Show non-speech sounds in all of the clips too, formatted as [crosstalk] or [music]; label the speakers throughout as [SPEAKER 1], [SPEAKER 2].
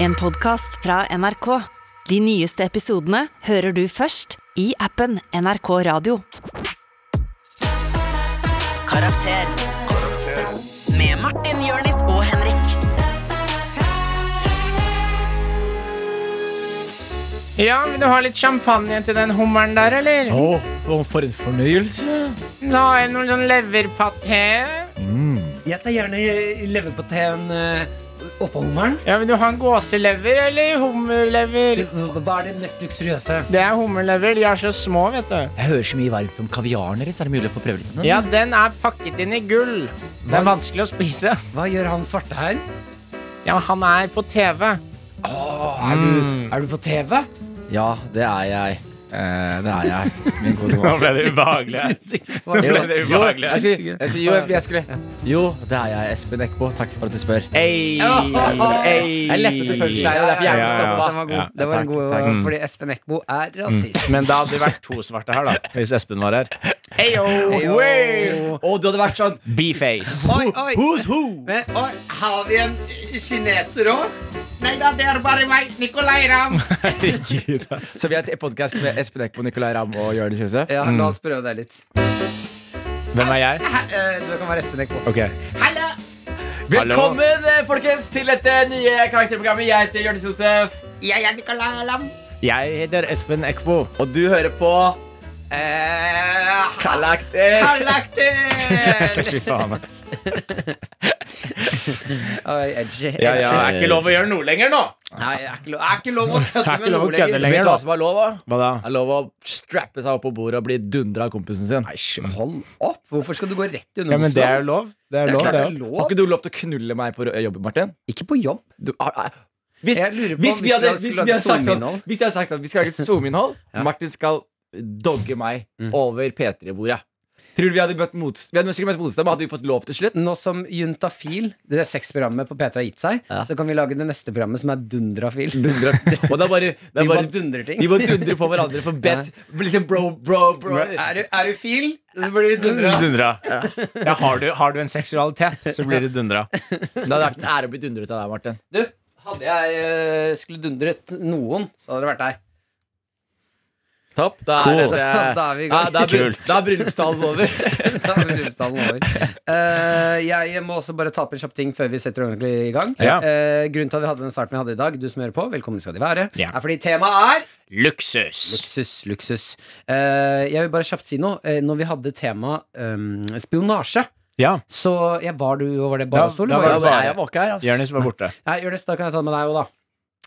[SPEAKER 1] En podcast fra NRK. De nyeste episodene hører du først i appen NRK Radio. Karakter. Med Martin, Jørnis og Henrik.
[SPEAKER 2] Ja, vil du ha litt champagne til den hummeren der, eller?
[SPEAKER 3] Å, å, for en fornøyelse.
[SPEAKER 2] La en noen sånn leverpaté.
[SPEAKER 4] Jeg tar gjerne leverpateen eh, oppå hummeren.
[SPEAKER 2] Ja, vil du ha en gåselever eller hummerlever?
[SPEAKER 4] Hva er det mest luksuriøse?
[SPEAKER 2] Det er hummerlever. De er så små, vet du.
[SPEAKER 3] Jeg hører så mye varmt om kaviaren deres. Er det mulig å få prøve litt? av den?
[SPEAKER 2] Ja, den er pakket inn i gull. Det er vanskelig å spise.
[SPEAKER 4] Hva gjør han svarte her?
[SPEAKER 2] Ja, han er på TV.
[SPEAKER 4] Å, er, du, er du på TV?
[SPEAKER 3] ja, det er jeg. Eh, det er jeg. Min [laughs] gode
[SPEAKER 5] Nå
[SPEAKER 3] mann.
[SPEAKER 5] ble det ubehagelig. her.
[SPEAKER 2] [laughs]
[SPEAKER 4] Hva er
[SPEAKER 3] Jo,
[SPEAKER 4] det?
[SPEAKER 5] ble det
[SPEAKER 3] jo,
[SPEAKER 5] ubehagelig.
[SPEAKER 3] jeg skulle, jeg skulle, jo, jeg- jeg skulle. jo, det er jeg, Espen Eckbo. Takk for at du spør.
[SPEAKER 2] Ei, ei.
[SPEAKER 3] Jeg lette etter punchline,
[SPEAKER 4] Nei, det er derfor
[SPEAKER 5] Ja,
[SPEAKER 4] jeg
[SPEAKER 5] ja,
[SPEAKER 4] vil
[SPEAKER 5] ja.
[SPEAKER 4] stoppe. Den var god.
[SPEAKER 5] Ja,
[SPEAKER 4] Det var
[SPEAKER 3] takk,
[SPEAKER 4] en god
[SPEAKER 3] takk. Mm.
[SPEAKER 4] Fordi Espen Eckbo er
[SPEAKER 2] Mm. [laughs]
[SPEAKER 4] rasist.
[SPEAKER 2] Men da hadde det vært to svarte her, da. Hvis Espen var her. Eyo.
[SPEAKER 4] Eyo.
[SPEAKER 3] Wow! Og du hadde vært sånn
[SPEAKER 2] Beeface.
[SPEAKER 6] Oi, oi.
[SPEAKER 3] Who's [laughs] who?
[SPEAKER 6] Men, oi, har vi en kineser òg? Nei da, det er bare meg, Nicolay Ramm.
[SPEAKER 3] Så vi er til podcast med Espen Eckbo, Nicolay Ramm og Jonis Josef.
[SPEAKER 4] Ja,
[SPEAKER 2] Mm.
[SPEAKER 4] La oss prøve deg litt.
[SPEAKER 2] Hvem er jeg?
[SPEAKER 4] Hæ, eh, Du kan være Espen Eckbo.
[SPEAKER 2] Ok.
[SPEAKER 6] Hallo.
[SPEAKER 3] Velkommen, eh, folkens, til dette nye karakterprogrammet. Jeg heter Jonis Josef.
[SPEAKER 6] Jeg er Nicolay Ramm.
[SPEAKER 2] Jeg heter Espen Eckbo.
[SPEAKER 3] Og du hører på
[SPEAKER 6] Eh,
[SPEAKER 3] Kalakter.
[SPEAKER 2] [laughs]
[SPEAKER 6] Karakter!
[SPEAKER 2] Fy faen, ass.
[SPEAKER 4] Oi, edgy.
[SPEAKER 2] Ja, ja, er ikke lov å gjøre noe lenger nå.
[SPEAKER 6] Nei, det er ikke lov, det er ikke lov å
[SPEAKER 2] Det
[SPEAKER 6] kødde med
[SPEAKER 2] er ikke lov
[SPEAKER 6] noe
[SPEAKER 2] å kødde
[SPEAKER 6] lenger.
[SPEAKER 3] Vet
[SPEAKER 2] lenger
[SPEAKER 3] du
[SPEAKER 2] nå.
[SPEAKER 3] hva som er lov, da?
[SPEAKER 2] Hva da?
[SPEAKER 3] Det er lov å strappe seg opp på bordet og bli dundra av kompisen sin. Har
[SPEAKER 4] Hold opp! Hvorfor skal du gå rett i
[SPEAKER 2] Ja, men det er jo lov. Det er
[SPEAKER 4] Det er
[SPEAKER 2] lov,
[SPEAKER 4] klart
[SPEAKER 2] det
[SPEAKER 4] det
[SPEAKER 2] òg.
[SPEAKER 4] er lov.
[SPEAKER 3] ikke du lov til å knulle meg på jobben, Martin?
[SPEAKER 4] Ikke på jobb.
[SPEAKER 3] Du, ah, ah. Hvis,
[SPEAKER 4] Jeg lurer på
[SPEAKER 3] hvis,
[SPEAKER 4] om
[SPEAKER 3] vi
[SPEAKER 4] hvis
[SPEAKER 3] hadde,
[SPEAKER 4] vi
[SPEAKER 3] hvis,
[SPEAKER 4] skulle
[SPEAKER 3] vi
[SPEAKER 4] lage
[SPEAKER 3] hadde sagt at,
[SPEAKER 4] Zoom-innhold.
[SPEAKER 3] hvis jeg hadde sagt at vi skal lage et Zoom-innhold
[SPEAKER 4] [laughs] Ja.
[SPEAKER 3] Martin skal dogge meg
[SPEAKER 4] Mm.
[SPEAKER 3] over P3-bordet. Tror du vi hadde møtt motstand? Vi hadde sikkert møtt motstand, men hadde vi fått lov
[SPEAKER 4] [laughs]
[SPEAKER 3] til slutt?
[SPEAKER 4] Nå som Juntafil, det sexprogrammet på P3 har gitt seg,
[SPEAKER 3] Ja.
[SPEAKER 4] så kan vi lage det neste programmet som er Dundrafil. [laughs]
[SPEAKER 3] Dundra. Og det er bare, det
[SPEAKER 4] Vi
[SPEAKER 3] er
[SPEAKER 4] bare
[SPEAKER 3] bare
[SPEAKER 4] dundrer ting.
[SPEAKER 3] Vi må dundre på hverandre
[SPEAKER 4] [laughs]
[SPEAKER 3] for bet. Liksom bro, bro, bro.
[SPEAKER 4] Er du, er du fil, så blir du dundra.
[SPEAKER 2] Dundra. Ja, har, du, har du en seksualitet, så blir du dundra.
[SPEAKER 3] Det hadde vært en ære å bli dundret av deg, Martin.
[SPEAKER 4] Du, hadde jeg eh, skulle dundret noen, så hadde det vært deg. [laughs]
[SPEAKER 3] Topp. Da er
[SPEAKER 2] Cool.
[SPEAKER 3] det
[SPEAKER 4] Da er vi i gang.
[SPEAKER 3] Ja, da er bryll-
[SPEAKER 2] Kult.
[SPEAKER 3] Da er bryllupstalen
[SPEAKER 4] [laughs]
[SPEAKER 3] over.
[SPEAKER 4] Da er bryllupsdagen over. Eh, jeg må også bare ta opp en kjapp ting før vi setter ordentlig i gang.
[SPEAKER 2] Ja.
[SPEAKER 4] Eh, grunnen til at vi hadde den starten vi hadde i dag, du som hører på, velkommen skal de være,
[SPEAKER 2] Ja.
[SPEAKER 4] er fordi temaet er
[SPEAKER 2] Luksus.
[SPEAKER 4] Luksus, luksus. Eh, jeg vil bare kjapt si noe. Eh, når vi hadde tema eh, spionasje,
[SPEAKER 2] Ja.
[SPEAKER 4] så jeg var du og var det
[SPEAKER 2] Da-
[SPEAKER 4] Barstol?
[SPEAKER 2] da
[SPEAKER 4] Var
[SPEAKER 2] var
[SPEAKER 4] jeg-
[SPEAKER 2] det bare-
[SPEAKER 3] Jeg var ikke her, ass.
[SPEAKER 2] Jonis var borte.
[SPEAKER 4] Nei, Jonis, da kan jeg ta det med deg òg, da.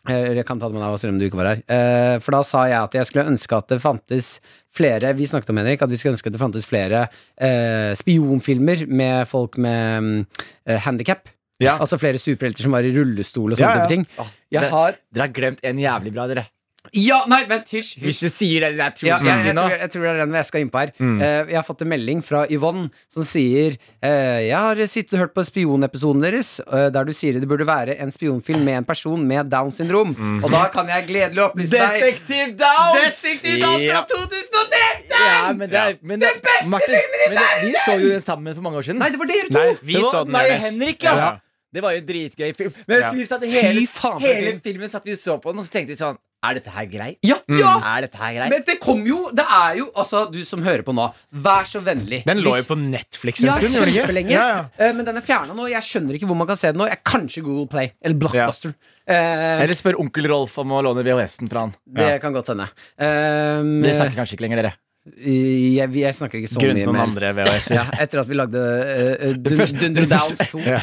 [SPEAKER 4] Eh, Eller jeg kan ta det med deg også, selv om du ikke var her. Eh, for da sa jeg at jeg skulle ønske at det fantes flere Vi snakket om Henrik, at vi skulle ønske at det fantes flere eh, spionfilmer med folk med mm, eh, handicap
[SPEAKER 2] Ja.
[SPEAKER 4] Altså flere superhelter som var i rullestol og sånne
[SPEAKER 2] Ja, ja.
[SPEAKER 4] type ting.
[SPEAKER 3] Åh,
[SPEAKER 4] Jeg
[SPEAKER 3] det-
[SPEAKER 4] har
[SPEAKER 3] Dere har glemt en jævlig bra, dere.
[SPEAKER 4] Ja, nei, vent, hysj! hysj.
[SPEAKER 3] Hvis du sier det, det er
[SPEAKER 4] Ja, jeg, jeg,
[SPEAKER 3] nå.
[SPEAKER 4] tror, jeg tror det er den jeg skal inn på her.
[SPEAKER 2] Mm.
[SPEAKER 4] Eh, jeg har fått en melding fra Yvonne som sier eh, Jeg har sittet og hørt på spionepisoden deres eh, der du sier det burde være en spionfilm med en person med Downs syndrom.
[SPEAKER 2] Mm.
[SPEAKER 4] Og da kan jeg gledelig opplyse deg
[SPEAKER 3] Detektiv Downs!
[SPEAKER 4] Detektiv Downs fra 2013!
[SPEAKER 3] Ja, men det er men det, Den beste Martin, filmen i verden! Vi så jo den sammen for mange år siden.
[SPEAKER 4] Nei, det var dere to!
[SPEAKER 2] Nei, vi
[SPEAKER 3] det var
[SPEAKER 2] så den.
[SPEAKER 3] meg og
[SPEAKER 2] Jonis.
[SPEAKER 3] Henrik, ja.
[SPEAKER 2] Ja.
[SPEAKER 3] Det var jo en dritgøy film. Men jeg
[SPEAKER 2] Ja.
[SPEAKER 3] husker vi satt
[SPEAKER 4] Fy
[SPEAKER 3] hele,
[SPEAKER 4] faen for
[SPEAKER 3] hele
[SPEAKER 4] film.
[SPEAKER 3] filmen satt vi og så på den, og så tenkte vi sånn Er dette her greit?
[SPEAKER 4] Ja, ja!
[SPEAKER 3] Er dette her greit?
[SPEAKER 4] Mm. Men det kom jo Det er jo Altså, du som hører på nå, vær så vennlig.
[SPEAKER 2] Den lå jo
[SPEAKER 4] Hvis-
[SPEAKER 2] på Netflix en
[SPEAKER 4] ja,
[SPEAKER 2] stund, gjorde den
[SPEAKER 4] kjempelenge.
[SPEAKER 2] ikke? Ja, ja.
[SPEAKER 4] Eh, men den er fjerna nå. Jeg skjønner ikke hvor man kan se den nå. Jeg, kanskje Google Play eller Blockbuster. Eh,
[SPEAKER 3] Eller spør onkel Rolf om å låne VHS-en fra han.
[SPEAKER 4] Det kan godt hende. Um,
[SPEAKER 3] Dere snakker kanskje ikke lenger, [laughs] dere.
[SPEAKER 4] eh, jeg, jeg snakker ikke så
[SPEAKER 2] Grunnet
[SPEAKER 4] mye
[SPEAKER 2] noen
[SPEAKER 4] mer.
[SPEAKER 2] andre VHS-er.
[SPEAKER 4] [laughs] Ja, etter at vi lagde uh, uh, dun, Dunder Downs 2. Ja,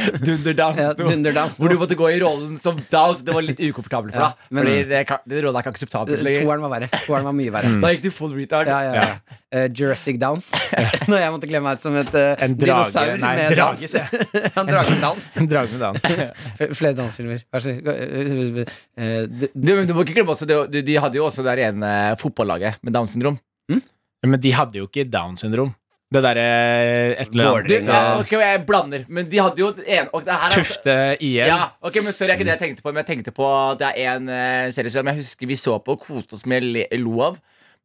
[SPEAKER 2] [laughs]
[SPEAKER 3] Dunder Downs. to.
[SPEAKER 4] Dunder Downs 2.
[SPEAKER 3] Hvor du måtte gå i rollen som Downs. Det var litt ukomfortabelt for
[SPEAKER 4] Ja,
[SPEAKER 3] deg.
[SPEAKER 4] men-
[SPEAKER 3] Fordi det, kan- den rollen er Mm. ikke akseptabel lenger.
[SPEAKER 4] Toeren var verre. Toeren var mye verre.
[SPEAKER 3] Da gikk du full retard.
[SPEAKER 4] Ja, ja, ja. Eh, Jurassic Downs. [laughs] Når jeg måtte kle meg ut som et eh,
[SPEAKER 2] En drage.
[SPEAKER 4] dinosaur
[SPEAKER 2] Nei,
[SPEAKER 4] med
[SPEAKER 2] drage,
[SPEAKER 4] dans. [laughs]
[SPEAKER 2] sier
[SPEAKER 4] en drage med dans.
[SPEAKER 2] En drag med dans.
[SPEAKER 4] F- Flere dansfilmer. Vær så snill. Eh, d-
[SPEAKER 3] Du, men du må ikke glemme også, det- de, de hadde jo også det ene fotballaget med Downs syndrom.
[SPEAKER 2] Men de hadde jo ikke Down syndrom. Det derre et eller
[SPEAKER 3] Du,
[SPEAKER 2] annet
[SPEAKER 3] ja, ok, jeg blander, men de hadde jo det ene og det her er,
[SPEAKER 2] Tufte IL.
[SPEAKER 3] Ja, ok, men Sorry, det er ikke det jeg tenkte på. Men jeg tenkte på Det er en eh, serie som jeg husker vi så på og koste oss med le- lo av.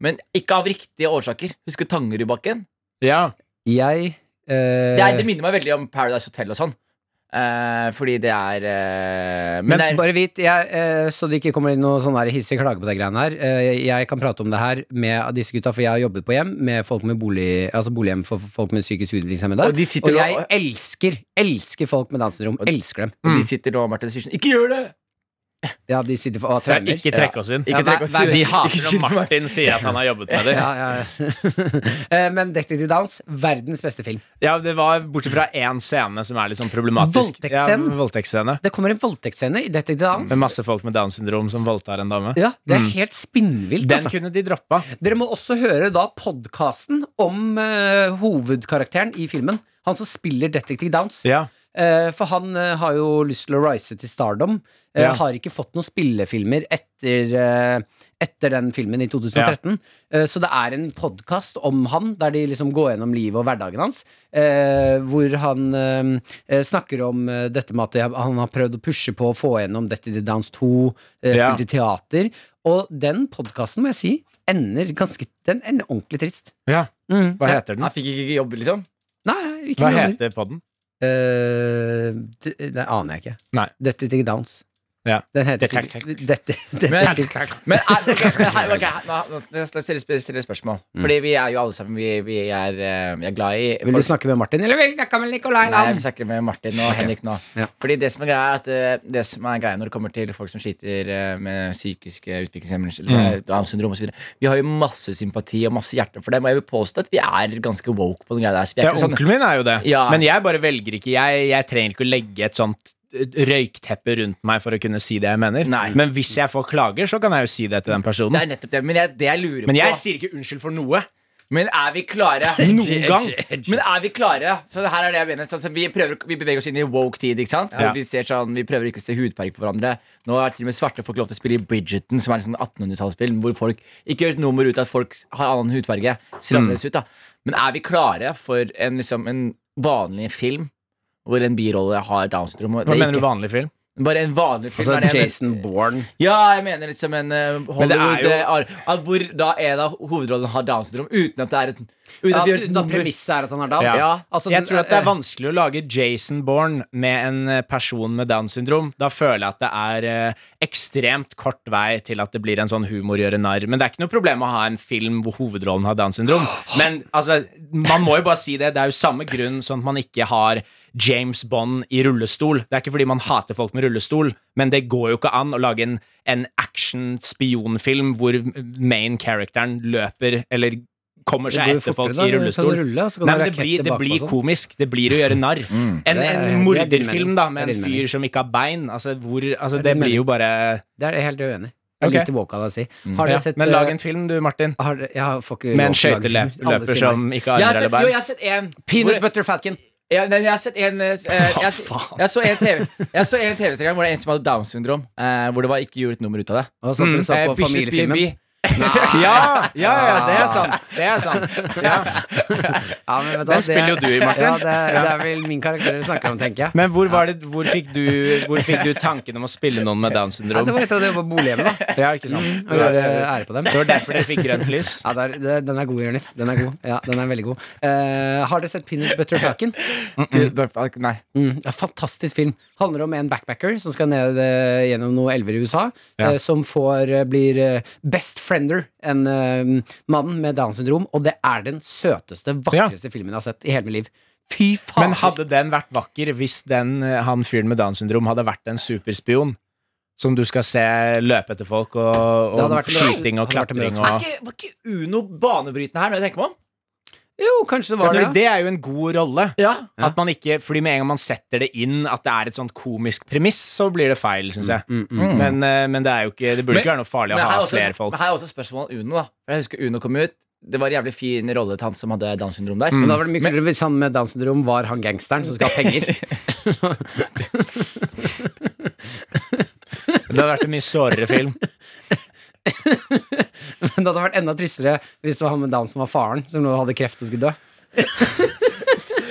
[SPEAKER 3] Men ikke av riktige årsaker. Husker Tangerudbakken?
[SPEAKER 2] Ja.
[SPEAKER 4] Jeg eh,
[SPEAKER 3] Det, er- det minner meg veldig om Paradise Hotel og sånn. Eh, fordi det er eh, Men,
[SPEAKER 4] Men
[SPEAKER 3] det er
[SPEAKER 4] bare vit, jeg, eh, så det ikke kommer inn noe sånn der hissig klage på de greiene her. eh, Jeg kan prate om det her med disse gutta, for jeg har jobbet på hjem med folk med bolig, altså bolighjem for folk med psykisk utviklingshemmede.
[SPEAKER 3] Og de sitter
[SPEAKER 4] og jeg
[SPEAKER 3] og-
[SPEAKER 4] elsker, elsker folk med Downs syndrom.
[SPEAKER 3] Og-
[SPEAKER 4] Elsker dem.
[SPEAKER 3] De sitter nå og Martin sier sånn Ikke gjør det!
[SPEAKER 4] Ja, de sitter for, og
[SPEAKER 2] Ja,
[SPEAKER 4] traumer.
[SPEAKER 2] ikke trekk oss inn.
[SPEAKER 4] Ja,
[SPEAKER 3] Ikke
[SPEAKER 4] nei,
[SPEAKER 3] trekk oss
[SPEAKER 4] nei,
[SPEAKER 3] inn.
[SPEAKER 2] De
[SPEAKER 3] [laughs] Ikke
[SPEAKER 2] hater
[SPEAKER 3] skyld på
[SPEAKER 2] når
[SPEAKER 3] meg.
[SPEAKER 2] Martin sier at han har jobbet med det.
[SPEAKER 4] Ja, ja, ja. [laughs] Eh, Men Detective Downs, verdens beste film.
[SPEAKER 2] Ja, det var Bortsett fra én scene som er litt sånn problematisk.
[SPEAKER 4] Voldtektsscenen?
[SPEAKER 2] Ja, voldtektsscene.
[SPEAKER 4] Det kommer en voldtektsscene i Detective Downs.
[SPEAKER 2] Med masse folk med Downs syndrom som voldtar en dame.
[SPEAKER 4] Ja, det er
[SPEAKER 3] Mm.
[SPEAKER 4] helt spinnvilt.
[SPEAKER 2] Den
[SPEAKER 4] Altså.
[SPEAKER 2] kunne de droppa.
[SPEAKER 4] Dere må også høre da podkasten om eh, hovedkarakteren i filmen. Han som spiller Detective Downs.
[SPEAKER 2] Ja.
[SPEAKER 4] Eh, for han eh, har jo lyst til å rise til stardom. Eh,
[SPEAKER 2] Ja.
[SPEAKER 4] Har ikke fått noen spillefilmer etter, eh, etter den filmen i 2013. Eh, så det er en podkast om han, der de liksom går gjennom livet og hverdagen hans. eh, hvor han eh, eh, snakker om eh, dette med at jeg- han har prøvd å pushe på å få gjennom Dette The Downs 2, eh,
[SPEAKER 2] Ja.
[SPEAKER 4] spilte teater. Og den podkasten, må jeg si, ender ganske Den ender ordentlig trist.
[SPEAKER 2] Ja.
[SPEAKER 4] Mm.
[SPEAKER 2] Hva heter den?
[SPEAKER 3] Han fikk ikke jobb, liksom.
[SPEAKER 4] Nei, ikke
[SPEAKER 2] Hva
[SPEAKER 4] noe annet.
[SPEAKER 2] heter podden?
[SPEAKER 4] Eh, det, det aner jeg ikke.
[SPEAKER 2] Nei.
[SPEAKER 4] Dette til Downs.
[SPEAKER 2] Ja.
[SPEAKER 4] Den heter
[SPEAKER 2] Detect-
[SPEAKER 4] sikkert Dette, dette,
[SPEAKER 3] Men-
[SPEAKER 4] dette-
[SPEAKER 3] Men er, ok,
[SPEAKER 2] [laughs]
[SPEAKER 3] her- ok, her- nå- nå skal jeg stille, stille, stille spørsmål.
[SPEAKER 2] Mm.
[SPEAKER 3] Fordi vi er jo alle sammen Vi, vi er, eh, vi er glad i
[SPEAKER 4] Vil du snakke med Martin, eller vil du snakke med Nicolay
[SPEAKER 3] Nei, jeg
[SPEAKER 4] Land?
[SPEAKER 3] vil snakke med Martin og Henrik nå.
[SPEAKER 4] Ja.
[SPEAKER 3] Fordi det som er greia er at eh, Det som er greia når det kommer til folk som sliter eh, med psykiske utviklingshemmelser,
[SPEAKER 2] Mm.
[SPEAKER 3] eller Downs syndrom og så videre vi har jo masse sympati og masse hjerte for dem, og jeg vil påstå at vi er ganske woke på den greia der. Så vi
[SPEAKER 2] Ja,
[SPEAKER 3] er ikke sånn
[SPEAKER 2] onkelen min er jo det.
[SPEAKER 3] Ja.
[SPEAKER 2] Men jeg bare velger ikke. Jeg, jeg trenger ikke å legge et sånt røykteppe rundt meg for å kunne si det jeg mener.
[SPEAKER 3] Nei.
[SPEAKER 2] Men hvis jeg får klager, så kan jeg jo si det til den
[SPEAKER 3] Det
[SPEAKER 2] personen.
[SPEAKER 3] er nettopp det. Men jeg, det jeg lurer
[SPEAKER 2] Men jeg
[SPEAKER 3] på
[SPEAKER 2] sier ikke unnskyld for noe.
[SPEAKER 3] Men er vi klare?
[SPEAKER 2] [laughs] Noen gang.
[SPEAKER 3] Men er vi klare? Så det her er det jeg mener. Sånn, som vi, prøver, vi beveger oss inn i woke-tid. ikke sant?
[SPEAKER 2] Ja.
[SPEAKER 3] Vi, ser sånn, vi prøver ikke å se hudfarge på hverandre. Nå er til og med svarte folk lov til å spille i Bridgerton, som er et sånn 1800-tallsspill, hvor folk ikke gjør et nummer ut av at folk har annen hudfarge. Ser
[SPEAKER 2] Mm.
[SPEAKER 3] annerledes ut, da. Men er vi klare for en, liksom, en vanlig film hvor en birolle har Downs syndrom? og
[SPEAKER 2] Hva
[SPEAKER 3] det er
[SPEAKER 2] mener du
[SPEAKER 3] ikke-
[SPEAKER 2] vanlig film?
[SPEAKER 3] Bare en vanlig film.
[SPEAKER 4] Altså
[SPEAKER 3] er det jeg mener.
[SPEAKER 4] Jason Bourne.
[SPEAKER 3] Ja, jeg mener liksom en eh,
[SPEAKER 2] Men det er
[SPEAKER 3] Hollywood
[SPEAKER 2] jo-
[SPEAKER 3] eh, ar- at Hvor da en av hovedrollene har Downs syndrom, uten at det er et uten
[SPEAKER 4] Ja,
[SPEAKER 3] at de gjør et
[SPEAKER 4] da
[SPEAKER 3] nummer-
[SPEAKER 4] premisset er at han har dans.
[SPEAKER 2] Ja.
[SPEAKER 4] Altså,
[SPEAKER 2] jeg
[SPEAKER 4] den-
[SPEAKER 2] tror at det er vanskelig å lage Jason Bourne med en eh, person med Downs syndrom. Da føler jeg at det er eh, ekstremt kort vei til at det blir en sånn humor gjøre narr. Men det er ikke noe problem å ha en film hvor hovedrollen har Downs syndrom. Men altså, man må jo bare si det. Det er jo samme grunn sånn at man ikke har James Bond i rullestol. Det er ikke fordi man hater folk med rullestol, men det går jo ikke an å lage en, en action-spionfilm hvor main characteren løper eller kommer
[SPEAKER 4] Det
[SPEAKER 2] seg
[SPEAKER 4] går jo
[SPEAKER 2] etter folk
[SPEAKER 4] fortere da,
[SPEAKER 2] i
[SPEAKER 4] du kan
[SPEAKER 2] rullestol.
[SPEAKER 4] rulle, og så kan
[SPEAKER 2] Nei, men
[SPEAKER 4] det være
[SPEAKER 2] det blir,
[SPEAKER 4] raketter
[SPEAKER 2] det
[SPEAKER 4] bakpå og
[SPEAKER 2] blir
[SPEAKER 4] sånn. Mm.
[SPEAKER 2] komisk. Det blir å gjøre narr. En,
[SPEAKER 4] Det er-
[SPEAKER 2] en
[SPEAKER 4] det er din
[SPEAKER 2] morderfyr
[SPEAKER 4] mening.
[SPEAKER 2] da,
[SPEAKER 4] Det er
[SPEAKER 2] med
[SPEAKER 4] din
[SPEAKER 2] en
[SPEAKER 4] mening.
[SPEAKER 2] fyr som ikke har bein. Altså, hvor, altså,
[SPEAKER 4] Det er
[SPEAKER 2] det
[SPEAKER 4] din
[SPEAKER 2] blir jo bare
[SPEAKER 4] Det er jeg helt uenig i. Det er
[SPEAKER 2] Ok.
[SPEAKER 4] Litt woke av deg å si. Har dere
[SPEAKER 2] ja.
[SPEAKER 4] sett
[SPEAKER 2] Men
[SPEAKER 4] eh,
[SPEAKER 2] lag en film, du, Martin.
[SPEAKER 4] har, dere- jeg får ikke
[SPEAKER 2] Med en
[SPEAKER 4] lov til å lage film. Alle
[SPEAKER 2] skøyteløper
[SPEAKER 4] sier nei.
[SPEAKER 2] som ikke
[SPEAKER 3] Jeg
[SPEAKER 2] har
[SPEAKER 3] har
[SPEAKER 2] armer
[SPEAKER 3] sett,
[SPEAKER 2] eller
[SPEAKER 3] jo, jeg
[SPEAKER 4] [laughs]
[SPEAKER 2] bein.
[SPEAKER 3] har sett en
[SPEAKER 4] Peanut
[SPEAKER 3] hvor-
[SPEAKER 4] Butter Falcon!
[SPEAKER 3] ja, nei, men Jeg har sett en eh, jeg,
[SPEAKER 4] faen?
[SPEAKER 3] jeg så en TV Jeg så en TV-serie hvor det er en som hadde Downs syndrom. Eh, hvor det var ikke gjort et nummer ut av det.
[SPEAKER 4] Og sånn dere så
[SPEAKER 3] Eh,
[SPEAKER 4] på
[SPEAKER 3] Bishop
[SPEAKER 4] familiefilmen.
[SPEAKER 3] B&B.
[SPEAKER 2] Ja, ja, ja, det er sant. Det er sant. Ja.
[SPEAKER 4] Ja, men
[SPEAKER 2] Den
[SPEAKER 4] vet du hva, det er-
[SPEAKER 2] spiller jo du i, Martin.
[SPEAKER 4] Ja, det, er- det er vel min karakter dere snakker om, tenker jeg.
[SPEAKER 2] Men hvor, var det, hvor, fikk du, hvor fikk du tanken om å spille noen med Downs
[SPEAKER 4] Nei, det
[SPEAKER 2] syndrom?
[SPEAKER 4] var etter at jeg var på bolighjemmet, da.
[SPEAKER 2] Ja, ikke sant.
[SPEAKER 4] Og gjøre ære på dem.
[SPEAKER 2] Det var derfor dere fikk grønt lys.
[SPEAKER 4] Ja, der, der, den er god, Jonis. Den er god. Ja, den er veldig god. Eh, har dere sett Peanut Butter Falcon?
[SPEAKER 3] Peanut- Nei.
[SPEAKER 4] Mm, ja, fantastisk film. Handler om en backpacker som skal ned eh, gjennom noen elver i USA.
[SPEAKER 2] Ja.
[SPEAKER 4] eh, som får, eh, blir eh, best friender, en eh, mann med Downs syndrom. Og det er den søteste, vakreste filmen jeg har sett i hele mitt liv. Fy faen!
[SPEAKER 2] Men hadde den vært vakker hvis den, eh, han fyren med Downs syndrom hadde vært en superspion? Som du skal se løpe etter folk, og,
[SPEAKER 4] Det hadde
[SPEAKER 2] og
[SPEAKER 4] vært en-
[SPEAKER 2] skyting og
[SPEAKER 4] hadde vært en
[SPEAKER 2] klatring
[SPEAKER 3] Er
[SPEAKER 2] og
[SPEAKER 3] ikke, var ikke Uno banebrytende her, når jeg tenker meg om?
[SPEAKER 4] Jo, kanskje det var
[SPEAKER 2] Fordi
[SPEAKER 4] det.
[SPEAKER 2] det er jo en god rolle.
[SPEAKER 3] Ja.
[SPEAKER 2] At man ikke, fordi Med en gang man setter det inn at det er et sånt komisk premiss, så blir det feil, syns jeg.
[SPEAKER 4] Mm,
[SPEAKER 2] Men, eh, men det er jo ikke Det burde
[SPEAKER 3] Men-
[SPEAKER 2] ikke være noe farlig å
[SPEAKER 3] Men her, er
[SPEAKER 2] ha
[SPEAKER 3] også,
[SPEAKER 2] flere folk.
[SPEAKER 3] men her er også spørsmålet om Uno. da For Jeg husker Uno kom ut. Det var en jævlig fin rolle til han som hadde Downs syndrom der.
[SPEAKER 4] Men da var det mye kulere hvis han med Downs syndrom var han gangsteren som skal ha penger.
[SPEAKER 2] [laughs] Det hadde vært en mye sårere film.
[SPEAKER 4] Men det hadde vært enda tristere hvis det var han med Downs som var faren, som nå hadde kreft og skulle dø.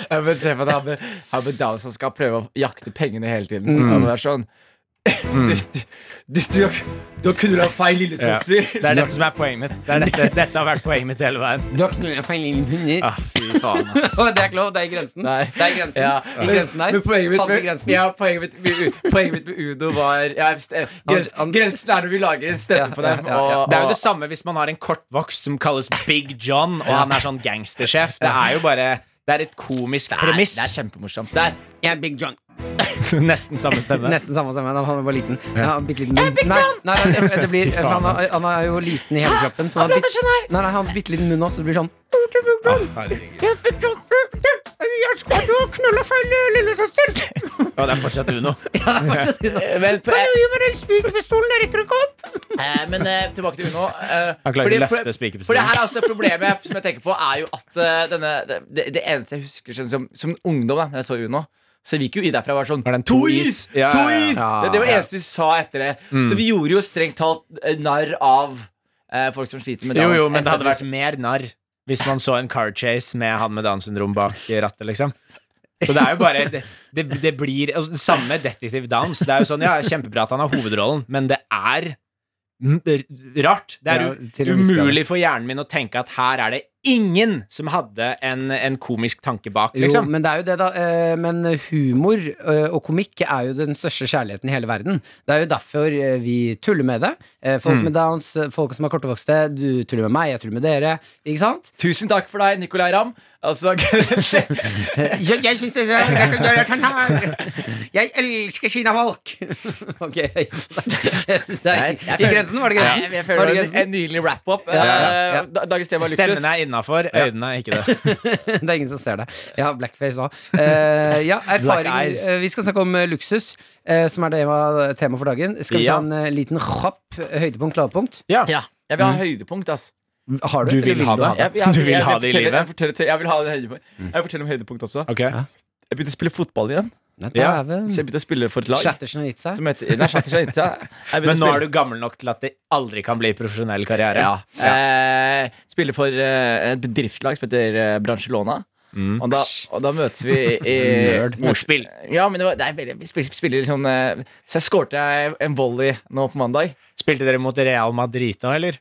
[SPEAKER 3] Jeg vil se for meg at han med- han med Downs som skal prøve å jakte pengene hele tiden. Han må være sånn Du, du, du, du, har- du har kunnet ha feil lillesøster.
[SPEAKER 2] Det er dette som er poenget mitt. Det er dette, dette har vært poenget mitt hele veien.
[SPEAKER 4] Du har knulla feil lille hunder.
[SPEAKER 2] Ah, fy faen,
[SPEAKER 4] [laughs]
[SPEAKER 2] ass.
[SPEAKER 4] Å, det er ikke lov. Det er i grensen.
[SPEAKER 3] Nei.
[SPEAKER 4] Det er i grensen.
[SPEAKER 3] Ja.
[SPEAKER 4] I grensen der.
[SPEAKER 3] Men poenget mitt,
[SPEAKER 4] Falt i
[SPEAKER 3] med,
[SPEAKER 4] grensen.
[SPEAKER 3] ja, poenget, mitt, med- poenget mitt med Udo var ja, jeg forstår- grens,
[SPEAKER 4] han-
[SPEAKER 3] Grensen er når vi lager en stemme
[SPEAKER 4] Ja,
[SPEAKER 3] på dem.
[SPEAKER 4] ja, ja, ja.
[SPEAKER 3] og-
[SPEAKER 2] Det er jo
[SPEAKER 3] og-
[SPEAKER 2] det samme hvis man har en kortvokst som kalles Big John, og han er sånn gangstersjef. Det er jo bare Det er et komisk
[SPEAKER 3] Nei,
[SPEAKER 2] premiss.
[SPEAKER 3] Det er kjempemorsomt.
[SPEAKER 4] [laughs]
[SPEAKER 3] Det er,
[SPEAKER 4] Jeg er Big John.
[SPEAKER 2] [laughs] Nesten samme stemme.
[SPEAKER 4] Nesten samme stemme. Han var bare liten. Ja, han er bitte liten munn. Nei, nei, nei, det, det blir, for han,
[SPEAKER 3] altså.
[SPEAKER 4] er, han er jo liten i hele kroppen. Så han har bitt- Nei, nei, han har bitte liten munn også, så det blir sånn
[SPEAKER 2] Herregud. Og det er fortsatt Uno.
[SPEAKER 3] Eh, men,
[SPEAKER 4] Eh. Nei,
[SPEAKER 3] eh, men eh, tilbake til Uno. eh,
[SPEAKER 2] Han klarer
[SPEAKER 3] fordi-
[SPEAKER 2] ikke å løfte
[SPEAKER 3] for- For det her
[SPEAKER 2] spikepistolen.
[SPEAKER 3] er altså problemet som jeg tenker på, er jo at eh, denne, det, det eneste jeg husker sånn, som, som ungdom da, når jeg så Uno Så vi gikk jo i derfra og var sånn
[SPEAKER 2] Var det en to is? Ja,
[SPEAKER 3] to
[SPEAKER 2] ja, Mm. ja.
[SPEAKER 3] is!
[SPEAKER 4] Ja,
[SPEAKER 3] det, det var det
[SPEAKER 4] ja.
[SPEAKER 3] eneste vi sa etter det. Så vi gjorde jo strengt talt eh, narr av eh, folk som sliter med
[SPEAKER 2] Jo,
[SPEAKER 3] Downs.
[SPEAKER 2] jo, men det
[SPEAKER 3] Etter
[SPEAKER 2] hadde
[SPEAKER 3] at
[SPEAKER 2] vært
[SPEAKER 3] vi-
[SPEAKER 2] mer narr hvis man så en car chase med han med Downs syndrom bak rattet, liksom. Så det er jo bare Det, det, det blir altså, det samme med Detektiv Downs. Det er jo sånn, ja, kjempebra at han har hovedrollen, men det er m- rart. Det er
[SPEAKER 4] Ja, til
[SPEAKER 2] jo
[SPEAKER 4] en viss grad.
[SPEAKER 2] umulig for hjernen min å tenke at her er det ingen som hadde en, en komisk tanke bak,
[SPEAKER 4] Jo,
[SPEAKER 2] liksom.
[SPEAKER 4] men det er jo det, da. eh, Men humor eh, og komikk er jo den største kjærligheten i hele verden. Det er jo derfor eh, vi tuller med det. Eh, Folk
[SPEAKER 3] Mm.
[SPEAKER 4] med downs, eh, folk som er kortvokste. Du tuller med meg, jeg tuller med dere. Ikke
[SPEAKER 3] [laughs]
[SPEAKER 4] sant?
[SPEAKER 3] Tusen takk for deg, Nicolay Ramm. Altså, [laughs]
[SPEAKER 6] Jeg, jeg syns det er greit å gjøre sånn her. Jeg elsker kinafolk.
[SPEAKER 4] [laughs] Ok. Det er,
[SPEAKER 3] jeg
[SPEAKER 4] I
[SPEAKER 3] føler-
[SPEAKER 4] grensen, var det
[SPEAKER 3] jeg,
[SPEAKER 4] grensen?
[SPEAKER 3] jeg føler det
[SPEAKER 4] Var det
[SPEAKER 3] var en,
[SPEAKER 4] grensen?
[SPEAKER 3] en nydelig wrap-up.
[SPEAKER 4] Ja, ja, ja.
[SPEAKER 3] Eh, da- Dagens tema er luksus.
[SPEAKER 2] Stemmen er innafor, øynene er ikke det. [laughs]
[SPEAKER 4] Det er ingen som ser det. Jeg har blackface òg. ja, erfaring
[SPEAKER 2] [laughs] Black eyes.
[SPEAKER 4] eh, Vi skal snakke om eh, luksus, eh, som er tema, tema for dagen. Skal vi
[SPEAKER 2] Ja.
[SPEAKER 4] ta en eh, liten kjapp høydepunkt, lavpunkt?
[SPEAKER 2] Ja.
[SPEAKER 3] ja. Jeg vil ha høydepunkt, ass.
[SPEAKER 4] Har du,
[SPEAKER 2] Du
[SPEAKER 4] et,
[SPEAKER 2] vil
[SPEAKER 4] eller
[SPEAKER 2] ha det?
[SPEAKER 3] Jeg, jeg,
[SPEAKER 2] [laughs] Du vil
[SPEAKER 3] jeg- jeg
[SPEAKER 2] ha det i
[SPEAKER 3] fortelle-
[SPEAKER 2] livet? Mm.
[SPEAKER 3] Jeg, forteller- jeg vil ha det i høydepunkt. Jeg forteller om høydepunkt også.
[SPEAKER 2] Ok.
[SPEAKER 3] Jeg begynte å spille fotball igjen.
[SPEAKER 4] Nei,
[SPEAKER 2] Ja.
[SPEAKER 4] dæven.
[SPEAKER 3] Så jeg begynte å spille for et lag.
[SPEAKER 4] Chattersen har gitt seg.
[SPEAKER 3] Som heter, nei, Shatter Shatter. Jeg begynte
[SPEAKER 2] Men
[SPEAKER 3] å
[SPEAKER 2] nå
[SPEAKER 3] spille-
[SPEAKER 2] er du gammel nok til at det aldri kan bli profesjonell karriere.
[SPEAKER 3] ja. Eh, Spiller for eh, et bedriftslag som heter eh, Branchelona. Og, da, og da møtes vi i
[SPEAKER 2] Mm. Nerd. Ordspill.
[SPEAKER 3] Ja, men det var, det er, veldig- vi spiller, spiller litt sånn eh, Så jeg skårte jeg en volley nå på mandag.
[SPEAKER 2] Spilte dere mot Real Madrid da, eller?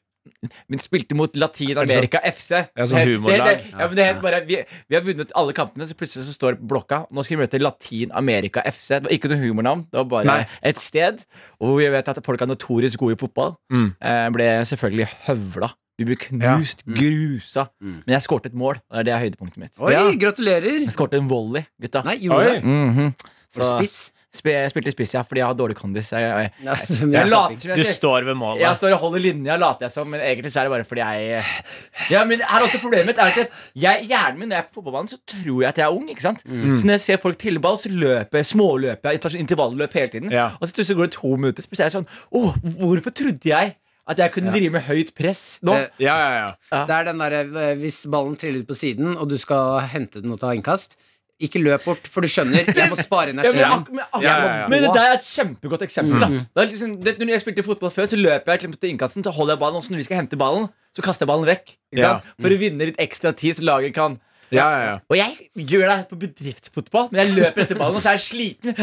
[SPEAKER 3] Men spilte mot
[SPEAKER 2] Er det
[SPEAKER 3] Latin-Amerika FC.
[SPEAKER 2] Ja, sånn
[SPEAKER 3] Det-
[SPEAKER 2] humorlag.
[SPEAKER 3] Det, det, ja, men det het bare vi, vi har vunnet alle kampene, så plutselig så står det på blokka Nå skal vi møte Latin-Amerika FC. Det var ikke noe humornavn. Det var bare
[SPEAKER 2] Nei.
[SPEAKER 3] et sted. Og vi vet at folk er notorisk gode i fotball.
[SPEAKER 2] Mm.
[SPEAKER 3] Eh, ble selvfølgelig høvla. Vi ble knust, grusa.
[SPEAKER 2] Mm.
[SPEAKER 3] Men jeg skårte et mål. og Det er det er høydepunktet mitt.
[SPEAKER 4] Oi,
[SPEAKER 3] Ja.
[SPEAKER 4] gratulerer!
[SPEAKER 3] Jeg skårte en volley, gutta.
[SPEAKER 4] Nei, gjorde
[SPEAKER 2] Oi.
[SPEAKER 4] du det?
[SPEAKER 3] Mhm.
[SPEAKER 4] Var du
[SPEAKER 3] Så,
[SPEAKER 4] spiss?
[SPEAKER 3] sp jeg spilte spiss, ja, fordi jeg har dårlig kondis. Jeg, jeg,
[SPEAKER 4] Nei,
[SPEAKER 3] jeg later som
[SPEAKER 2] Du
[SPEAKER 3] jeg
[SPEAKER 2] står ved målet.
[SPEAKER 3] jeg står og holder linja, later jeg som, men egentlig så er det bare fordi jeg eh, Ja, men her er også problemet mitt er at jeg, jeg, Hjernen min når jeg er på fotballbanen, så tror jeg at jeg er ung. ikke sant? Så når jeg ser folk trille ball, så løper jeg, småløper jeg, jeg tar sånn intervalløp hele tiden.
[SPEAKER 2] Ja.
[SPEAKER 3] Og så plutselig går det to minutter, så blir jeg sånn Å, hvorfor trodde jeg at jeg kunne drive med høyt press nå?
[SPEAKER 4] Eh,
[SPEAKER 2] Ja, ja, ja.
[SPEAKER 4] Det er den derre eh, hvis ballen triller ut på siden, og du skal hente den og ta innkast. Ikke løp bort, for du skjønner, jeg må
[SPEAKER 2] [laughs]
[SPEAKER 4] spare
[SPEAKER 3] Ja, men,
[SPEAKER 4] energien.
[SPEAKER 3] ak- men, ak-
[SPEAKER 2] Ja, ja, ja.
[SPEAKER 3] men det der er et kjempegodt eksempel. Da. Det er liksom, det, når jeg spilte fotball før, så løper jeg til- til innkasten, så holder jeg ballen, og så når vi skal hente ballen, så kaster jeg ballen vekk. Ikke
[SPEAKER 2] Ja.
[SPEAKER 3] sant? For å vinne litt ekstra tid, så laget kan
[SPEAKER 2] ja, ja, ja.
[SPEAKER 3] Og jeg gjør det på bedriftsfotball, men jeg løper etter ballen, og så er jeg sliten.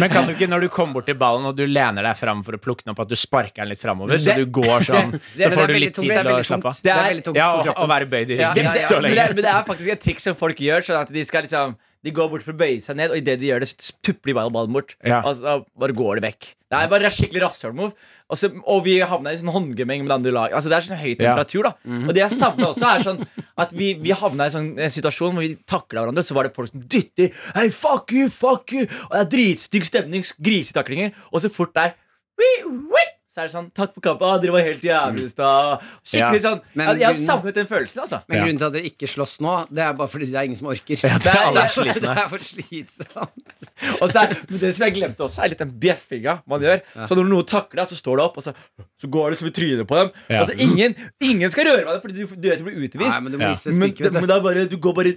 [SPEAKER 2] Men kan du ikke, når du kommer bort til ballen og du lener deg fram for å plukke den opp, at du sparker den litt framover, så
[SPEAKER 3] Det-
[SPEAKER 2] du går sånn, så
[SPEAKER 4] Det er- det er
[SPEAKER 2] får du
[SPEAKER 4] veldig
[SPEAKER 2] litt tid
[SPEAKER 4] tungt, det er
[SPEAKER 2] til å
[SPEAKER 4] veldig
[SPEAKER 2] slappe
[SPEAKER 4] tungt.
[SPEAKER 2] av?
[SPEAKER 4] Det er veldig tungt
[SPEAKER 2] Ja,
[SPEAKER 4] for
[SPEAKER 2] og,
[SPEAKER 4] kroppen.
[SPEAKER 2] og være bøyd i
[SPEAKER 4] Ja,
[SPEAKER 2] ryggen
[SPEAKER 4] ja, ja.
[SPEAKER 2] så
[SPEAKER 3] Men, det,
[SPEAKER 2] lenge.
[SPEAKER 3] er- men det er faktisk et triks som folk gjør. Sånn at De skal liksom De går bort for å bøye seg ned, og idet de gjør det, så tupper de ballen- ballen bort.
[SPEAKER 2] Ja.
[SPEAKER 3] Og så bare går det vekk. Det er bare skikkelig rasshølmove. Og, så- og vi havna i sånn håndgemeng med andre lag. Altså Det er sånn høy
[SPEAKER 2] Ja. Mhm.
[SPEAKER 3] temperatur. da Og det jeg savner også, er sånn at vi, vi havna i en sånn eh, situasjon hvor vi takla hverandre, så var det folk som dytter. Hei, fuck you, fuck you! Og det er dritstygg stemning, grisetaklinger. Og så fort det er «Wii, wii», så er det sånn Takk for kampen. Ah, dere var helt jævlig i stad. Skikkelig
[SPEAKER 2] Ja.
[SPEAKER 3] sånn.
[SPEAKER 4] Men
[SPEAKER 3] jeg, jeg har
[SPEAKER 4] grunnen-
[SPEAKER 3] savnet den følelsen, altså.
[SPEAKER 4] Men
[SPEAKER 2] Ja.
[SPEAKER 4] grunnen til at dere ikke slåss nå, det er bare fordi det er ingen som
[SPEAKER 3] [laughs]
[SPEAKER 4] orker.
[SPEAKER 2] det er alle
[SPEAKER 4] det
[SPEAKER 2] slitne.
[SPEAKER 4] det er for slitsomt.
[SPEAKER 3] Og så er, men det som jeg glemte også, er litt den bjeffinga man gjør. Så når noen takler deg, så står du opp, og så, så går du som i trynet på dem.
[SPEAKER 2] Ja.
[SPEAKER 3] Altså ingen, ingen skal røre deg, Fordi du, du vet du blir utvist.
[SPEAKER 4] Nei, men du må
[SPEAKER 2] Ja.
[SPEAKER 4] vise
[SPEAKER 3] men,
[SPEAKER 4] stykket.
[SPEAKER 3] men det
[SPEAKER 4] vet du.
[SPEAKER 3] er bare, du går bare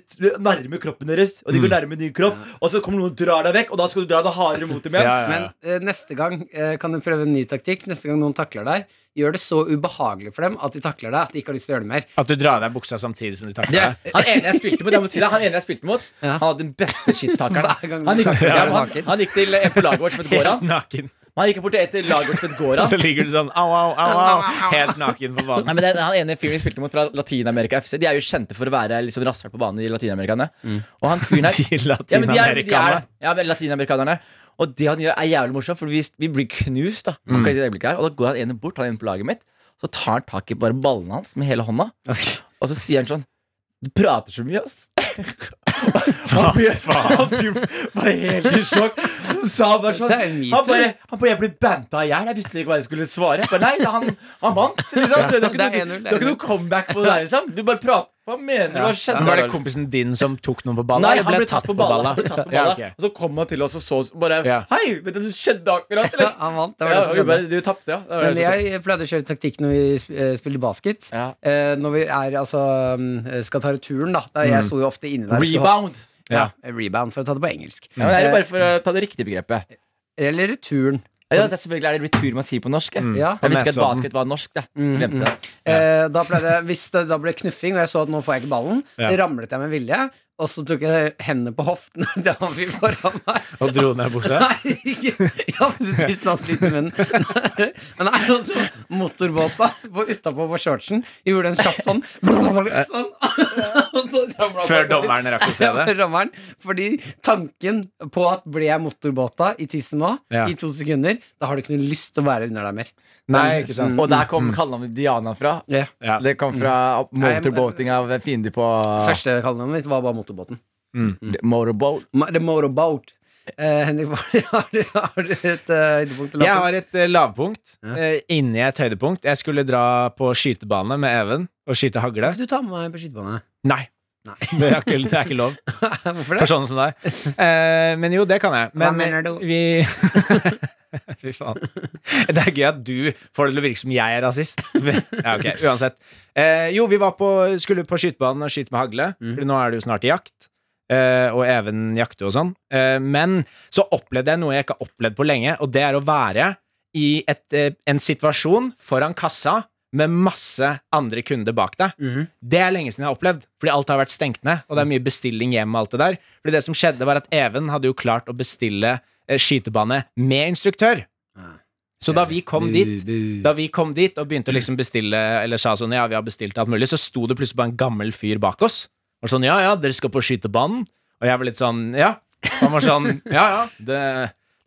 [SPEAKER 3] nærme kroppen deres, og de går nærme din kropp. Og så kommer noen og drar deg vekk, og da skal du dra deg hardere mot dem igjen.
[SPEAKER 2] Ja, ja,
[SPEAKER 4] Men
[SPEAKER 2] ja.
[SPEAKER 4] eh, neste gang eh, kan du prøve en ny taktikk. Neste gang noen takler deg, gjør det så ubehagelig for dem at de takler deg at de ikke har lyst til å gjøre det mer.
[SPEAKER 2] At du drar av deg buksa samtidig som du
[SPEAKER 3] Det,
[SPEAKER 2] takler deg.
[SPEAKER 3] han ene jeg spilte mot, jeg må si det, han ene jeg spilte mot,
[SPEAKER 4] Ja.
[SPEAKER 3] han hadde den beste shit-takeren.
[SPEAKER 4] [laughs] [laughs] Hver gang
[SPEAKER 3] Han,
[SPEAKER 4] du
[SPEAKER 3] gikk-
[SPEAKER 4] takler,
[SPEAKER 3] [laughs] ja, men
[SPEAKER 4] er du
[SPEAKER 3] han,
[SPEAKER 4] naken.
[SPEAKER 3] han gikk til en på laget vårt som het Goran.
[SPEAKER 2] Helt naken.
[SPEAKER 3] Han gikk bort til et lager som het Goran.
[SPEAKER 2] Og så ligger du sånn au, au, au, au, helt naken på
[SPEAKER 3] Nei,
[SPEAKER 2] banen.
[SPEAKER 3] men den, Han ene fyren vi spilte mot fra Latin-Amerika FC, de er jo kjente for å være liksom rasshøl på banen i Latin-Amerikanerne. Og han fyren her
[SPEAKER 2] [laughs] De
[SPEAKER 3] Ja, men de er, de er,
[SPEAKER 2] latinamerikanerne.
[SPEAKER 3] ja, men latinamerikanerne. Og det han gjør, er jævlig morsomt, for vi, vi blir knust. da
[SPEAKER 4] Mm.
[SPEAKER 3] akkurat i det øyeblikket her Og da går han ene bort, han ene på laget mitt, så tar han tak i bare ballene hans med hele hånda. Og så sier han sånn Du prater så mye, ass. [laughs] Han ble, han ble bare helt i sjokk. Så sa han bare sånn
[SPEAKER 4] Det er en
[SPEAKER 3] Han
[SPEAKER 4] metoo.
[SPEAKER 3] bare, han bare Jeg ble banta i hjel. Jeg visste ikke hva jeg skulle svare. Jeg Bare, nei, da, han, han vant. Så Liksom. Det, det,
[SPEAKER 4] Det
[SPEAKER 3] var
[SPEAKER 4] er
[SPEAKER 3] ikke
[SPEAKER 4] 1-0,
[SPEAKER 3] noe-
[SPEAKER 4] det
[SPEAKER 3] det
[SPEAKER 4] er
[SPEAKER 3] var ikke noe comeback på det der, liksom. Du bare prater. Hva mener du? Hva skjedde?
[SPEAKER 2] Men Var det kompisen din som tok noen på ballen?
[SPEAKER 3] Nei,
[SPEAKER 2] eller
[SPEAKER 3] han ble tatt på balla. Han ble tatt på balla.
[SPEAKER 2] Ja, ok.
[SPEAKER 3] Og så kom han til oss og så bare
[SPEAKER 2] Ja.
[SPEAKER 3] Hei, vet du hva som skjedde akkurat?
[SPEAKER 4] Ja,
[SPEAKER 3] Eller?
[SPEAKER 4] han vant. Det var
[SPEAKER 3] Ja,
[SPEAKER 4] det som
[SPEAKER 3] vi
[SPEAKER 4] skjedde.
[SPEAKER 3] bare, du tapte, ja. Det var det
[SPEAKER 4] Men
[SPEAKER 3] som skjedde.
[SPEAKER 4] jeg pleide å kjøre taktikk når vi sp- eh, spilte basket.
[SPEAKER 3] Ja.
[SPEAKER 4] Eh, når vi er, altså, mm, skal ta returen, da. da jeg sto jo ofte inne der. og skulle hoppe-
[SPEAKER 3] Mm. Rebound.
[SPEAKER 4] Ja, rebound, for å ta det på engelsk.
[SPEAKER 3] Ja, men det er jo bare for å ta det riktige begrepet.
[SPEAKER 4] Eh, Eller returen.
[SPEAKER 3] Ja, det er selvfølgelig er det retur man sier på norsk. Jeg,
[SPEAKER 4] Ja.
[SPEAKER 3] Mm. jeg visste ikke at
[SPEAKER 2] Nesodden.
[SPEAKER 3] basket var norsk. Det. Glemte det.
[SPEAKER 4] Eh, da pleide jeg, hvis det da ble knuffing, og jeg så at nå får jeg ikke ballen,
[SPEAKER 2] Ja.
[SPEAKER 4] ramlet jeg med vilje, og så tok jeg hendene på [laughs] hoftene til han fyren foran meg.
[SPEAKER 2] Og dro ned buksa?
[SPEAKER 4] Nei, ikke Ja, men det tisten hans litt i munnen. Nei, Men nei, altså, motorbåta på- utapå på shortsen gjorde en kjapp sånn, sånn og så ramlet
[SPEAKER 2] Før
[SPEAKER 4] han bakover.
[SPEAKER 2] dommeren rakk å se
[SPEAKER 4] Ja,
[SPEAKER 2] det?
[SPEAKER 4] før dommeren. Fordi tanken på at ble jeg motorbåta i tissen nå,
[SPEAKER 2] Ja.
[SPEAKER 4] i to sekunder, da har du ikke noe lyst til å være under der mer.
[SPEAKER 2] Nei, ikke sant.
[SPEAKER 3] Og der kom kallenavnet Diana fra.
[SPEAKER 4] Ja.
[SPEAKER 2] Mm. Ja.
[SPEAKER 3] Det kom fra motorboating av fiender på
[SPEAKER 4] Første kallenavnet mitt var bare motorbåten.
[SPEAKER 2] Mm.
[SPEAKER 3] motorboat.
[SPEAKER 4] Ma- The Motorboat. Eh, Henrik, [laughs] hva- har du, har du et eh, høydepunkt? eller
[SPEAKER 2] Jeg
[SPEAKER 4] lavpunkt?
[SPEAKER 2] har et eh, lavpunkt
[SPEAKER 4] Ja.
[SPEAKER 2] eh, inni et høydepunkt. Jeg skulle dra på skytebane med Even og skyte hagle.
[SPEAKER 4] Kan ikke du ta med meg på skytebane?
[SPEAKER 2] Nei.
[SPEAKER 4] Nei.
[SPEAKER 2] Det er ikke, det er ikke lov.
[SPEAKER 4] [laughs] Hvorfor
[SPEAKER 2] For sånne som deg. Eh, men jo, det kan jeg. Men
[SPEAKER 4] Hva mener du?
[SPEAKER 2] vi [laughs] Fy faen. Det er gøy at du får det til å virke som jeg er rasist. [laughs] Men- Ja, ok, Uansett. Eh, jo, vi var på, skulle på skytebanen og skyte med hagle. For nå er det jo snart jakt. eh, og Even jakter og sånn. Eh, men så opplevde jeg noe jeg ikke har opplevd på lenge, og det er å være i et, eh, en situasjon foran kassa med masse andre kunder bak deg.
[SPEAKER 4] Mhm.
[SPEAKER 2] Det er lenge siden jeg har opplevd, fordi alt har vært stengt ned. Og det er mye bestilling hjem og alt det der. Fordi det som skjedde, var at Even hadde jo klart å bestille eh, skytebane med instruktør. Så da vi kom dit da vi kom dit og begynte å liksom bestille Eller sa sånn, ja, vi har bestilt alt mulig Så sto det plutselig bare en gammel fyr bak oss Og sånn, ja, ja, dere skal på skytebanen Og jeg var litt sånn, ja Han var sånn, ja, ja, det,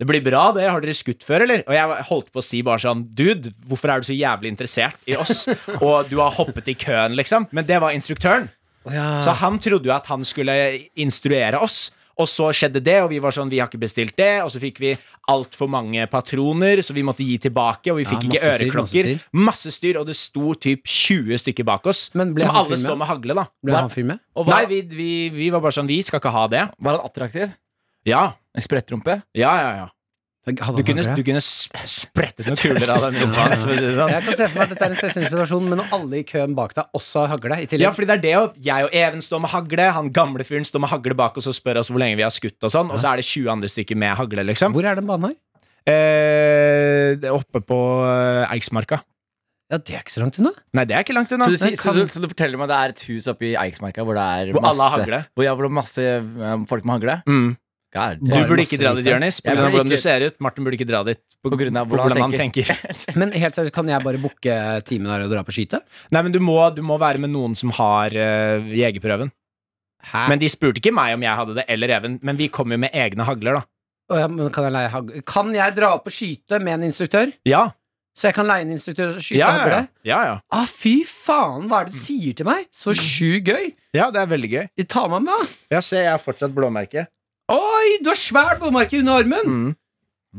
[SPEAKER 2] det blir bra det Har dere skutt før, eller? Og jeg var- holdt på å si bare sånn Dude, hvorfor er du så jævlig interessert i oss? Og du har hoppet i køen, liksom Men det var instruktøren så han trodde jo at han skulle instruere oss. Og så skjedde det, og vi var sånn, vi har ikke bestilt det. Og så fikk vi altfor mange patroner, så vi måtte gi tilbake. Og vi fikk
[SPEAKER 4] masse
[SPEAKER 2] ikke
[SPEAKER 4] styr,
[SPEAKER 2] øreklokker.
[SPEAKER 4] masse styr.
[SPEAKER 2] Masse styr, og det sto typ 20 stykker bak oss.
[SPEAKER 4] Men ble
[SPEAKER 2] Som
[SPEAKER 4] han
[SPEAKER 2] alle
[SPEAKER 4] filmet?
[SPEAKER 2] står med hagle, da.
[SPEAKER 4] Ble han fyr med?
[SPEAKER 2] Nei,
[SPEAKER 3] Og var,
[SPEAKER 2] vi, vi, vi var bare sånn, vi skal ikke ha det.
[SPEAKER 3] var han attraktiv?
[SPEAKER 2] Ja,
[SPEAKER 3] En sprettrumpe?
[SPEAKER 2] ja, ja. ja.
[SPEAKER 4] Hadde
[SPEAKER 2] Du
[SPEAKER 4] han
[SPEAKER 2] kunne,
[SPEAKER 4] hagle?
[SPEAKER 2] du kunne sp- sprettet noen kuler av
[SPEAKER 4] [laughs]
[SPEAKER 2] den. uten hans, for å si det sånn.
[SPEAKER 4] Jeg kan se for meg at dette er en stressende situasjon, men når alle i køen bak deg også har hagle i tillegg
[SPEAKER 2] Ja, fordi det er det jo. Jeg og Even står med hagle, han gamle fyren står med hagle bak oss og spør oss hvor lenge vi har skutt og sånn, og så er det 20 andre stykker med hagle, liksom.
[SPEAKER 4] Hvor er den banen her?
[SPEAKER 2] Eh, det er oppe på eh, Eiksmarka.
[SPEAKER 4] Ja, det er ikke så langt unna.
[SPEAKER 2] Nei, det er ikke langt unna.
[SPEAKER 3] Så du, si-
[SPEAKER 2] Det
[SPEAKER 3] så,
[SPEAKER 2] kan-
[SPEAKER 3] du, så du forteller meg det er et hus oppe i Eiksmarka hvor det er
[SPEAKER 2] Hvor alle har
[SPEAKER 3] masse,
[SPEAKER 2] hagle.
[SPEAKER 3] hvor, ja, hvor det er masse eh, folk med hagle?
[SPEAKER 2] Mm.
[SPEAKER 3] God,
[SPEAKER 2] Du
[SPEAKER 3] damn.
[SPEAKER 2] burde ikke dra dit, Jonis. På
[SPEAKER 3] Jeg
[SPEAKER 2] grunn av
[SPEAKER 3] burde
[SPEAKER 2] hvordan du
[SPEAKER 3] ikke-
[SPEAKER 2] ser ut. Martin burde ikke dra dit.
[SPEAKER 3] På grunn av hvordan han
[SPEAKER 2] tenker. [laughs]
[SPEAKER 4] Men helt seriøst, kan jeg bare booke timen her og dra på skyte?
[SPEAKER 2] Nei, men du må, du må være med noen som har eh, jegerprøven.
[SPEAKER 4] Hæ?
[SPEAKER 2] Men de spurte ikke meg om jeg hadde det, eller Even. Men vi kom jo med egne hagler, da.
[SPEAKER 4] Å, ja, men kan, jeg leie hagle? kan jeg dra opp og skyte med en instruktør?
[SPEAKER 2] Ja,
[SPEAKER 4] Så jeg kan leie en instruktør og skyte
[SPEAKER 2] ja, ja,
[SPEAKER 4] hagle?
[SPEAKER 2] ja. ja, ja.
[SPEAKER 4] Ah, fy faen, hva er det du sier til meg? Så sjukt gøy!
[SPEAKER 2] ja det er veldig gøy.
[SPEAKER 4] Ta meg med, da!
[SPEAKER 2] Ja, se, jeg har fortsatt blåmerke.
[SPEAKER 4] Oi, du har svært blåmerke under armen!
[SPEAKER 2] Mm.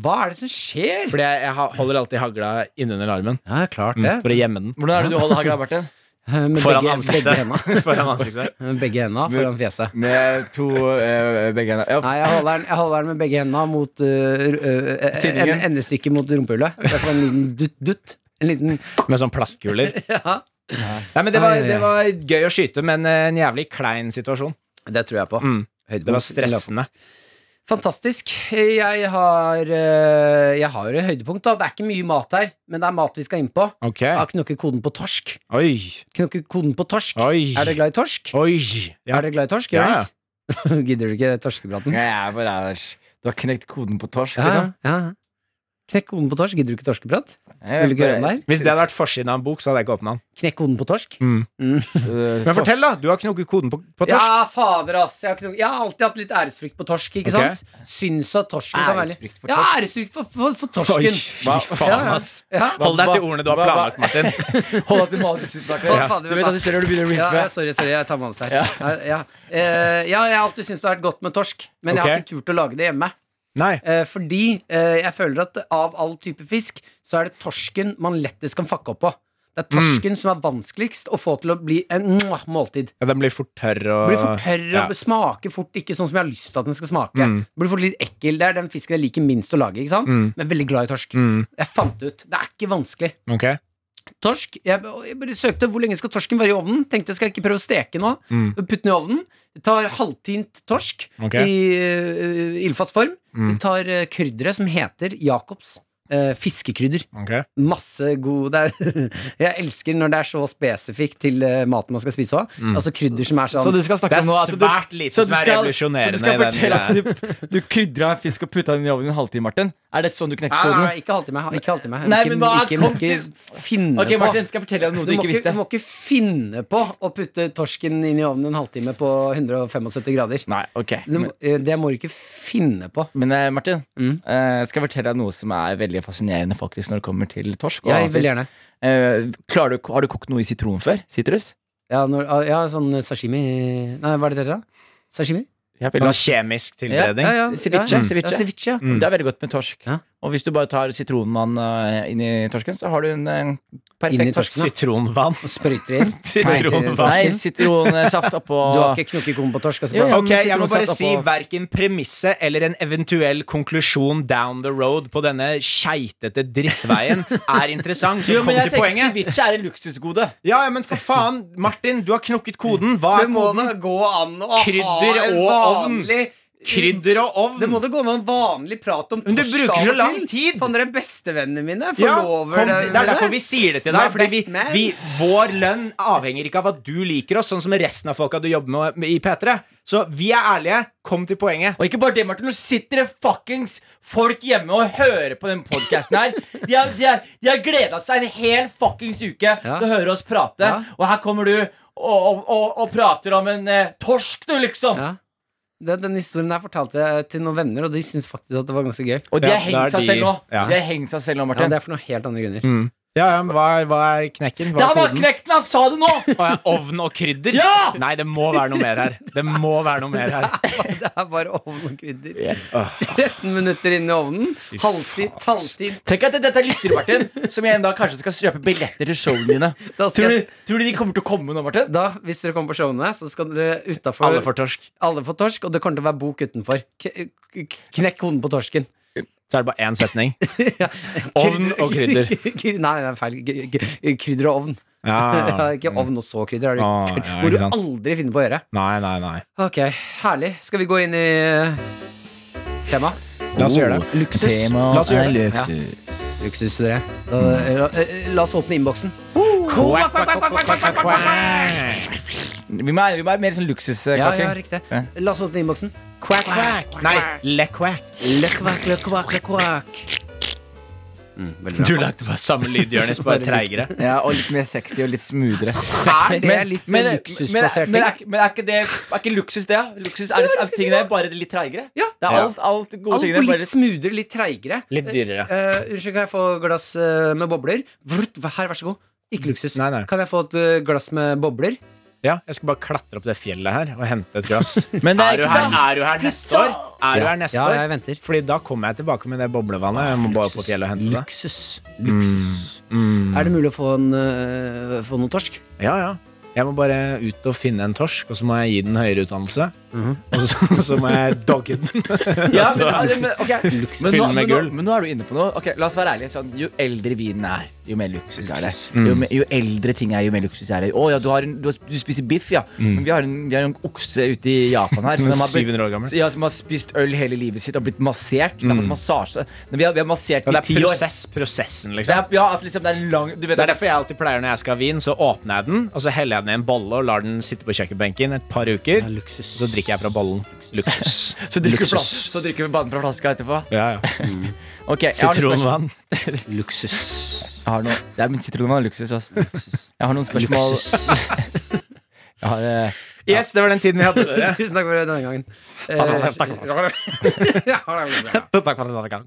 [SPEAKER 4] Hva er det som skjer?
[SPEAKER 2] Fordi jeg, jeg ha- holder alltid hagla innunder armen.
[SPEAKER 4] Ja, klart Eh,
[SPEAKER 2] Mm. For å gjemme den.
[SPEAKER 3] Hvordan er det du holder hagla, [laughs] Martin?
[SPEAKER 4] Med
[SPEAKER 2] Foran
[SPEAKER 4] begge,
[SPEAKER 2] ansiktet.
[SPEAKER 4] begge henda. [laughs]
[SPEAKER 2] Foran ansiktet.
[SPEAKER 4] Med begge henda foran fjeset.
[SPEAKER 3] Med to eh, begge hender.
[SPEAKER 4] Nei, jeg holder, den, jeg holder den med begge henda mot uh, uh, en,
[SPEAKER 3] Tinningen.
[SPEAKER 4] endestykket mot rumpehullet. Så jeg får en liten dutt-dutt. En liten
[SPEAKER 2] Med sånn plastkuler.
[SPEAKER 4] [laughs] Ja.
[SPEAKER 2] Nei, men det var,
[SPEAKER 4] Ai, ai, ai.
[SPEAKER 2] det var gøy å skyte, men eh, en jævlig klein situasjon.
[SPEAKER 4] Det tror jeg på.
[SPEAKER 2] Mm.
[SPEAKER 4] Høydepunkt.
[SPEAKER 2] Det var stressende.
[SPEAKER 4] Fantastisk. Jeg har, uh, jeg har et høydepunkt, da. Det er ikke mye mat her, men det er mat vi skal inn på.
[SPEAKER 2] Ok.
[SPEAKER 4] Jeg har knokket koden på torsk.
[SPEAKER 2] Ah, Oi.
[SPEAKER 4] Knokket koden på torsk.
[SPEAKER 2] Oi.
[SPEAKER 4] Er dere glad i torsk?
[SPEAKER 2] Oi. Ja.
[SPEAKER 4] Er dere glad i torsk,
[SPEAKER 2] Ja,
[SPEAKER 4] Jonis? [laughs] Gidder du ikke torskepraten?
[SPEAKER 3] Jeg er bare Du har knekt koden på torsk,
[SPEAKER 4] Ja,
[SPEAKER 3] liksom.
[SPEAKER 4] ja, ja. Knekk hoden på torsk. Gidder du ikke torskeprat?
[SPEAKER 3] Jeg
[SPEAKER 4] Vil du ikke høre om det her?
[SPEAKER 2] Hvis det hadde vært forsiden av en bok, så hadde jeg ikke åpna den. Mm.
[SPEAKER 4] Knekk hoden på torsk?
[SPEAKER 2] Men fortell, da! Du har knokket koden på, på torsk.
[SPEAKER 4] Ja, fader, ass. Jeg har, ikke noe- jeg har alltid hatt litt æresfrykt på torsk, ikke
[SPEAKER 2] Ok.
[SPEAKER 4] sant? Syns at torsken kan være
[SPEAKER 3] Æresfrykt for
[SPEAKER 4] Ja,
[SPEAKER 3] torsk.
[SPEAKER 4] æresfrykt for, for, for
[SPEAKER 2] Oi,
[SPEAKER 4] torsken.
[SPEAKER 2] fy faen,
[SPEAKER 4] Ja,
[SPEAKER 2] ass.
[SPEAKER 4] ja.
[SPEAKER 2] Hold deg til ordene du har
[SPEAKER 3] Hva- hva-
[SPEAKER 2] planlagt, Martin.
[SPEAKER 3] Hold deg til manuset ditt, Martin.
[SPEAKER 4] Å, faen,
[SPEAKER 3] Du vet at det skjer når du begynner å
[SPEAKER 4] Ja,
[SPEAKER 3] riffe.
[SPEAKER 4] ja, sorry, sorry, jeg tar manus her. Ja. Ja, Eh, ja, jeg har alltid syntes det har vært godt med torsk, men jeg har
[SPEAKER 2] Ok.
[SPEAKER 4] ikke turt å lage det hjemme.
[SPEAKER 2] Nei.
[SPEAKER 4] Eh, fordi eh, jeg føler at av all type fisk, så er det torsken man lettest kan fucke opp på. Det er torsken som er vanskeligst å få til å bli en mwah, måltid.
[SPEAKER 2] Ja, den blir fort tørr og
[SPEAKER 4] Blir for tørr
[SPEAKER 2] ja.
[SPEAKER 4] og smaker fort ikke sånn som jeg har lyst til at den skal smake. Blir fort litt ekkel. Det er den fisken jeg liker minst å lage, ikke sant? men veldig glad i torsk.
[SPEAKER 2] Mm.
[SPEAKER 4] Jeg fant det ut. Det er ikke vanskelig.
[SPEAKER 2] Ok.
[SPEAKER 4] Torsk jeg, jeg bare søkte hvor lenge skal torsken være i ovnen. Tenkte skal jeg ikke prøve å steke nå. Putte den i ovnen. Jeg tar halvtint torsk
[SPEAKER 2] Ok.
[SPEAKER 4] i øh, ildfast form. Vi tar øh, krydderet som heter Jacobs øh, fiskekrydder.
[SPEAKER 2] ok.
[SPEAKER 4] Masse god det er, [laughs] Jeg elsker når det er så spesifikt til øh, maten man skal spise òg. Altså krydder som er sånn
[SPEAKER 3] Så du skal snakke
[SPEAKER 2] Det er
[SPEAKER 3] om nå at du-
[SPEAKER 2] svært lite
[SPEAKER 3] så
[SPEAKER 2] som
[SPEAKER 3] du
[SPEAKER 2] er
[SPEAKER 3] skal-
[SPEAKER 2] revolusjonerende
[SPEAKER 3] Så du skal
[SPEAKER 2] i den
[SPEAKER 3] fortelle at du, du krydra en fisk og putta den i ovnen i en halvtime, Martin? Er det sånn du knekker
[SPEAKER 4] Nei, nei, nei,
[SPEAKER 3] koden?
[SPEAKER 4] Ah, ikke halvtime. Ikke halvtime.
[SPEAKER 3] Nei,
[SPEAKER 4] Ikke-
[SPEAKER 3] men hva-
[SPEAKER 4] ikke,
[SPEAKER 3] kom
[SPEAKER 4] må ikke finne
[SPEAKER 3] Ok,
[SPEAKER 4] på
[SPEAKER 3] Martin, skal jeg fortelle deg noe
[SPEAKER 4] du
[SPEAKER 3] du
[SPEAKER 4] må,
[SPEAKER 3] ikke
[SPEAKER 4] ikke,
[SPEAKER 3] visste?
[SPEAKER 4] du må ikke finne på å putte torsken inn i ovnen en halvtime på 175 grader.
[SPEAKER 3] Nei, ok
[SPEAKER 4] Du, må- eh, det må du ikke finne på.
[SPEAKER 3] Men eh, Martin, eh, skal jeg fortelle deg noe som er veldig fascinerende faktisk når det kommer til torsk? og
[SPEAKER 2] Ah,
[SPEAKER 4] Jeg
[SPEAKER 3] annen
[SPEAKER 4] vil
[SPEAKER 3] fisk.
[SPEAKER 4] gjerne.
[SPEAKER 3] Eh, klarer du, har du kokt noe i sitron før? Sitrus?
[SPEAKER 4] Ja, når, ah, ja, sånn sashimi Nei, hva er det dere da? Sashimi?
[SPEAKER 3] Ja,
[SPEAKER 2] Sånn kjemisk tilberedning.
[SPEAKER 4] Ja, ja.
[SPEAKER 3] Ceviche.
[SPEAKER 4] Ja,
[SPEAKER 3] ceviche.
[SPEAKER 4] ja, ceviche, ja.
[SPEAKER 3] Det er veldig godt med torsk.
[SPEAKER 4] Mm. Ja.
[SPEAKER 3] Og hvis du bare tar sitronmann eh, inn i torsken, så har du en eh,
[SPEAKER 4] Inn i
[SPEAKER 3] perfekt torsk.
[SPEAKER 4] torsken, da.
[SPEAKER 2] Sitronvann.
[SPEAKER 4] Og
[SPEAKER 2] [laughs]
[SPEAKER 4] sprøyter inn.
[SPEAKER 2] Sitronvann.
[SPEAKER 4] Sprøyter inn
[SPEAKER 3] Nei,
[SPEAKER 4] torsken.
[SPEAKER 3] sitronsaft oppå
[SPEAKER 4] [laughs] Du har ikke knukket kummen på torsk? Altså,
[SPEAKER 3] Jo, jo.
[SPEAKER 4] bare,
[SPEAKER 2] Ok, jeg må bare
[SPEAKER 3] sitronsaft
[SPEAKER 2] si
[SPEAKER 3] oppå-
[SPEAKER 2] verken premisset eller en eventuell konklusjon down the road på denne keitete drittveien er interessant.
[SPEAKER 4] [laughs]
[SPEAKER 2] Så
[SPEAKER 3] Jo,
[SPEAKER 2] kom
[SPEAKER 3] men jeg
[SPEAKER 2] til
[SPEAKER 3] tenker
[SPEAKER 2] poenget.
[SPEAKER 3] ceviche er et luksusgode.
[SPEAKER 2] Ja, ja, men for faen, Martin, du har knokket koden. Hva
[SPEAKER 4] det
[SPEAKER 2] er
[SPEAKER 4] må
[SPEAKER 2] koden?
[SPEAKER 4] da gå an å ha
[SPEAKER 2] Krydder
[SPEAKER 4] en
[SPEAKER 2] og ovn.
[SPEAKER 4] vanlig
[SPEAKER 2] Krydder og
[SPEAKER 4] Det må
[SPEAKER 2] ovn.
[SPEAKER 4] da gå an å ha en vanlig prat om torsk
[SPEAKER 2] Men du bruker
[SPEAKER 4] av
[SPEAKER 2] så
[SPEAKER 4] og
[SPEAKER 2] lang
[SPEAKER 4] til.
[SPEAKER 2] tid.
[SPEAKER 4] Faen, dere er bestevennene mine.
[SPEAKER 2] Ja,
[SPEAKER 4] Forlover
[SPEAKER 2] kom,
[SPEAKER 4] dere
[SPEAKER 2] det er derfor
[SPEAKER 4] dere.
[SPEAKER 2] vi sier det til
[SPEAKER 4] My
[SPEAKER 2] deg. Fordi vi,
[SPEAKER 4] best man.
[SPEAKER 2] vi, vår lønn avhenger ikke av at du liker oss, sånn som resten av folka du jobber med- med i P3. Så vi er ærlige. Kom til poenget.
[SPEAKER 3] Og ikke bare det, Martin. Nå sitter det fuckings folk hjemme og hører på den podkasten her. De har, de har, de har gleda seg en hel fuckings uke til å høre oss prate.
[SPEAKER 4] Ja.
[SPEAKER 3] Og her kommer du og, og, og, og prater om en eh, torsk, du, liksom.
[SPEAKER 4] Ja. Den, den historien der fortalte jeg til noen venner, og de syntes faktisk at det var ganske gøy.
[SPEAKER 3] Og de
[SPEAKER 2] Ja, det
[SPEAKER 3] har
[SPEAKER 2] er
[SPEAKER 3] hengt seg
[SPEAKER 2] de-
[SPEAKER 3] selv nå.
[SPEAKER 2] ja.
[SPEAKER 3] De har hengt seg selv nå,
[SPEAKER 4] Ja,
[SPEAKER 3] Martin.
[SPEAKER 4] det er for noen helt andre grunner.
[SPEAKER 2] Ja, ja, men hva, er- hva er knekken? Hva
[SPEAKER 3] Der
[SPEAKER 2] er
[SPEAKER 3] var
[SPEAKER 2] koden?
[SPEAKER 3] knekten! Han sa det nå!
[SPEAKER 2] Å, ja, ovn og krydder?
[SPEAKER 3] Ja!
[SPEAKER 2] Nei, det må være noe mer her. Det må være noe mer her.
[SPEAKER 4] Det er bare ovn og krydder. 13 minutter inn i ovnen. Halvtid, halvtid.
[SPEAKER 3] Tenk at dette er lyttere, Martin, som jeg en dag kanskje skal kjøpe billetter til showene dine.
[SPEAKER 4] Da skal
[SPEAKER 3] Tror
[SPEAKER 4] jeg-
[SPEAKER 3] du, tror du de kommer til å komme nå, Martin?
[SPEAKER 4] Da, hvis dere kommer på showene, så skal dere utafor
[SPEAKER 2] Alle får torsk.
[SPEAKER 4] alle får torsk, og det kommer til å være bok utenfor. K k- knekk hoden på torsken.
[SPEAKER 2] Så er det bare én setning. Ovn og krydder.
[SPEAKER 4] Kry- Nei, det er feil. K- k- Krydder og ovn.
[SPEAKER 2] Ja.
[SPEAKER 4] ikke ovn og så krydder. Det
[SPEAKER 2] Ah,
[SPEAKER 4] er det
[SPEAKER 2] ja,
[SPEAKER 4] må
[SPEAKER 2] ikke
[SPEAKER 4] du
[SPEAKER 2] sant.
[SPEAKER 4] aldri finne på å gjøre.
[SPEAKER 2] Nei, nei, nei.
[SPEAKER 4] Ok, herlig. Skal vi gå inn i tema?
[SPEAKER 2] La oss gjøre det.
[SPEAKER 4] Luksus.
[SPEAKER 2] La oss gjøre det.
[SPEAKER 4] Luksus, dere. Da, la, la oss åpne innboksen.
[SPEAKER 2] Quack, quack, quack, quack, quack, quack, quack.
[SPEAKER 3] Vi må, ha- vi må ha mer sånn luksuskake.
[SPEAKER 4] Ja, ja, riktig. La oss åpne innboksen. Quack, quack.
[SPEAKER 2] Nei, le quack.
[SPEAKER 4] Le quack, le quack, le quack. Mm, veldig
[SPEAKER 2] Du
[SPEAKER 4] bra.
[SPEAKER 2] lagde bare samme lyd, Jonis, bare treigere.
[SPEAKER 3] Ja, og litt mer sexy og litt smoothere.
[SPEAKER 4] Er det litt luksusbasert
[SPEAKER 3] Men, men,
[SPEAKER 4] ting?
[SPEAKER 3] er, men er ikke det er ikke luksus, det? da? Luksus er, er tingene bare litt treigere?
[SPEAKER 4] Ja.
[SPEAKER 3] Det er
[SPEAKER 2] Ja.
[SPEAKER 3] alt, alt gode
[SPEAKER 4] Alt
[SPEAKER 3] tingene
[SPEAKER 4] går
[SPEAKER 3] bare
[SPEAKER 4] litt smoothere, litt treigere.
[SPEAKER 2] Litt dyrere.
[SPEAKER 4] Eh, unnskyld, kan jeg få glass eh, med bobler? Vrt, her, vær så god. Ikke luksus.
[SPEAKER 2] Nei, nei.
[SPEAKER 4] Kan jeg få et eh, glass med bobler?
[SPEAKER 2] Ja, jeg skal bare klatre opp det fjellet her og hente et
[SPEAKER 4] [laughs]
[SPEAKER 2] glass.
[SPEAKER 3] Men det er
[SPEAKER 2] er, du
[SPEAKER 3] ikke
[SPEAKER 2] her,
[SPEAKER 3] det.
[SPEAKER 2] er du her neste år? Er du her neste
[SPEAKER 4] Ja,
[SPEAKER 2] år?
[SPEAKER 4] jeg venter.
[SPEAKER 2] Fordi da kommer jeg tilbake med det boblevannet. Jeg må bare opp på fjellet og hente det. Mm,
[SPEAKER 4] Luksus. Luksus. Er det mulig å få, en, eh, få noe torsk?
[SPEAKER 2] Ja, ja. Jeg må bare ut og finne en torsk, og så må jeg gi den høyere utdannelse. Og så, [laughs] så må jeg dogge den.
[SPEAKER 3] Ja, men, ja, men, ok.
[SPEAKER 4] Altså, Luksus.
[SPEAKER 3] men, nå,
[SPEAKER 2] Fyll med
[SPEAKER 3] men, nå,
[SPEAKER 2] gull.
[SPEAKER 3] men nå er du inne på noe. Ok, la oss være ærlige. Sånn, jo eldre vinen er, jo mer luksus er det.
[SPEAKER 4] Luksus. Mm.
[SPEAKER 3] Jo, me- jo eldre ting er, jo mer luksus er det. Å ja, du, har en, du, har, du spiser biff, ja. Men vi har, en, vi har en okse ute i Japan
[SPEAKER 2] [laughs]
[SPEAKER 3] her.
[SPEAKER 2] Den er
[SPEAKER 3] har blitt-
[SPEAKER 2] 700 Mm. år gammel.
[SPEAKER 3] Ja, som har spist øl hele livet sitt og blitt massert. Den Har fått massasje. Men Vi har, vi har massert
[SPEAKER 2] Og
[SPEAKER 3] den
[SPEAKER 2] det
[SPEAKER 3] i
[SPEAKER 2] er
[SPEAKER 3] ti år.
[SPEAKER 2] prosess, prosessen,
[SPEAKER 3] Det
[SPEAKER 2] liksom.
[SPEAKER 3] er, ja, at liksom det er en lang du vet,
[SPEAKER 2] Det er
[SPEAKER 3] at-
[SPEAKER 2] derfor jeg alltid pleier når jeg skal ha vin, så åpner jeg den, og så heller jeg jeg ned en bolle og lar den sitte på kjøkkenbenken et par uker.
[SPEAKER 4] luksus.
[SPEAKER 2] Så drikker jeg fra bollen. [laughs] Luksus.
[SPEAKER 3] Så drikker,
[SPEAKER 2] Luksus.
[SPEAKER 3] flas, så drikker vi vann fra flaska etterpå?
[SPEAKER 2] Ja, ja.
[SPEAKER 3] Ok, jeg har noen spørsmål.
[SPEAKER 2] Sitronvann.
[SPEAKER 4] Luksus.
[SPEAKER 3] Jeg har noe, det er min sitronvann er luksus, altså. Jeg har noen spørsmål. [laughs] Jeg har, eh,
[SPEAKER 2] Yes, det var den tiden vi hadde
[SPEAKER 4] [laughs]
[SPEAKER 2] [laughs] dere.
[SPEAKER 4] Tusen takk for det denne gangen. [laughs] Eh,
[SPEAKER 2] Takk for denne gang.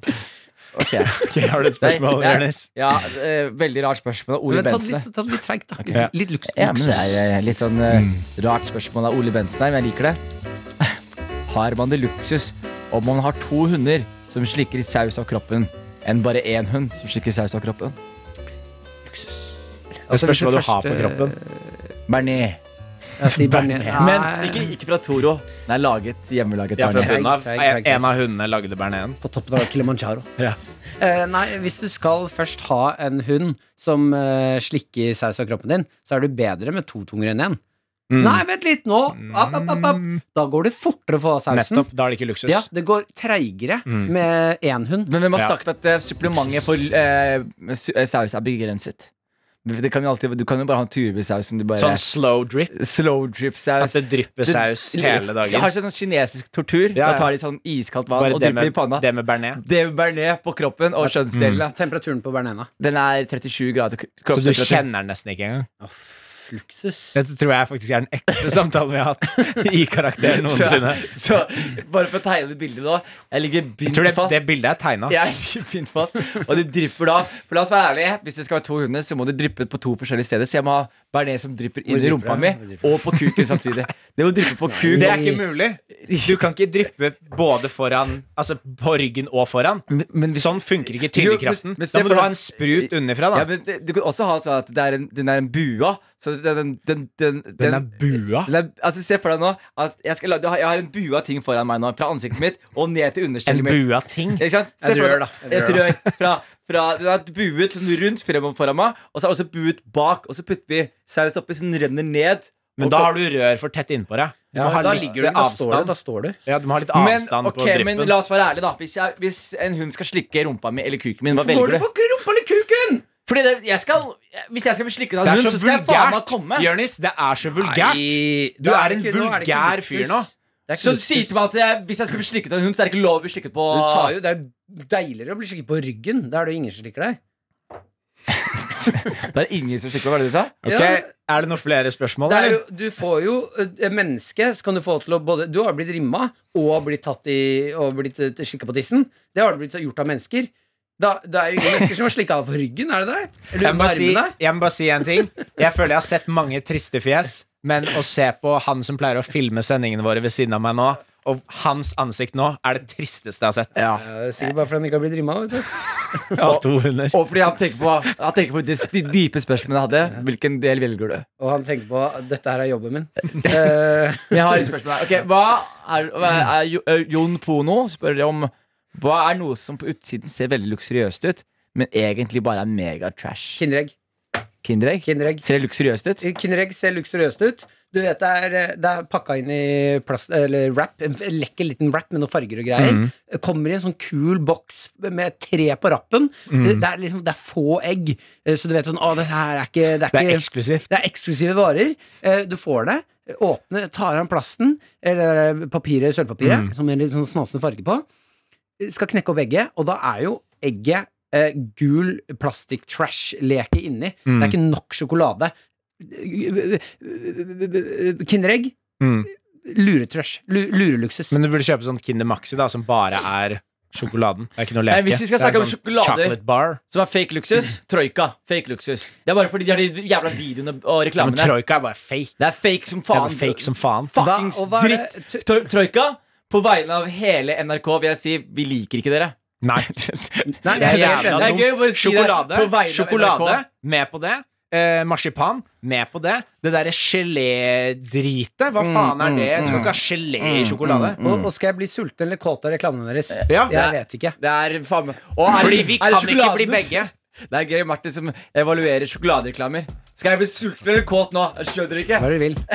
[SPEAKER 3] ok.
[SPEAKER 2] [laughs] Ok, har du et spørsmål,
[SPEAKER 3] Nei, nei,
[SPEAKER 2] Jonis?
[SPEAKER 3] ja, eh, veldig rart spørsmål av Ole
[SPEAKER 4] Men ta det
[SPEAKER 3] Bensen.
[SPEAKER 4] litt, ta det litt treigt, da.
[SPEAKER 2] Ja.
[SPEAKER 4] Litt luksus.
[SPEAKER 3] Ja, men det er eh, litt sånn
[SPEAKER 2] Mm.
[SPEAKER 3] eh, rart spørsmål av Ole Bensen her, men jeg liker det. [laughs] Har man det luksus om man har to hunder som slikker saus av kroppen, enn bare én hund som slikker saus av kroppen?
[SPEAKER 2] Det
[SPEAKER 4] Altså, hvis
[SPEAKER 2] spørs hva du eh, har
[SPEAKER 4] første-
[SPEAKER 2] på kroppen.
[SPEAKER 3] Bernet.
[SPEAKER 4] Jeg
[SPEAKER 2] [laughs]
[SPEAKER 4] sier Bernet.
[SPEAKER 3] Men
[SPEAKER 4] Nei.
[SPEAKER 3] ikke, ikke fra Toro. Den er laget hjemmelaget.
[SPEAKER 2] Ja, fra
[SPEAKER 3] Bernet.
[SPEAKER 2] bunnen av.
[SPEAKER 4] Treig, treig, treig.
[SPEAKER 2] En av hundene lagde berneten.
[SPEAKER 4] på toppen av Kilimanjaro.
[SPEAKER 2] Ja.
[SPEAKER 4] Eh, nei, hvis du skal først ha en hund som eh, slikker saus av kroppen din, så er du bedre med to tunger enn én. Nei, vent litt nå! App, app, app, app. Da går det fortere å få av sausen.
[SPEAKER 2] Nettopp. Da er det ikke luksus.
[SPEAKER 4] Ja, det går treigere med én hund.
[SPEAKER 3] Men hvem har
[SPEAKER 2] Ja.
[SPEAKER 3] sagt at eh, supplementet for eh, su- eh, saus er begrenset? Det kan jo alltid, du kan jo bare ha en turebisaus som du bare
[SPEAKER 2] Sånn slow drip.
[SPEAKER 3] Slow drip-saus.
[SPEAKER 2] At det drypper Altså saus hele
[SPEAKER 3] Jeg har
[SPEAKER 2] dagen.
[SPEAKER 3] sånn kinesisk
[SPEAKER 2] Ja,
[SPEAKER 3] tortur.
[SPEAKER 2] ja.
[SPEAKER 3] Da tar de sånn iskaldt vann
[SPEAKER 2] Bare
[SPEAKER 3] og
[SPEAKER 2] det
[SPEAKER 3] drypper i
[SPEAKER 2] med,
[SPEAKER 3] panna.
[SPEAKER 2] det med bearnés.
[SPEAKER 3] Det bærer ned på kroppen og kjønnsdelene.
[SPEAKER 4] Temperaturen på Bernena.
[SPEAKER 3] Den er 37 grader k-
[SPEAKER 2] Mm. Så du
[SPEAKER 3] kroppstemperatur.
[SPEAKER 2] kjenner den nesten ikke engang.
[SPEAKER 4] Luksus.
[SPEAKER 2] Dette tror jeg faktisk er den
[SPEAKER 3] [laughs]
[SPEAKER 2] ekte samtalen vi har hatt i karakter noensinne.
[SPEAKER 3] Så, så bare for å tegne det bildet nå. Jeg ligger
[SPEAKER 2] Jeg
[SPEAKER 3] bindt
[SPEAKER 2] tror det,
[SPEAKER 3] fast.
[SPEAKER 2] det bildet er tegna.
[SPEAKER 3] Jeg er fint fast, og det drypper da. For la oss være ærlige, Hvis det skal være to hunder, så må det dryppe på to forskjellige steder. Så jeg må ha bearnés som drypper inn i
[SPEAKER 4] drypper
[SPEAKER 3] rumpa mi,
[SPEAKER 4] det? Hvor drypper
[SPEAKER 3] og på kuken samtidig. Det må dryppe på kuk.
[SPEAKER 2] Det er ikke mulig. Du kan ikke dryppe både foran Altså på ryggen og foran.
[SPEAKER 3] Men- men hvis-
[SPEAKER 2] Sånn funker ikke
[SPEAKER 3] Jo, men-
[SPEAKER 2] tyngdekraften.
[SPEAKER 3] men se
[SPEAKER 2] Da må
[SPEAKER 3] for
[SPEAKER 2] du ha
[SPEAKER 3] deg-
[SPEAKER 2] en sprut underfra,
[SPEAKER 3] ja,
[SPEAKER 2] da.
[SPEAKER 3] men det- Du kan også ha sånn at det er en, den er en bua. Så den, den, den, den,
[SPEAKER 2] Den er bua.
[SPEAKER 3] den er- altså Se for deg nå at jeg, skal, la- du har- jeg har en bua ting foran meg nå, fra ansiktet mitt og ned til
[SPEAKER 2] En
[SPEAKER 3] understellet mitt.
[SPEAKER 2] bua ting.
[SPEAKER 3] Ikke sant?
[SPEAKER 2] Et
[SPEAKER 3] Se for
[SPEAKER 2] rør,
[SPEAKER 3] deg-
[SPEAKER 2] da. Et
[SPEAKER 3] Et rør fra, fra Den er buet sånn rundt frem og foran meg, og så er det også buet bak. Og så putter vi saus oppi, så den renner ned.
[SPEAKER 2] Men
[SPEAKER 3] Og
[SPEAKER 2] da
[SPEAKER 3] kom-
[SPEAKER 2] har du rør for tett innpå deg. Du må ha
[SPEAKER 4] da
[SPEAKER 2] litt
[SPEAKER 4] ligger du, da står du.
[SPEAKER 2] avstand.
[SPEAKER 4] Da står du.
[SPEAKER 2] Ja, du må ha litt
[SPEAKER 3] men,
[SPEAKER 2] avstand
[SPEAKER 3] ok,
[SPEAKER 2] på
[SPEAKER 3] men
[SPEAKER 2] dryppen.
[SPEAKER 3] la oss være ærlige, da. Hvis, jeg, hvis en hund skal slikke rumpa mi eller kuken min, hva
[SPEAKER 4] Går
[SPEAKER 3] velger
[SPEAKER 4] du
[SPEAKER 3] du?
[SPEAKER 4] på rumpa eller kuken?!
[SPEAKER 3] Fordi det, jeg skal, hvis jeg skal bli slikket av
[SPEAKER 2] Det
[SPEAKER 3] en
[SPEAKER 2] er
[SPEAKER 3] hund,
[SPEAKER 2] så
[SPEAKER 3] så skal jeg faen meg
[SPEAKER 2] vulgært!
[SPEAKER 3] komme.
[SPEAKER 2] Jonis, det er så vulgært.
[SPEAKER 4] Nei,
[SPEAKER 2] Du
[SPEAKER 4] da
[SPEAKER 2] er en
[SPEAKER 4] det ikke- nå er det ikke
[SPEAKER 2] vulgær
[SPEAKER 4] luksus.
[SPEAKER 2] fyr nå.
[SPEAKER 4] Det er
[SPEAKER 3] Så
[SPEAKER 4] ikke
[SPEAKER 3] du
[SPEAKER 4] luksus.
[SPEAKER 3] sier til meg at jeg, hvis jeg skal bli slikket av en hund, så er det ikke lov å bli slikket på
[SPEAKER 4] Du tar jo, det er jo deiligere å bli slikket på ryggen. Da er det jo ingen som slikker deg.
[SPEAKER 3] Det er ingen som slikker, hva var det du sa?
[SPEAKER 2] Ok,
[SPEAKER 4] Ja.
[SPEAKER 2] Er det noen flere spørsmål,
[SPEAKER 4] Det er jo,
[SPEAKER 2] eller?
[SPEAKER 4] du får jo eh, menneske, så kan du få til å både Du har blitt rimma og blitt tatt i Og blitt slikka på tissen. Det har du blitt gjort av mennesker. Da, det er jo ingen mennesker som har slikka deg på ryggen, er det det? Eller
[SPEAKER 2] Jeg må,
[SPEAKER 4] under
[SPEAKER 2] bare si,
[SPEAKER 4] armene?
[SPEAKER 2] jeg må bare si en ting. Jeg føler jeg har sett mange triste fjes, men å se på han som pleier å filme sendingene våre ved siden av meg nå, og hans ansikt nå, er det tristeste jeg har sett.
[SPEAKER 3] Ja.
[SPEAKER 4] Ja, det er sikkert bare fordi han ikke har blitt rimma. vet du.
[SPEAKER 2] Av to hunder.
[SPEAKER 3] Og fordi han tenker på, han tenker på de, de dype spørsmålene jeg hadde. Hvilken del velger du?
[SPEAKER 4] Og han tenker på at dette her er
[SPEAKER 2] [laughs]
[SPEAKER 4] jobben min. Eh,
[SPEAKER 3] Men jeg har et spørsmål her. Ok, hva er, hva er Jo- eh, Jon Pono spør om Hva er noe som på utsiden ser veldig luksuriøst ut, men egentlig bare er mega trash?
[SPEAKER 4] Kinderegg.
[SPEAKER 3] Kinderegg?
[SPEAKER 4] Kinderegg.
[SPEAKER 3] Ser det luksuriøst ut?
[SPEAKER 4] Kinderegg ser luksuriøst ut. Du vet det er, eh, det er pakka inn i plast, eller wrap, en f- lekker liten wrap med noen farger og greier. Kommer i en sånn kul boks med tre på rappen. Det, det, er liksom, det er få egg, Eh, så du vet sånn Å, det her er ikke Det er,
[SPEAKER 2] Det er
[SPEAKER 4] ikke,
[SPEAKER 2] eksklusivt.
[SPEAKER 4] det er eksklusive varer. Eh, Du får det. Åpne, tar av plasten, eller eh, papiret, sølvpapiret, som er litt sånn snasende farge på. Eh, Skal knekke opp egget, og da er jo egget eh, gul plastikk-trash-leke inni. Det er ikke nok sjokolade. Kinderegg.
[SPEAKER 2] Mm.
[SPEAKER 4] Luretrash. Lu- Lureluksus.
[SPEAKER 2] Men du burde kjøpe sånn Kinder Maxi, da, som bare er sjokoladen. Det er ikke noe leke.
[SPEAKER 3] Nei, hvis vi
[SPEAKER 2] Det
[SPEAKER 3] skal
[SPEAKER 2] er
[SPEAKER 3] snakke om
[SPEAKER 2] sånn
[SPEAKER 3] sjokolade-
[SPEAKER 2] Chocolate bar.
[SPEAKER 3] Som er fake luksus? Troika. Fake luksus. Det er bare fordi de har de jævla videoene og
[SPEAKER 2] Ja, men
[SPEAKER 3] reklamene.
[SPEAKER 2] Troika er bare fake.
[SPEAKER 3] det er fake som
[SPEAKER 2] Det er
[SPEAKER 3] faen.
[SPEAKER 2] bare fake som faen.
[SPEAKER 3] Fuckings
[SPEAKER 4] Hva- og hva er det-
[SPEAKER 3] dritt. Tro- Troika, på vegne av hele NRK vil jeg si vi liker ikke dere.
[SPEAKER 2] Nei.
[SPEAKER 3] [laughs]
[SPEAKER 4] Nei,
[SPEAKER 2] Det er
[SPEAKER 4] jeg er
[SPEAKER 2] jævla
[SPEAKER 4] helt
[SPEAKER 3] Det
[SPEAKER 4] enig.
[SPEAKER 3] er gøy å bare
[SPEAKER 2] dumt.
[SPEAKER 3] si det
[SPEAKER 2] Sjokolade,
[SPEAKER 3] på vegne av
[SPEAKER 2] sjokolade
[SPEAKER 3] NRK.
[SPEAKER 2] med på det. Eh, marsipan, med på det. Det derre gelédritet, hva faen er det? Du skal ikke ha gelé i sjokolade.
[SPEAKER 4] Og, og skal jeg bli sulten eller kåt av reklamene deres?
[SPEAKER 2] Ja.
[SPEAKER 4] Jeg vet ikke.
[SPEAKER 3] Det er faen meg Og er det-
[SPEAKER 2] Fordi vi
[SPEAKER 3] er det
[SPEAKER 2] kan ikke bli
[SPEAKER 3] sjokoladen?
[SPEAKER 2] begge.
[SPEAKER 3] Det er gøy, Martin som evaluerer sjokoladereklamer. Skal jeg bli sulten eller kåt nå? Jeg skjønner ikke.
[SPEAKER 4] Hva er det du vil?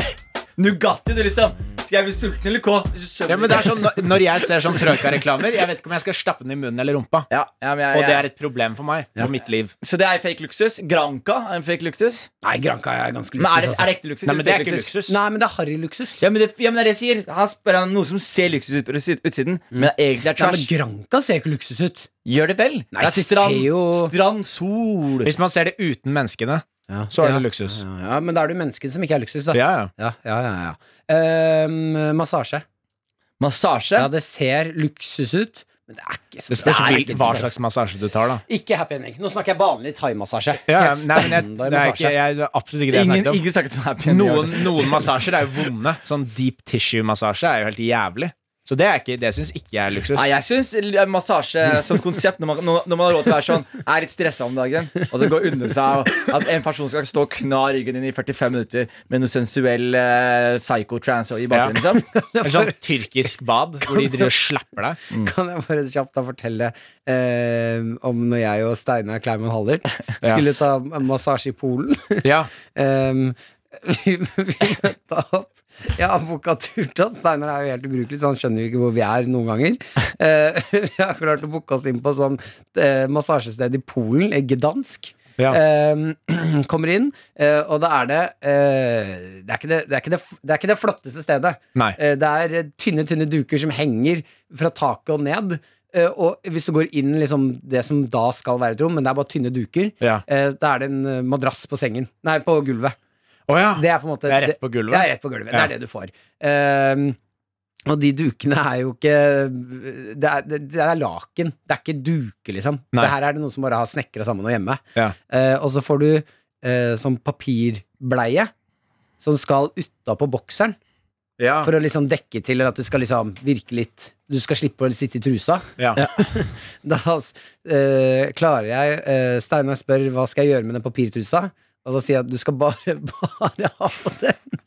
[SPEAKER 3] Nugatti, du, liksom. Skal Skal jeg bli sulten eller kåt?
[SPEAKER 2] Ja, men det er sånn, når jeg ser sånn trøyka-reklamer, jeg vet ikke om jeg skal stappe den i munnen eller rumpa.
[SPEAKER 3] ja, ja, men jeg,
[SPEAKER 2] Og det
[SPEAKER 3] jeg-
[SPEAKER 2] er et problem for meg og mitt liv.
[SPEAKER 3] Så det er fake luksus? Granca er en fake luksus?
[SPEAKER 4] Nei, Granka er ganske
[SPEAKER 3] Men er det,
[SPEAKER 4] luksus,
[SPEAKER 3] er det
[SPEAKER 4] altså.
[SPEAKER 3] ekte luksus?
[SPEAKER 2] Nei,
[SPEAKER 3] eller
[SPEAKER 2] men det er
[SPEAKER 3] fake
[SPEAKER 2] ikke luksus.
[SPEAKER 4] Nei, men det er harryluksus.
[SPEAKER 3] Ja, men det, ja, men det er det jeg sier. Han spør om noe som ser luksus ut på ut- utsiden, men egentlig er
[SPEAKER 4] Nei, men
[SPEAKER 3] trash.
[SPEAKER 4] Granka ser jo ikke luksus ut.
[SPEAKER 3] Gjør det vel?
[SPEAKER 4] Nei,
[SPEAKER 3] det er strand,
[SPEAKER 4] ser jo-
[SPEAKER 3] strand, sol
[SPEAKER 2] Hvis man ser det uten menneskene, så er det luksus.
[SPEAKER 4] Ja, ja, men da er det jo mennesket som ikke er luksus, da.
[SPEAKER 2] Ja, ja.
[SPEAKER 4] ja, ja, ja, ja. Ehm, Massasje.
[SPEAKER 3] Massasje?
[SPEAKER 4] Ja, det ser luksus ut, men det er ikke så
[SPEAKER 2] Det spørs
[SPEAKER 4] er
[SPEAKER 2] hvil-
[SPEAKER 4] ikke
[SPEAKER 2] hva
[SPEAKER 4] luksus.
[SPEAKER 2] slags massasje du tar, da.
[SPEAKER 4] Ikke happy ending. Nå snakker jeg vanlig thaimassasje.
[SPEAKER 2] Ja, ja,
[SPEAKER 4] Helt
[SPEAKER 2] nei, men jeg, det
[SPEAKER 4] standard
[SPEAKER 2] er
[SPEAKER 4] massasje.
[SPEAKER 2] ikke, jeg, det er absolutt ikke det jeg
[SPEAKER 3] ingen,
[SPEAKER 2] snakket om.
[SPEAKER 3] ingen snakket om happy ending.
[SPEAKER 2] Noen, noen massasjer er jo vonde. Sånn deep tissue-massasje er jo helt jævlig. Så det, er ikke, det syns ikke jeg er luksus.
[SPEAKER 3] Nei, jeg syns massasje som konsept, når man, når når man har råd til å være sånn, er litt stressa om dagen, og så gå unna seg og at en person skal stå og kna ryggen din i 45 minutter med noe sensuell eh, psycho-trance i bakgrunnen,
[SPEAKER 2] Ja.
[SPEAKER 3] liksom.
[SPEAKER 2] Eller sånn tyrkisk bad, hvor de driver og slapper deg.
[SPEAKER 4] [laughs] Kan jeg bare kjapt da fortelle eh, om når jeg og Steinar Kleiman Hallert skulle ta massasje i Polen?
[SPEAKER 2] Ja,
[SPEAKER 4] Em, Ehm, [laughs] vi vi møtte opp Jeg har booka tur til oss. Steinar er jo helt ubrukelig, så han skjønner jo ikke hvor vi er noen ganger. Eh, [laughs] vi har klart å booke oss inn på sånn eh, massasjested i Polen, eh, Gdansk.
[SPEAKER 2] Ja.
[SPEAKER 4] Em, [clears throat] kommer inn, eh, og da er det, eh, det, er ikke det, det, er ikke det f- Det er ikke det flotteste stedet.
[SPEAKER 2] Nei.
[SPEAKER 4] Eh, det er eh, tynne, tynne duker som henger fra taket og ned. Eh, og hvis du går inn liksom det som da skal være et rom, men det er bare tynne duker,
[SPEAKER 2] Ja.
[SPEAKER 4] eh, da er det en eh, madrass på sengen. Nei, på gulvet.
[SPEAKER 2] Å ja.
[SPEAKER 4] Det er på en måte
[SPEAKER 2] Det er rett på gulvet?
[SPEAKER 4] Det er rett på gulvet. Det
[SPEAKER 2] Ja.
[SPEAKER 4] er det du får. Ehm, og de dukene er jo ikke Det er, det, det er laken. Det er ikke duker, liksom.
[SPEAKER 2] Nei.
[SPEAKER 4] Det her er det noen som bare har snekra sammen og hjemme.
[SPEAKER 2] Ja.
[SPEAKER 4] Eh, og så får du eh, sånn papirbleie som skal utapå bokseren.
[SPEAKER 2] Ja.
[SPEAKER 4] For å liksom dekke til, eller at det skal liksom virke litt Du skal slippe å sitte i trusa.
[SPEAKER 2] Ja.
[SPEAKER 4] [laughs] Da eh, klarer jeg eh, Steinar spør hva skal jeg gjøre med den papirtrusa. Og da sier jeg at du skal bare, [laughs] bare ha på den.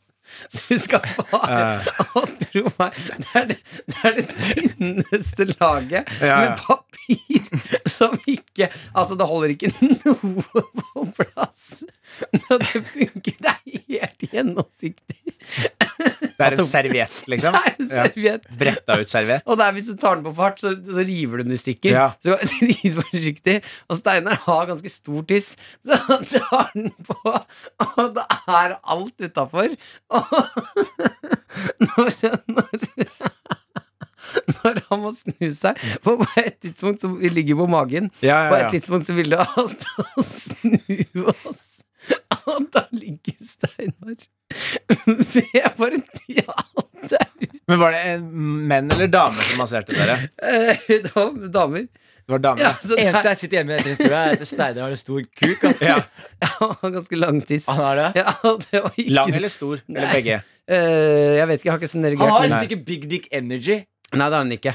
[SPEAKER 4] Du skal bare Og tro meg, det er det, det, er det tynneste laget
[SPEAKER 2] Ja, ja.
[SPEAKER 4] med papir som ikke Altså, det holder ikke noe på plass. Når det funker, det er helt gjennomsiktig.
[SPEAKER 2] Det er en serviett, liksom.
[SPEAKER 4] Det er en
[SPEAKER 2] Ja.
[SPEAKER 4] serviett.
[SPEAKER 2] Bretta ut serviett.
[SPEAKER 4] Og der, hvis du tar den på fart, så, så river du den i stykker.
[SPEAKER 2] Ja.
[SPEAKER 4] Så [laughs] Rid forsiktig. Og Steinar har ganske stor tiss, så han tar den på, og da er alt utafor. [laughs] Når, når, [laughs] når han må snu seg For på et tidspunkt så vi ligger på magen.
[SPEAKER 2] Ja, ja,
[SPEAKER 4] På
[SPEAKER 2] ja.
[SPEAKER 4] et tidspunkt så ville han stå og snu oss. Og da ligger Steinar med bare ja, alt er ute.
[SPEAKER 2] Men var det en menn eller damer som masserte dere?
[SPEAKER 4] Eh, det var damer.
[SPEAKER 2] Det var damer.
[SPEAKER 4] [laughs] Ja, så det
[SPEAKER 3] Eneste
[SPEAKER 4] er,
[SPEAKER 3] jeg sitter igjen med etter historien, er at Steinar har en stor kuk. Ass.
[SPEAKER 2] Ja.
[SPEAKER 4] [laughs] han har ganske lang tiss.
[SPEAKER 3] Han har det.
[SPEAKER 4] [laughs] Ja, det var ikke
[SPEAKER 2] Lang eller stor? Eller
[SPEAKER 4] Nei.
[SPEAKER 2] begge?
[SPEAKER 4] Eh, Jeg vet ikke, jeg har ikke sånn
[SPEAKER 3] Han har
[SPEAKER 4] reagert.
[SPEAKER 2] Nei.
[SPEAKER 3] liksom ikke big dick energy.
[SPEAKER 4] Nei, det har han ikke.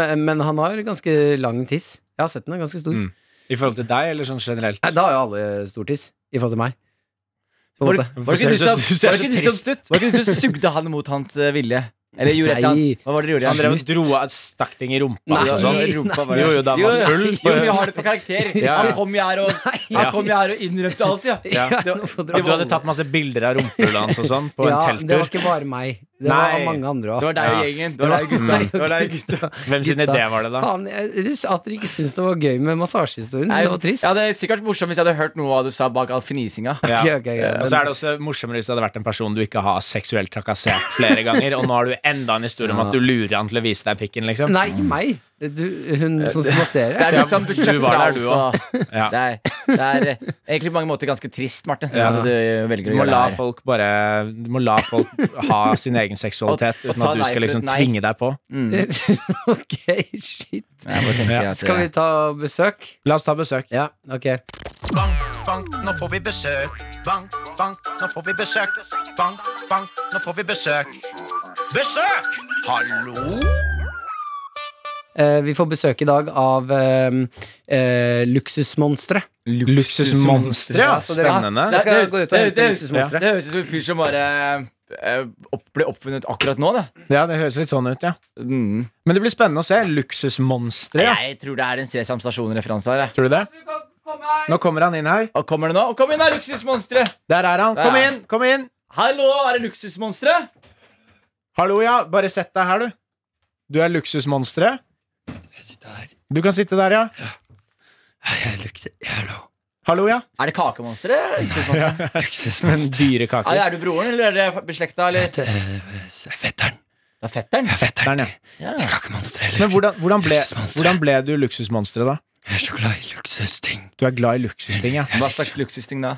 [SPEAKER 4] Men, men han har ganske lang tiss. Jeg har sett den, den er ganske stor.
[SPEAKER 2] Mm. I forhold til deg, eller sånn generelt?
[SPEAKER 4] Nei, da har jo alle stor tiss, i forhold til meg. På en
[SPEAKER 3] Var det,
[SPEAKER 4] måte. [laughs]
[SPEAKER 3] var det
[SPEAKER 2] Hvorfor
[SPEAKER 3] ikke du
[SPEAKER 2] ser
[SPEAKER 3] som,
[SPEAKER 2] du så- du ser
[SPEAKER 3] var det
[SPEAKER 2] så
[SPEAKER 3] ikke du
[SPEAKER 2] trist
[SPEAKER 3] som,
[SPEAKER 2] ut?
[SPEAKER 3] var det ikke du som sugde han mot hans eh, vilje? Eller gjorde et eller
[SPEAKER 4] Nei.
[SPEAKER 3] annet? Hva var det du gjorde?
[SPEAKER 2] Han drev og dro av stakk ting i rumpa.
[SPEAKER 4] Nei.
[SPEAKER 2] og sånn.
[SPEAKER 4] Nei.
[SPEAKER 3] Rumpa var-
[SPEAKER 2] Jo, jo, da var han full.
[SPEAKER 3] Jo, vi har det på karakter.
[SPEAKER 2] Ja.
[SPEAKER 3] Han kom jo her og, han kom jo her og innrømte alt, ja.
[SPEAKER 4] Ja,
[SPEAKER 3] Det
[SPEAKER 4] nå får
[SPEAKER 3] var,
[SPEAKER 4] dere
[SPEAKER 2] Du
[SPEAKER 4] holde.
[SPEAKER 2] hadde tatt masse bilder av rumpehullet hans og sånn på en
[SPEAKER 4] ja, Det var
[SPEAKER 2] telttur.
[SPEAKER 4] ikke bare meg. Det
[SPEAKER 2] Nei.
[SPEAKER 4] var mange andre
[SPEAKER 3] det
[SPEAKER 4] òg.
[SPEAKER 3] var deg og
[SPEAKER 2] Ja. Mm.
[SPEAKER 3] gjengen. Det var deg og gutta. Det var deg og gutta.
[SPEAKER 2] Hvem sin idé var det, da?
[SPEAKER 4] Faen, jeg, at dere ikke syns det var gøy med massasjehistorien. Syns det var trist.
[SPEAKER 3] Ja, det er sikkert morsomt hvis jeg hadde hørt noe av hva du sa bak all fnisinga.
[SPEAKER 2] Ja. Eh,
[SPEAKER 4] Ok, ok, ok,
[SPEAKER 2] Og så er det også morsommere hvis det hadde vært en person du ikke har seksuelt trakassert flere ganger, og nå har du enda en historie om at du lurer han til å vise deg pikken, liksom.
[SPEAKER 4] Nei, ikke meg. Du, hun som skal
[SPEAKER 3] Det
[SPEAKER 4] massere.
[SPEAKER 3] er du som
[SPEAKER 2] du var der, du
[SPEAKER 3] alt, da.
[SPEAKER 2] Ja.
[SPEAKER 3] Det er, det er eh, egentlig på mange måter ganske trist, Martin.
[SPEAKER 2] Ja.
[SPEAKER 3] At du
[SPEAKER 2] Du
[SPEAKER 3] velger å
[SPEAKER 2] må
[SPEAKER 3] gjøre
[SPEAKER 2] la
[SPEAKER 3] det her.
[SPEAKER 2] folk bare Du må la folk ha sin egen seksualitet
[SPEAKER 3] Og- og
[SPEAKER 2] uten
[SPEAKER 3] ta
[SPEAKER 2] at du skal
[SPEAKER 3] nei for et
[SPEAKER 2] liksom
[SPEAKER 3] nei.
[SPEAKER 2] tvinge deg på.
[SPEAKER 4] [laughs] ok, shit.
[SPEAKER 3] Jeg bare tenker
[SPEAKER 2] Ja.
[SPEAKER 3] at,
[SPEAKER 4] Skal vi ta besøk?
[SPEAKER 2] La oss ta besøk.
[SPEAKER 4] Ja, ok.
[SPEAKER 5] Bank, bank, nå får vi besøk. Bank, bank, nå får vi besøk. Bank, bank, nå får vi besøk. Besøk! Hallo?
[SPEAKER 4] Eh, vi får besøk i dag av eh, eh, luksusmonstre.
[SPEAKER 2] Luksusmonstre, ja. Spennende.
[SPEAKER 4] Jeg skal
[SPEAKER 3] Det-
[SPEAKER 4] gå ut og
[SPEAKER 3] det-
[SPEAKER 4] hente
[SPEAKER 3] det-
[SPEAKER 4] luksusmonstre.
[SPEAKER 3] Det høres ut som en fyr som bare eh, opp, ble oppfunnet akkurat nå, det.
[SPEAKER 2] Ja, det høres litt sånn ut, ja.
[SPEAKER 3] Mm.
[SPEAKER 2] Men det blir spennende å se. Luksusmonstre, ja.
[SPEAKER 3] Jeg tror det er en Sesam Stasjon-referanse her. jeg.
[SPEAKER 2] Tror du det? Nå kommer han inn her.
[SPEAKER 3] Og kommer det nå? Og kom inn, da, luksusmonstre!
[SPEAKER 2] Der er han. Kom inn! Kom inn!
[SPEAKER 3] Hallo, er det luksusmonstre?
[SPEAKER 2] Hallo, ja. Bare sett deg her, du. Du er luksusmonsteret. Du kan sitte der, ja.
[SPEAKER 4] Jeg er luksus... Jeg er noe
[SPEAKER 2] Hallo, ja.
[SPEAKER 3] Er det kakemonsteret? eller luksusmonsteret? Ah,
[SPEAKER 2] Men
[SPEAKER 4] luksusmenn.
[SPEAKER 2] [laughs] dyre
[SPEAKER 3] Ja,
[SPEAKER 2] kaker.
[SPEAKER 3] er du broren, eller er det beslekta? Eller?
[SPEAKER 4] Det er fetteren.
[SPEAKER 3] Det er fetteren.
[SPEAKER 4] Jeg er fetteren
[SPEAKER 2] Der,
[SPEAKER 4] til, til kakemonsteret.
[SPEAKER 2] Men hvordan, hvordan, ble,
[SPEAKER 4] Luksusmonsteret.
[SPEAKER 2] hvordan ble du luksusmonsteret, da?
[SPEAKER 4] Jeg er så glad i luksusting.
[SPEAKER 2] Du er glad i luksusting, ja.
[SPEAKER 3] Hva slags luksusting da?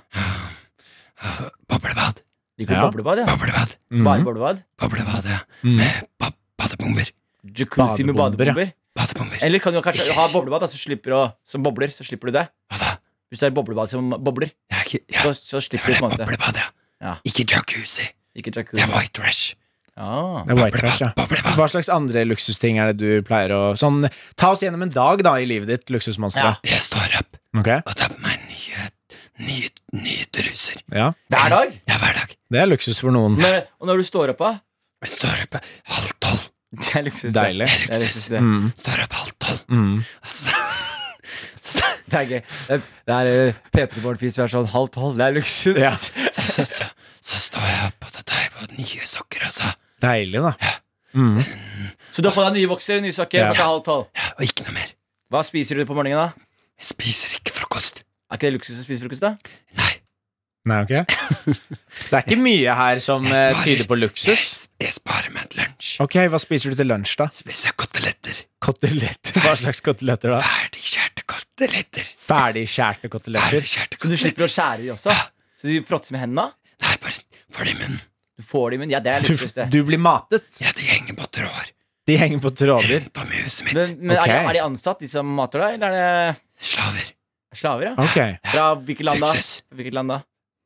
[SPEAKER 4] Boblebad.
[SPEAKER 3] Liker du
[SPEAKER 2] Ja.
[SPEAKER 3] boblebad? ja?
[SPEAKER 4] Boblebad.
[SPEAKER 2] Mm.
[SPEAKER 3] Bare boblebad?
[SPEAKER 4] Boblebad, ja.
[SPEAKER 2] Mhm.
[SPEAKER 4] Med ba badebomber.
[SPEAKER 3] Jacuzzi med
[SPEAKER 2] Badebomber, ja.
[SPEAKER 3] badebomber?
[SPEAKER 4] Badebomber.
[SPEAKER 3] Eller kan du kanskje ha boblebad da, så slipper du, å- som bobler? Så slipper du det.
[SPEAKER 4] Hva da?
[SPEAKER 3] Hvis det er boblebad som bobler,
[SPEAKER 4] Jeg er ikke Ja,
[SPEAKER 3] så, så
[SPEAKER 4] det
[SPEAKER 3] slipper du
[SPEAKER 4] var det
[SPEAKER 3] på en måte.
[SPEAKER 4] boblebad, ja.
[SPEAKER 3] Ja.
[SPEAKER 4] Ikke jacuzzi.
[SPEAKER 3] Ikke
[SPEAKER 4] Det
[SPEAKER 3] jacuzzi.
[SPEAKER 4] er white trash.
[SPEAKER 3] Ah.
[SPEAKER 2] Det er white trash, ja.
[SPEAKER 4] Boblebad.
[SPEAKER 2] Hva slags andre luksusting er det du pleier å Sånn, ta oss gjennom en dag, da, i livet ditt, luksusmonsteret.
[SPEAKER 4] Jeg står opp
[SPEAKER 2] Ok?
[SPEAKER 4] og tar på meg nye, nye, nye truser.
[SPEAKER 2] Ja.
[SPEAKER 3] Hver dag?
[SPEAKER 4] Ja, hver dag.
[SPEAKER 2] Det er luksus for noen.
[SPEAKER 3] Når, og når du står opp, da?
[SPEAKER 4] Jeg står opp halv tolv.
[SPEAKER 3] Det er luksus. det.
[SPEAKER 2] Deilig.
[SPEAKER 4] Det
[SPEAKER 3] Det
[SPEAKER 4] er
[SPEAKER 3] er
[SPEAKER 4] luksus.
[SPEAKER 3] luksus, det.
[SPEAKER 2] Mm.
[SPEAKER 4] Står opp halv tolv.
[SPEAKER 2] Mm.
[SPEAKER 4] Altså, så,
[SPEAKER 3] Det er gøy. Det er- eh, Det er P3-barnefis som er sånn halv tolv. Det er luksus. [laughs]
[SPEAKER 2] Ja.
[SPEAKER 4] så, så, så, så står jeg opp og tar deg på nye sokker, altså.
[SPEAKER 2] Deilig, da. Mm.
[SPEAKER 3] Så du har på deg nye bokser, nye sokker,
[SPEAKER 2] Ja.
[SPEAKER 3] klokka halv tolv.
[SPEAKER 4] Ja, og ikke noe mer.
[SPEAKER 3] Hva spiser du på morgenen, da?
[SPEAKER 4] Jeg spiser ikke frokost.
[SPEAKER 3] Er ikke det luksus å spise frokost, da?
[SPEAKER 4] Nei.
[SPEAKER 2] Nei, ok? [laughs] Det er ikke mye her som
[SPEAKER 4] Jeg
[SPEAKER 2] eh,
[SPEAKER 4] sparer.
[SPEAKER 2] tyder på
[SPEAKER 4] Jeg,
[SPEAKER 2] luksus.
[SPEAKER 4] s- jeg sparer meg til lunsj.
[SPEAKER 2] Ok, hva spiser du til lunsj, da?
[SPEAKER 4] Spiser koteletter.
[SPEAKER 2] Koteletter. Hva slags koteletter, da?
[SPEAKER 4] Ferdigskjærte koteletter.
[SPEAKER 2] Ferdigskjærte koteletter.
[SPEAKER 4] Ferdigskjærte
[SPEAKER 3] Så du slipper å
[SPEAKER 4] koteletter.
[SPEAKER 3] skjære de også? Så du fråtser med hendene?
[SPEAKER 4] Nei, bare får det i munnen.
[SPEAKER 3] Du får de, men ja, det er
[SPEAKER 2] Du,
[SPEAKER 3] luksus, det.
[SPEAKER 2] du blir matet.
[SPEAKER 4] Ja, det henger på tråder.
[SPEAKER 2] De henger på tråder.
[SPEAKER 4] Rundt om i huset mitt.
[SPEAKER 3] Men, men er, de,
[SPEAKER 2] Ok.
[SPEAKER 3] er de ansatt, de som mater deg, eller er
[SPEAKER 4] Slaver.
[SPEAKER 3] det slaver, ja?
[SPEAKER 2] Ok.
[SPEAKER 3] Fra hvilket land, da?
[SPEAKER 4] Luksus.
[SPEAKER 3] Hvilket land da?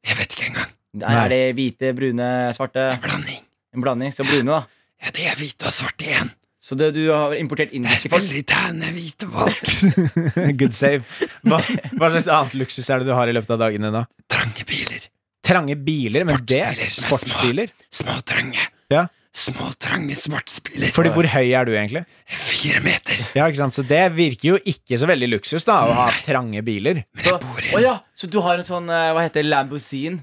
[SPEAKER 4] Jeg vet ikke engang.
[SPEAKER 3] Er, er det hvite, brune, svarte?
[SPEAKER 4] Blanding.
[SPEAKER 3] En blanding. Så brune, da.
[SPEAKER 4] Ja, det er hvite og svarte igjen.
[SPEAKER 3] Så det, du har importert
[SPEAKER 4] Det er
[SPEAKER 3] indiske folk?
[SPEAKER 4] veldig tæne hvite folk.
[SPEAKER 2] [laughs] Good save. Hva, hva slags annet luksus er det du har i løpet av dagene, da?
[SPEAKER 4] Trange biler.
[SPEAKER 2] Trange biler, men det
[SPEAKER 4] Sportsbiler som er små.
[SPEAKER 2] Sportsbiler?
[SPEAKER 4] Små trange.
[SPEAKER 2] Ja.
[SPEAKER 4] Små trange svartspiller.
[SPEAKER 2] Fordi hvor høy er du, egentlig?
[SPEAKER 4] Fire meter.
[SPEAKER 2] Ja, ikke sant? Så det virker jo ikke så veldig luksus, da, å ha trange biler.
[SPEAKER 4] Men
[SPEAKER 3] Så,
[SPEAKER 4] jeg bor i
[SPEAKER 3] Å
[SPEAKER 4] en
[SPEAKER 3] ja, så du har en sånn, eh, hva heter det, Lambosin?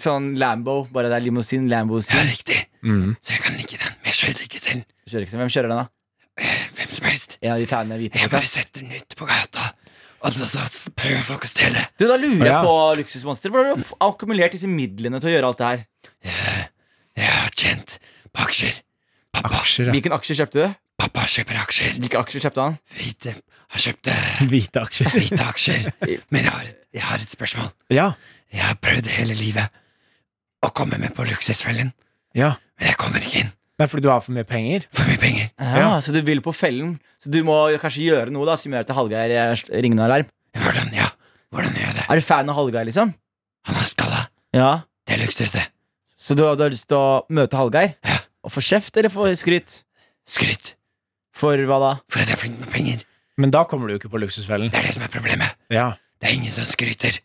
[SPEAKER 3] Sånn Lambo, bare det er limousin,
[SPEAKER 4] Det er
[SPEAKER 3] Lambosin.
[SPEAKER 4] riktig.
[SPEAKER 3] Mm.
[SPEAKER 2] Mm.
[SPEAKER 3] [laughs]
[SPEAKER 4] Så jeg kan like den. Men jeg kjører ikke selv.
[SPEAKER 3] Du kjører ikke sånn. Hvem kjører den, da?
[SPEAKER 4] Hvem som helst.
[SPEAKER 3] En av de tærne hvite.
[SPEAKER 4] Jeg bare setter den ut på gata, og så, så prøver folk å stjele.
[SPEAKER 3] Du, da lurer
[SPEAKER 2] Ja.
[SPEAKER 3] jeg på, luksusmonster, hvor har du f- akkumulert disse midlene til å gjøre alt det her?
[SPEAKER 4] Jeg har tjent på aksjer. Pappa,
[SPEAKER 2] Aksjer,
[SPEAKER 3] Hvilken aksje kjøpte du?
[SPEAKER 4] pappa kjøper aksjer.
[SPEAKER 3] Hvilke aksjer kjøpte han?
[SPEAKER 4] Hvite Han kjøpte
[SPEAKER 2] Hvite aksjer.
[SPEAKER 4] hvite aksjer. Men jeg har, et- jeg har et spørsmål.
[SPEAKER 2] Ja.
[SPEAKER 4] Jeg har prøvd hele livet å komme med på luksusfellen,
[SPEAKER 2] ja.
[SPEAKER 4] men jeg kommer ikke inn.
[SPEAKER 2] Det er fordi du har for mye penger?
[SPEAKER 4] For mye penger.
[SPEAKER 3] Ja, Ah, Så du vil på fellen? Så du må jo kanskje gjøre noe da som gjør at Hallgeir eh, ringer en alarm?
[SPEAKER 4] Hvordan, ja? Hvordan gjør jeg det?
[SPEAKER 3] Er du fan av Hallgeir, liksom?
[SPEAKER 4] Han har skalla.
[SPEAKER 3] Ja.
[SPEAKER 4] Det er luksus, det.
[SPEAKER 3] Så du, du har lyst til å møte Hallgeir?
[SPEAKER 4] Ja.
[SPEAKER 3] Og få kjeft eller få skryt?
[SPEAKER 4] Skryt
[SPEAKER 3] For hva da?
[SPEAKER 4] for at jeg er flink med penger.
[SPEAKER 2] Men da kommer du jo ikke på luksusfellen.
[SPEAKER 4] Det er det som er problemet.
[SPEAKER 2] Ja.
[SPEAKER 4] Det er ingen som skryter.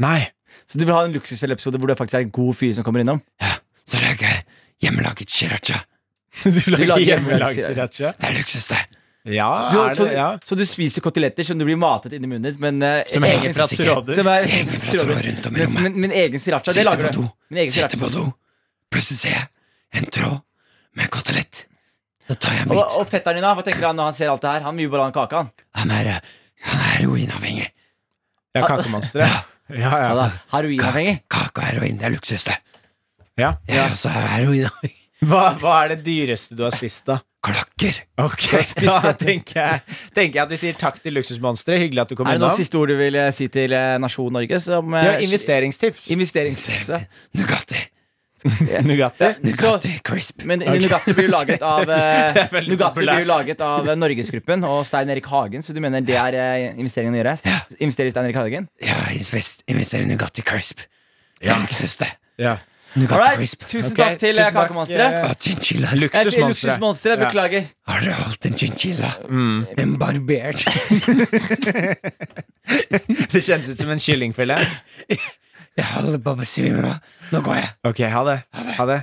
[SPEAKER 2] Nei.
[SPEAKER 3] Så du vil ha en luksusfelleepisode hvor det faktisk er en god fyr som kommer innom?
[SPEAKER 4] Så lager jeg hjemmelaget sriracha.
[SPEAKER 2] Du
[SPEAKER 3] lager
[SPEAKER 2] lager hjemmelagd
[SPEAKER 3] hjemmelaget
[SPEAKER 2] sriracha?
[SPEAKER 4] Det er luksus, det.
[SPEAKER 2] Ja,
[SPEAKER 3] Så,
[SPEAKER 2] er
[SPEAKER 3] så,
[SPEAKER 2] det, ja.
[SPEAKER 3] så du spiser koteletter som du blir matet inn i munnen din, men eh,
[SPEAKER 4] Som henger
[SPEAKER 3] egen-
[SPEAKER 4] fra
[SPEAKER 2] tråder.
[SPEAKER 3] Som er,
[SPEAKER 4] Det henger fra tråder rundt om i
[SPEAKER 3] Men-
[SPEAKER 4] rommet.
[SPEAKER 3] Min, min egen sriracha, det
[SPEAKER 4] Sitter
[SPEAKER 3] lager
[SPEAKER 4] på
[SPEAKER 3] du.
[SPEAKER 4] do.
[SPEAKER 3] Min egen
[SPEAKER 4] Sitter
[SPEAKER 3] sriracha.
[SPEAKER 4] på do. Plutselig ser jeg en tråd med kotelett. Så tar jeg en
[SPEAKER 3] Og,
[SPEAKER 4] bit.
[SPEAKER 3] og fetteren din, da? Hva tenker han når han ser alt det her? Han vil jo bare ha en kake, han.
[SPEAKER 4] Han er, eh, han er heroinavhengig.
[SPEAKER 2] ja kakemonsteret. Ja,
[SPEAKER 3] [laughs] Ja,
[SPEAKER 2] ja.
[SPEAKER 3] da. Heroinavhengig.
[SPEAKER 4] Kake og heroin, det er luksus, det.
[SPEAKER 2] ja.
[SPEAKER 4] Jeg er også heroinavhengig.
[SPEAKER 2] Hva, hva er det dyreste du har spist,
[SPEAKER 3] [laughs]
[SPEAKER 2] da?
[SPEAKER 4] Klokker.
[SPEAKER 2] Ok, [laughs] Da tenker jeg, tenker jeg at vi sier takk til Luksusmonsteret. Hyggelig at du kom
[SPEAKER 3] Er det noen
[SPEAKER 2] innom.
[SPEAKER 3] siste ord du vil eh, si til eh, nasjon Norge? Som, eh,
[SPEAKER 2] Ja, investeringstips.
[SPEAKER 3] Investeringsstørrelse.
[SPEAKER 4] Nugatti.
[SPEAKER 2] Nugatti.
[SPEAKER 4] Nugatti crisp.
[SPEAKER 3] Men Nugatti blir jo laget av eh,
[SPEAKER 2] er veldig
[SPEAKER 3] Nugatti
[SPEAKER 2] populært.
[SPEAKER 3] blir jo laget av eh, Norgesgruppen og Stein Erik Hagen, så du mener det er eh, investeringen å gjøre?
[SPEAKER 4] Ja.
[SPEAKER 3] Investere i Stein Erik Hagen?
[SPEAKER 4] Ja, invest- investerer i Nugatti crisp. Det er luksus, det.
[SPEAKER 2] Ja.
[SPEAKER 4] Nugatti
[SPEAKER 3] Alright,
[SPEAKER 4] crisp.
[SPEAKER 3] tusen
[SPEAKER 2] Ok,
[SPEAKER 3] takk til
[SPEAKER 2] tusen
[SPEAKER 3] eh,
[SPEAKER 2] takk.
[SPEAKER 3] Kakemonsteret.
[SPEAKER 4] Og chinchilla.
[SPEAKER 3] Eh, til
[SPEAKER 2] Luksusmonsteret.
[SPEAKER 3] Luksusmonsteret. Beklager.
[SPEAKER 4] Har du holdt en chinchilla? En barbert
[SPEAKER 2] [laughs]
[SPEAKER 4] [laughs]
[SPEAKER 2] Det kjennes ut som en kyllingfilet.
[SPEAKER 4] Jeg holder på å besvime av. Nå går jeg.
[SPEAKER 2] Ok, ha det. Ha det.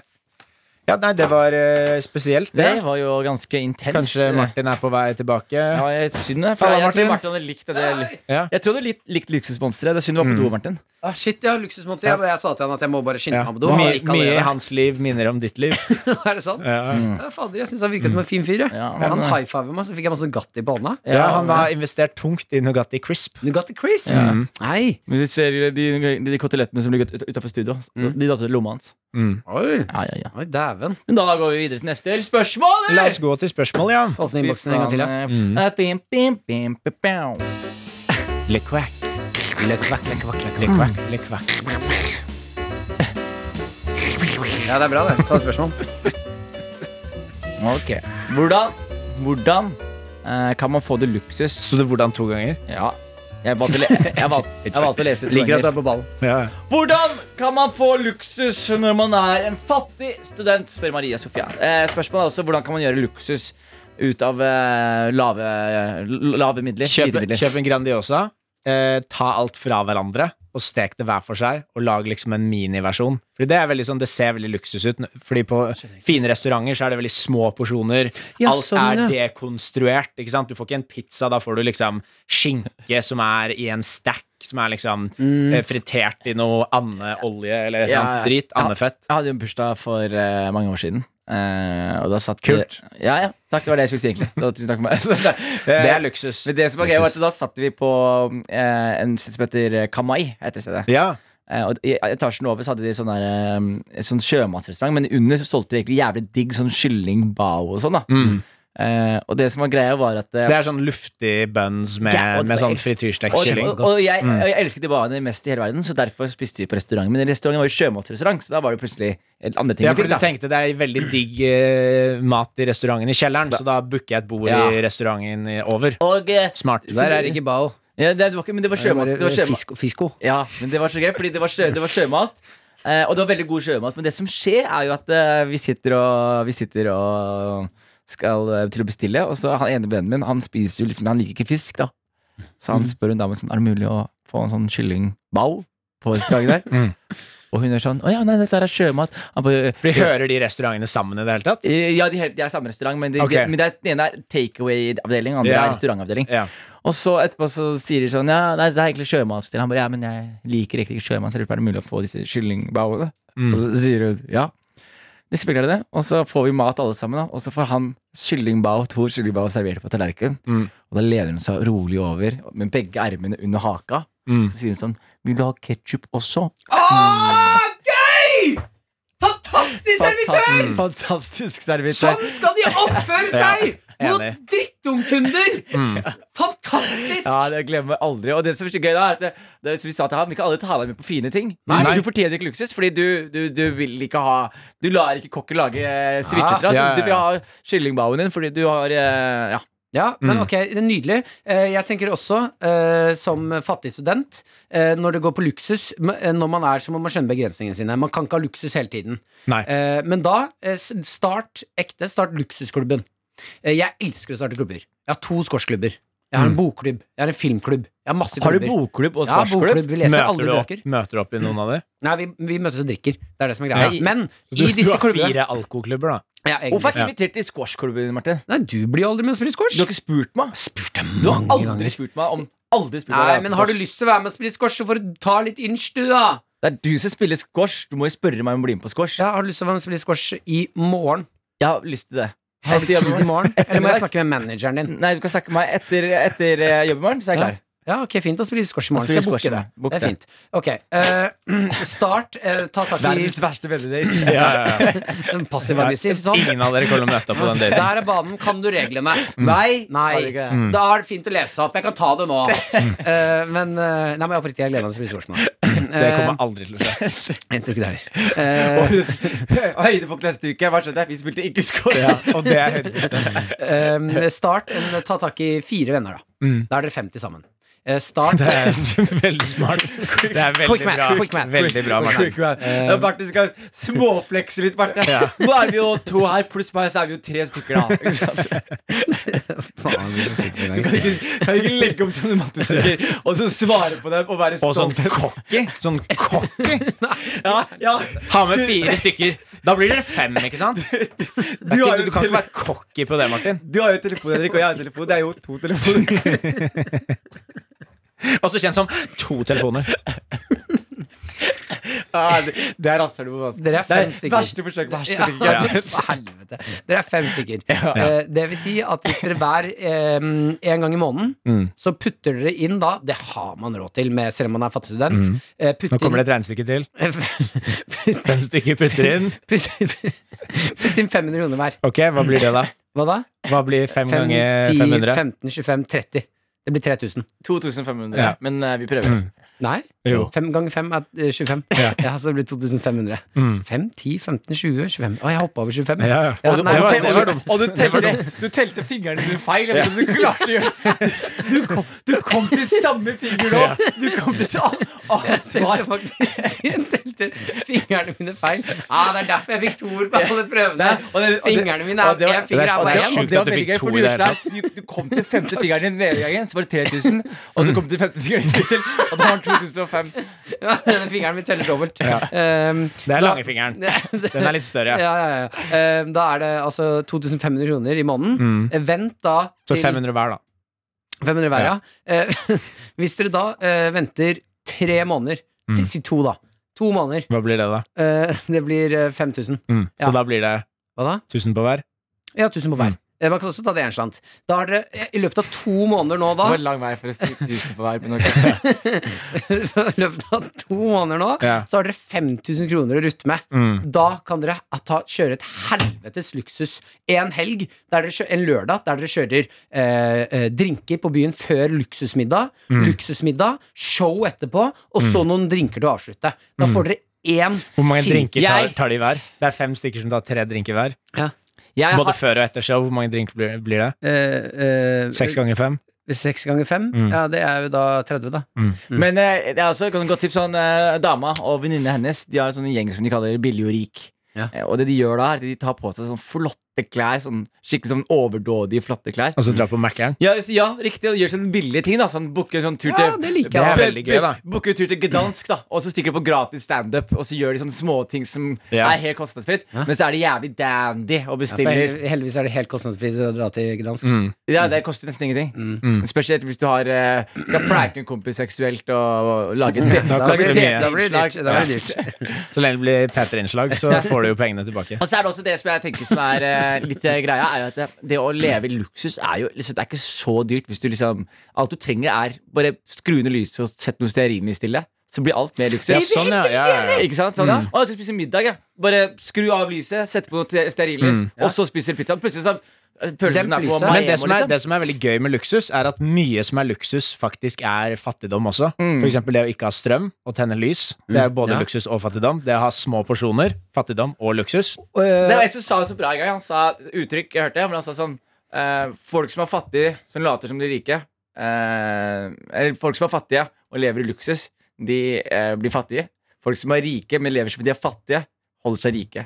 [SPEAKER 2] Ja, nei, det var eh, spesielt,
[SPEAKER 3] Det
[SPEAKER 2] det.
[SPEAKER 3] var jo ganske intenst.
[SPEAKER 2] Kanskje
[SPEAKER 3] eh,
[SPEAKER 2] Martin er på vei tilbake.
[SPEAKER 3] Ja, jeg, synd det. For
[SPEAKER 2] Halla,
[SPEAKER 3] jeg, jeg tror
[SPEAKER 2] Martin.
[SPEAKER 3] Martin hadde likt det.
[SPEAKER 2] Ja.
[SPEAKER 3] Mm. Jeg tror du lik- likte luksusmonsteret. Det er synd du var på do, Martin.
[SPEAKER 4] Ah, shit, jeg har luksusmonter. Jeg, jeg sa til han at jeg må bare skynde
[SPEAKER 2] Ja.
[SPEAKER 4] meg på do. Han
[SPEAKER 2] Mye,
[SPEAKER 4] gikk
[SPEAKER 2] mye i
[SPEAKER 4] allerede.
[SPEAKER 2] hans liv minner om [laughs] ditt liv.
[SPEAKER 4] [laughs] er det sant?
[SPEAKER 2] Ja.
[SPEAKER 4] Ja, fader, jeg syns han virka som en fin fyr. jeg.
[SPEAKER 3] Ja,
[SPEAKER 4] han
[SPEAKER 3] men-
[SPEAKER 4] high fiver meg, så fikk jeg masse Nugatti på hånda.
[SPEAKER 2] Ja, han har investert tungt i Nugatti Crisp.
[SPEAKER 4] Nugatti Crisp! Nei.
[SPEAKER 3] Men hvis du ser de, de, de kotelettene som ligger utafor studio, de datt ut i lomma hans.
[SPEAKER 4] Oi,
[SPEAKER 3] Mm. Ja, ja, ja.
[SPEAKER 4] Oi dæven.
[SPEAKER 3] Men da går vi videre til neste spørsmål, eller?
[SPEAKER 2] La oss gå til spørsmål, ja.
[SPEAKER 4] Åpne innboksen en gang til, ja.
[SPEAKER 3] Eh, bim, bim, bim, bim, bam.
[SPEAKER 2] Le quack. Le quack, le quack, le quack, le quack, le quack.
[SPEAKER 4] ja. Det er bra, det. Ta et spørsmål.
[SPEAKER 3] Ok. Hvordan, hvordan eh, kan man få det luksus?
[SPEAKER 2] Sto det hvordan to ganger?
[SPEAKER 3] Ja. Jeg valgte, le [laughs] jeg valgte, jeg valgte å lese to
[SPEAKER 4] Liker at
[SPEAKER 3] ganger.
[SPEAKER 4] du er på ballen.
[SPEAKER 2] Ja.
[SPEAKER 3] Hvordan kan man få luksus når man er en fattig student? Spør Maria Sofia. Eh, spørsmålet er også hvordan kan man gjøre luksus ut av eh, lave, lave midler?
[SPEAKER 2] Kjøp,
[SPEAKER 3] lite midler?
[SPEAKER 2] kjøp en Grandiosa, eh, ta alt fra hverandre og stek det hver for seg, og lag liksom en miniversjon. Fordi det er veldig sånn, det ser veldig luksus ut. Fordi på fine restauranter så er det veldig små porsjoner.
[SPEAKER 4] Ja,
[SPEAKER 2] alt
[SPEAKER 4] sånn,
[SPEAKER 2] er dekonstruert, ikke sant? Du får ikke en pizza, da får du liksom skinke som er i en stack, som er liksom
[SPEAKER 4] Mm.
[SPEAKER 2] eh, fritert i noe andeolje eller
[SPEAKER 3] Ja,
[SPEAKER 2] noe
[SPEAKER 3] ja.
[SPEAKER 2] drit, andefett.
[SPEAKER 3] Jeg hadde jo en bursdag for eh, mange år siden. eh, og da satt
[SPEAKER 2] Kult.
[SPEAKER 3] Vi, ja, ja. Takk, det var det jeg skulle si, egentlig. Så tusen takk for meg. [laughs]
[SPEAKER 2] Det er luksus.
[SPEAKER 3] Eh, Men det som var gøy, var
[SPEAKER 2] Luksus.
[SPEAKER 3] at da satt vi på eh, en sted som heter Kamai. Heter stedet.
[SPEAKER 2] Ja.
[SPEAKER 3] Eh, og I etasjen over så hadde de sånn der, eh, sånn sjømatrestaurant, men under så solgte de egentlig jævlig digg sånn kylling bao og sånn. da eh, Og det som var greia, var at eh,
[SPEAKER 2] Mm. Det er sånn luftig buns med,
[SPEAKER 3] Ja, og det
[SPEAKER 2] med
[SPEAKER 3] var-
[SPEAKER 2] sånn frityrstekt
[SPEAKER 3] og,
[SPEAKER 2] kylling. Mm.
[SPEAKER 3] og, og jeg, og jeg elsket de baene mest i hele verden, så derfor spiste vi på restaurant. Men restauranten var jo sjømatrestaurant, så da var det plutselig andre ting.
[SPEAKER 2] Ja,
[SPEAKER 3] vi
[SPEAKER 2] for
[SPEAKER 3] fikk,
[SPEAKER 2] du
[SPEAKER 3] da.
[SPEAKER 2] tenkte det er veldig digg eh, mat i restauranten i kjelleren, så da booker jeg et bord
[SPEAKER 3] Ja.
[SPEAKER 2] i restauranten i- over.
[SPEAKER 3] Og eh,
[SPEAKER 2] Smart.
[SPEAKER 3] Så
[SPEAKER 4] Der er
[SPEAKER 3] det-
[SPEAKER 4] det ikke bao.
[SPEAKER 3] ja, det, det var ikke, Men det var
[SPEAKER 4] Det er
[SPEAKER 3] sjømat. Det
[SPEAKER 4] bare
[SPEAKER 3] var
[SPEAKER 4] eh,
[SPEAKER 3] sjømat.
[SPEAKER 4] fisko. fisko.
[SPEAKER 3] Ja, men det var så gøy, fordi det var, sjø, det var sjømat. Eh, og det var veldig god sjømat. Men det som skjer, er jo at eh, vi sitter og, vi sitter og skal eh, til å bestille, og så han ene vennen min, han spiser jo liksom Han liker ikke fisk, da. Så
[SPEAKER 2] Mm.
[SPEAKER 3] han spør en dame som er det mulig å få en sånn kyllingball på restauranten der.
[SPEAKER 2] Mm.
[SPEAKER 3] Og hun er sånn Å ja, nei, dette her er sjømat. Han bare,
[SPEAKER 2] Vi hører de restaurantene sammen i det hele tatt?
[SPEAKER 3] eh, ja, de, helt- de er samme restaurant, men, de,
[SPEAKER 2] Ok.
[SPEAKER 3] de, men det er, den ene er takeaway-avdeling, den andre
[SPEAKER 2] Ja.
[SPEAKER 3] er restaurantavdeling.
[SPEAKER 2] Ja.
[SPEAKER 3] Og så etterpå så sier de sånn Ja, nei, det er egentlig sjømatstil. Han bare Ja, men jeg liker egentlig ikke sjømat. så lurer på, Er det mulig å få disse kyllingbaoene? Og så sier hun ja. Det spiller det, og så får vi mat alle sammen, da. Og så får han kyllingbao, to kyllingbao servert på tallerkenen. Og da lener hun seg rolig over med begge ermene under haka. Så sier hun sånn Vil du ha ketsjup også?
[SPEAKER 6] Gøy! Fantastisk servitør!
[SPEAKER 3] Fanta- Fantastisk servitør.
[SPEAKER 6] Sånn skal de oppføre seg mot
[SPEAKER 2] enig.
[SPEAKER 6] drittungkunder!
[SPEAKER 4] Mm.
[SPEAKER 6] Fantastisk!
[SPEAKER 3] Ja, det glemmer jeg aldri. Og det som er så gøy da, er at det, det er som vi sa til han, vi kan aldri ta deg med på fine ting.
[SPEAKER 2] Nei.
[SPEAKER 3] Du fortjener ikke luksus, fordi du, du, du vil ikke ha Du lar ikke kokken lage eh,
[SPEAKER 4] Ah,
[SPEAKER 3] ceviche til
[SPEAKER 2] ja,
[SPEAKER 3] deg.
[SPEAKER 2] ja,
[SPEAKER 3] Du- Du vil ha kyllingbaoen din fordi du har eh, Ja.
[SPEAKER 4] Ja, men ok, det er nydelig. Eh, Jeg tenker også, eh, som fattig student, eh, når det går på luksus m- eh, Når man er, så må man skjønne begrensningene sine. Man kan ikke ha luksus hele tiden.
[SPEAKER 2] Nei.
[SPEAKER 4] Eh, Men da, eh, s- start ekte. Start luksusklubben. Eh, Jeg elsker å starte klubber. Jeg har to scorsklubber. Jeg har en bokklubb. Jeg har en filmklubb. Jeg har masse
[SPEAKER 3] Har du
[SPEAKER 4] klubber.
[SPEAKER 3] bokklubb og
[SPEAKER 4] Ja,
[SPEAKER 3] sparsklubb?
[SPEAKER 4] bokklubb. Vi leser
[SPEAKER 2] Møter
[SPEAKER 4] aldri
[SPEAKER 2] du, opp,
[SPEAKER 4] bøker.
[SPEAKER 2] møter du opp i noen av de?
[SPEAKER 4] Nei, vi, vi møtes og drikker. Det er det som er greia.
[SPEAKER 2] Ja.
[SPEAKER 4] Men
[SPEAKER 2] Du,
[SPEAKER 4] i
[SPEAKER 2] du
[SPEAKER 4] disse
[SPEAKER 2] har
[SPEAKER 4] klubbene
[SPEAKER 2] fire alkoklubber, da.
[SPEAKER 4] ja, egentlig.
[SPEAKER 3] Hvorfor er ikke invitert til squashklubben, Martin?
[SPEAKER 4] Nei, du blir jo aldri med og spiller squash.
[SPEAKER 3] Du har ikke spurt meg.
[SPEAKER 4] spurt deg
[SPEAKER 3] Du har
[SPEAKER 4] mange
[SPEAKER 3] aldri
[SPEAKER 4] ganger.
[SPEAKER 3] spurt meg om Aldri spurt meg
[SPEAKER 4] Nei,
[SPEAKER 3] om
[SPEAKER 4] men har du
[SPEAKER 3] squash.
[SPEAKER 4] lyst til å være med og spille squash, så får du ta litt inch, du, da.
[SPEAKER 3] Det er du som spiller squash. Du må jo spørre meg om å bli med på squash.
[SPEAKER 4] Ja, har du lyst til å være med og spille squash i morgen?
[SPEAKER 3] Jeg har lyst til det.
[SPEAKER 4] Har du
[SPEAKER 3] Etter
[SPEAKER 4] tid [laughs]
[SPEAKER 3] jobben-
[SPEAKER 4] i morgen? Eller må
[SPEAKER 3] [laughs] Ettermiddag.
[SPEAKER 4] jeg snakke med manageren din?
[SPEAKER 3] Nei, du kan snakke med meg etter, etter eh, jobb i morgen, så er jeg klar.
[SPEAKER 4] Ja, ok, fint. Da spiller vi squash i morgen.
[SPEAKER 3] Da
[SPEAKER 4] Skal jeg
[SPEAKER 3] spiller vi
[SPEAKER 4] booke
[SPEAKER 3] squash, bok
[SPEAKER 4] det? Det er
[SPEAKER 3] det.
[SPEAKER 4] fint. Ok. eh, [clears throat] start. eh, ta tak i [laughs]
[SPEAKER 3] Verdens verste vennedate.
[SPEAKER 2] Ja,
[SPEAKER 3] [laughs]
[SPEAKER 2] ja, ja.
[SPEAKER 4] en [laughs] passiv-aggressiv. Sånn.
[SPEAKER 2] Ingen av dere kommer til å møte opp på den daten.
[SPEAKER 4] Der er banen. Kan du reglene?
[SPEAKER 3] Nei!
[SPEAKER 4] Nei.
[SPEAKER 3] Har du [laughs] ikke?
[SPEAKER 4] Da er det fint å lese opp. Jeg kan ta det nå. [laughs] Eh, men eh, Nei, men oppriktig, jeg gleder meg til å spille squash nå. eh,
[SPEAKER 2] Det kommer aldri til å skje.
[SPEAKER 4] Jeg tror ikke det heller. Eh,
[SPEAKER 3] Høydepunkt neste uke. Hva skjedde? Vi spilte ikke score. [laughs]
[SPEAKER 2] Ja, og det er høydepunktet.
[SPEAKER 4] Eh, start en, Ta tak i fire venner, da. Da er dere 50 sammen. Eh, start
[SPEAKER 2] Det er [laughs] veldig smart. Det er veldig
[SPEAKER 4] Quick math,
[SPEAKER 2] bra.
[SPEAKER 4] quick math.
[SPEAKER 2] Veldig bra, Martin.
[SPEAKER 3] Da Barte skal småflekse litt, Barte.
[SPEAKER 2] Ja.
[SPEAKER 3] [laughs] Nå er vi jo to her, pluss meg, så er vi jo tre stykker, da. [laughs] Ikke sant?
[SPEAKER 4] [laughs] Faen, vi sitter i
[SPEAKER 3] Du
[SPEAKER 4] gang.
[SPEAKER 3] kan ikke, kan ikke legge opp sånne mattestykker og så svare på dem og være
[SPEAKER 2] Og sånn
[SPEAKER 3] stolt.
[SPEAKER 2] cocky. Sånn cocky.
[SPEAKER 3] Ja, [laughs] ja.
[SPEAKER 2] Ha med fire stykker. Da blir dere fem, ikke sant?
[SPEAKER 3] Du, har
[SPEAKER 2] du kan
[SPEAKER 3] jo
[SPEAKER 2] ikke
[SPEAKER 3] tele
[SPEAKER 2] være cocky på det, Martin.
[SPEAKER 3] du har jo telefon, Henrik, og jeg har telefon. Det er jo to telefoner.
[SPEAKER 2] Også kjent som to telefoner.
[SPEAKER 3] [laughs] Ja, det det er rasshølet på dansen.
[SPEAKER 4] Dere er fem
[SPEAKER 3] det
[SPEAKER 4] stykker.
[SPEAKER 3] [laughs] verste forsøk på
[SPEAKER 4] Ja,
[SPEAKER 3] hersketeknikk. jeg har sett.
[SPEAKER 4] for helvete. Dere er fem stykker. Eh, det vil si at hvis dere hver eh, en gang i måneden, så putter dere inn da Det har man råd til med, selv om man er fattig student. Eh, putter
[SPEAKER 2] Nå kommer det et regnestykke til.
[SPEAKER 4] [laughs] inn,
[SPEAKER 2] Fem stykker putter inn.
[SPEAKER 4] putt, putt inn 500 kroner hver.
[SPEAKER 2] Ok, hva blir det, da?
[SPEAKER 4] Hva da?
[SPEAKER 2] Hva blir fem
[SPEAKER 4] 5,
[SPEAKER 2] ganger
[SPEAKER 4] 10,
[SPEAKER 2] 500?
[SPEAKER 4] 15, 25, 30. Det blir 3000.
[SPEAKER 3] 2500.
[SPEAKER 2] Ja.
[SPEAKER 3] Men eh, vi prøver.
[SPEAKER 4] Nei,
[SPEAKER 2] Jo.
[SPEAKER 4] 5 ganger 5 er eh, 25. [laughs] Ja. så det blir 2500. 5, 10, 15, 20, 25. Å, jeg hoppa over 25. [laughs]
[SPEAKER 2] Ja, ja.
[SPEAKER 4] Ja,
[SPEAKER 3] Og,
[SPEAKER 4] nei,
[SPEAKER 3] og,
[SPEAKER 2] var-
[SPEAKER 3] du tel-
[SPEAKER 4] det
[SPEAKER 2] det
[SPEAKER 4] var
[SPEAKER 2] var
[SPEAKER 4] dumt.
[SPEAKER 3] og du telte rett. Du telte fingrene dine feil. Jeg vet ikke om du klarte å gjøre det.
[SPEAKER 2] [laughs]
[SPEAKER 3] Du, du, kom, du kom til samme finger nå. Du kom til et annet- annet svar.
[SPEAKER 4] Telte faktisk- [laughs] Jeg telte fingrene mine feil. Ah, det er derfor jeg fikk to ord på alle prøvene.
[SPEAKER 3] Nei, og det- og det-
[SPEAKER 4] Fingrene mine er
[SPEAKER 3] og det var-
[SPEAKER 4] en finger er
[SPEAKER 3] og
[SPEAKER 4] bare
[SPEAKER 3] det- og det var
[SPEAKER 4] én.
[SPEAKER 2] Sjukt at du
[SPEAKER 3] veldig
[SPEAKER 2] fikk
[SPEAKER 3] gøy,
[SPEAKER 2] to
[SPEAKER 3] for
[SPEAKER 2] i det hele
[SPEAKER 3] Ulstein, Du, du kom til femte fingeren din den ene gangen, så var det 3000. Og så kom du til femte fingeren din til, og da var den 2005.
[SPEAKER 4] Ja, [laughs] Denne fingeren min teller dobbelt. [laughs] Um,
[SPEAKER 2] Det er
[SPEAKER 4] da-
[SPEAKER 2] langfingeren. Den er litt større, ja.
[SPEAKER 4] Ja, ja, ja. Um, da er det altså 2500 kroner i måneden. Eh, Vent da
[SPEAKER 2] Mm. Så
[SPEAKER 4] til
[SPEAKER 2] 500 hver, da.
[SPEAKER 4] 500 hver, ja. Eh, [laughs] hvis dere da eh, venter tre måneder, til- si to, da. To måneder.
[SPEAKER 2] Hva blir det, da?
[SPEAKER 4] Eh, [laughs] det blir eh, 5000.
[SPEAKER 2] Mm.
[SPEAKER 4] Ja.
[SPEAKER 2] Så da Mm. blir det
[SPEAKER 4] Hva da?
[SPEAKER 2] 1000 på hver?
[SPEAKER 4] Ja, 1000 på hver. Eh, Man kan også ta det enslant. Da har dere eh, i løpet av to måneder nå, da
[SPEAKER 3] Det var lang vei for å si 1000 på hver. Men ok.
[SPEAKER 4] [laughs] I løpet av to måneder nå
[SPEAKER 2] Ja.
[SPEAKER 4] Så har dere 5000 kroner å rutte med.
[SPEAKER 2] Mm.
[SPEAKER 4] Da kan dere ta, kjøre et helvetes luksus en helg, der dere kjø- en lørdag, der dere kjører eh, eh, drinker på byen før luksusmiddag,
[SPEAKER 2] Mm.
[SPEAKER 4] luksusmiddag, show etterpå, og så noen drinker til å avslutte. Da får dere én
[SPEAKER 2] Mm. Hvor mange
[SPEAKER 4] sin-
[SPEAKER 2] drinker tar,
[SPEAKER 4] Jeg-
[SPEAKER 2] tar de hver? Det er fem stykker som tar tre drinker hver.
[SPEAKER 4] Ja.
[SPEAKER 3] Jeg
[SPEAKER 2] Både
[SPEAKER 3] har,
[SPEAKER 2] før og etter show. Hvor mange drinker blir, blir det?
[SPEAKER 4] Eh, eh,
[SPEAKER 2] Seks ganger fem?
[SPEAKER 4] seks ganger fem?
[SPEAKER 2] Mm.
[SPEAKER 4] Ja, det er jo da 30, da.
[SPEAKER 3] men eh, det er også et godt tips. Sånn, eh, dama og venninnen hennes De har en sånn gjeng som de kaller Billig og rik.
[SPEAKER 4] Ja.
[SPEAKER 3] Eh, og det de gjør da, er at de tar på seg sånn flotte klær. Sånn, skikkelig sånn overdådige, flotte klær.
[SPEAKER 2] Og så dra på Mækkern?
[SPEAKER 3] Ja, så- ja, riktig. Og gjør sånne billige ting. da Sånn, Booker sånn tur til
[SPEAKER 4] Ja, det liker jeg.
[SPEAKER 2] Det
[SPEAKER 3] Bu-
[SPEAKER 2] er veldig gøy, da.
[SPEAKER 3] bu- Booker tur til Gdansk, da og så stikker de på gratis standup. Og så gjør de sånne småting som
[SPEAKER 2] Ja.
[SPEAKER 3] er helt kostnadsfritt. Men så er det jævlig dandy å
[SPEAKER 4] For
[SPEAKER 3] bestille.
[SPEAKER 4] hel- heldigvis er det helt kostnadsfritt å dra til Gdansk.
[SPEAKER 2] Mm.
[SPEAKER 3] Ja, Det koster nesten ingenting. Spesielt hvis du har eh, skal pranke en kompis seksuelt og, og lage et
[SPEAKER 2] Da
[SPEAKER 4] Da
[SPEAKER 2] koster
[SPEAKER 4] blir
[SPEAKER 2] det
[SPEAKER 4] det
[SPEAKER 2] mye.
[SPEAKER 4] dyrt. Da blir det dyrt. Da blir det [laughs] dyrt.
[SPEAKER 2] Så lenge det blir Petter-innslag,
[SPEAKER 3] [laughs]
[SPEAKER 2] så får du jo pengene tilbake.
[SPEAKER 3] Og så er det også det som jeg tenker som er eh, litt eh, greia, er jo at det, det å leve i luksus er jo liksom, Det er ikke så dyrt hvis du liksom Alt du trenger er bare skru ned lyset og sett noe stearinlys til det. Så blir alt mer luksus.
[SPEAKER 2] Ja, sånn, ja. Ja, ja, ja.
[SPEAKER 3] Ikke sant? Sånn,
[SPEAKER 2] Mm.
[SPEAKER 3] ja. Å, jeg skal spise middag, jeg. Bare skru av lyset, sette på noe te- stearinlys, og så spiser du pizza. Plutselig så eh, føles det som du er på
[SPEAKER 4] lyset.
[SPEAKER 3] Maemo,
[SPEAKER 2] Men det som, Mm. er,
[SPEAKER 3] liksom.
[SPEAKER 2] det som er veldig gøy med luksus, er at mye som er luksus, faktisk er fattigdom også.
[SPEAKER 3] Mm.
[SPEAKER 2] For eksempel det å ikke ha strøm og tenne lys. Det er både
[SPEAKER 4] Ja.
[SPEAKER 2] luksus og fattigdom. Det å ha små porsjoner, fattigdom og luksus.
[SPEAKER 4] Eh, øh,
[SPEAKER 3] Det var en som sa det så bra en gang. Han sa et uttrykk, jeg hørte det, men han sa sånn eh, Folk som er fattige, som later som de er rike eh, Eller folk som er fattige og lever i luksus, de eh, blir fattige. Folk som er rike, men lever som de er fattige, holder seg rike.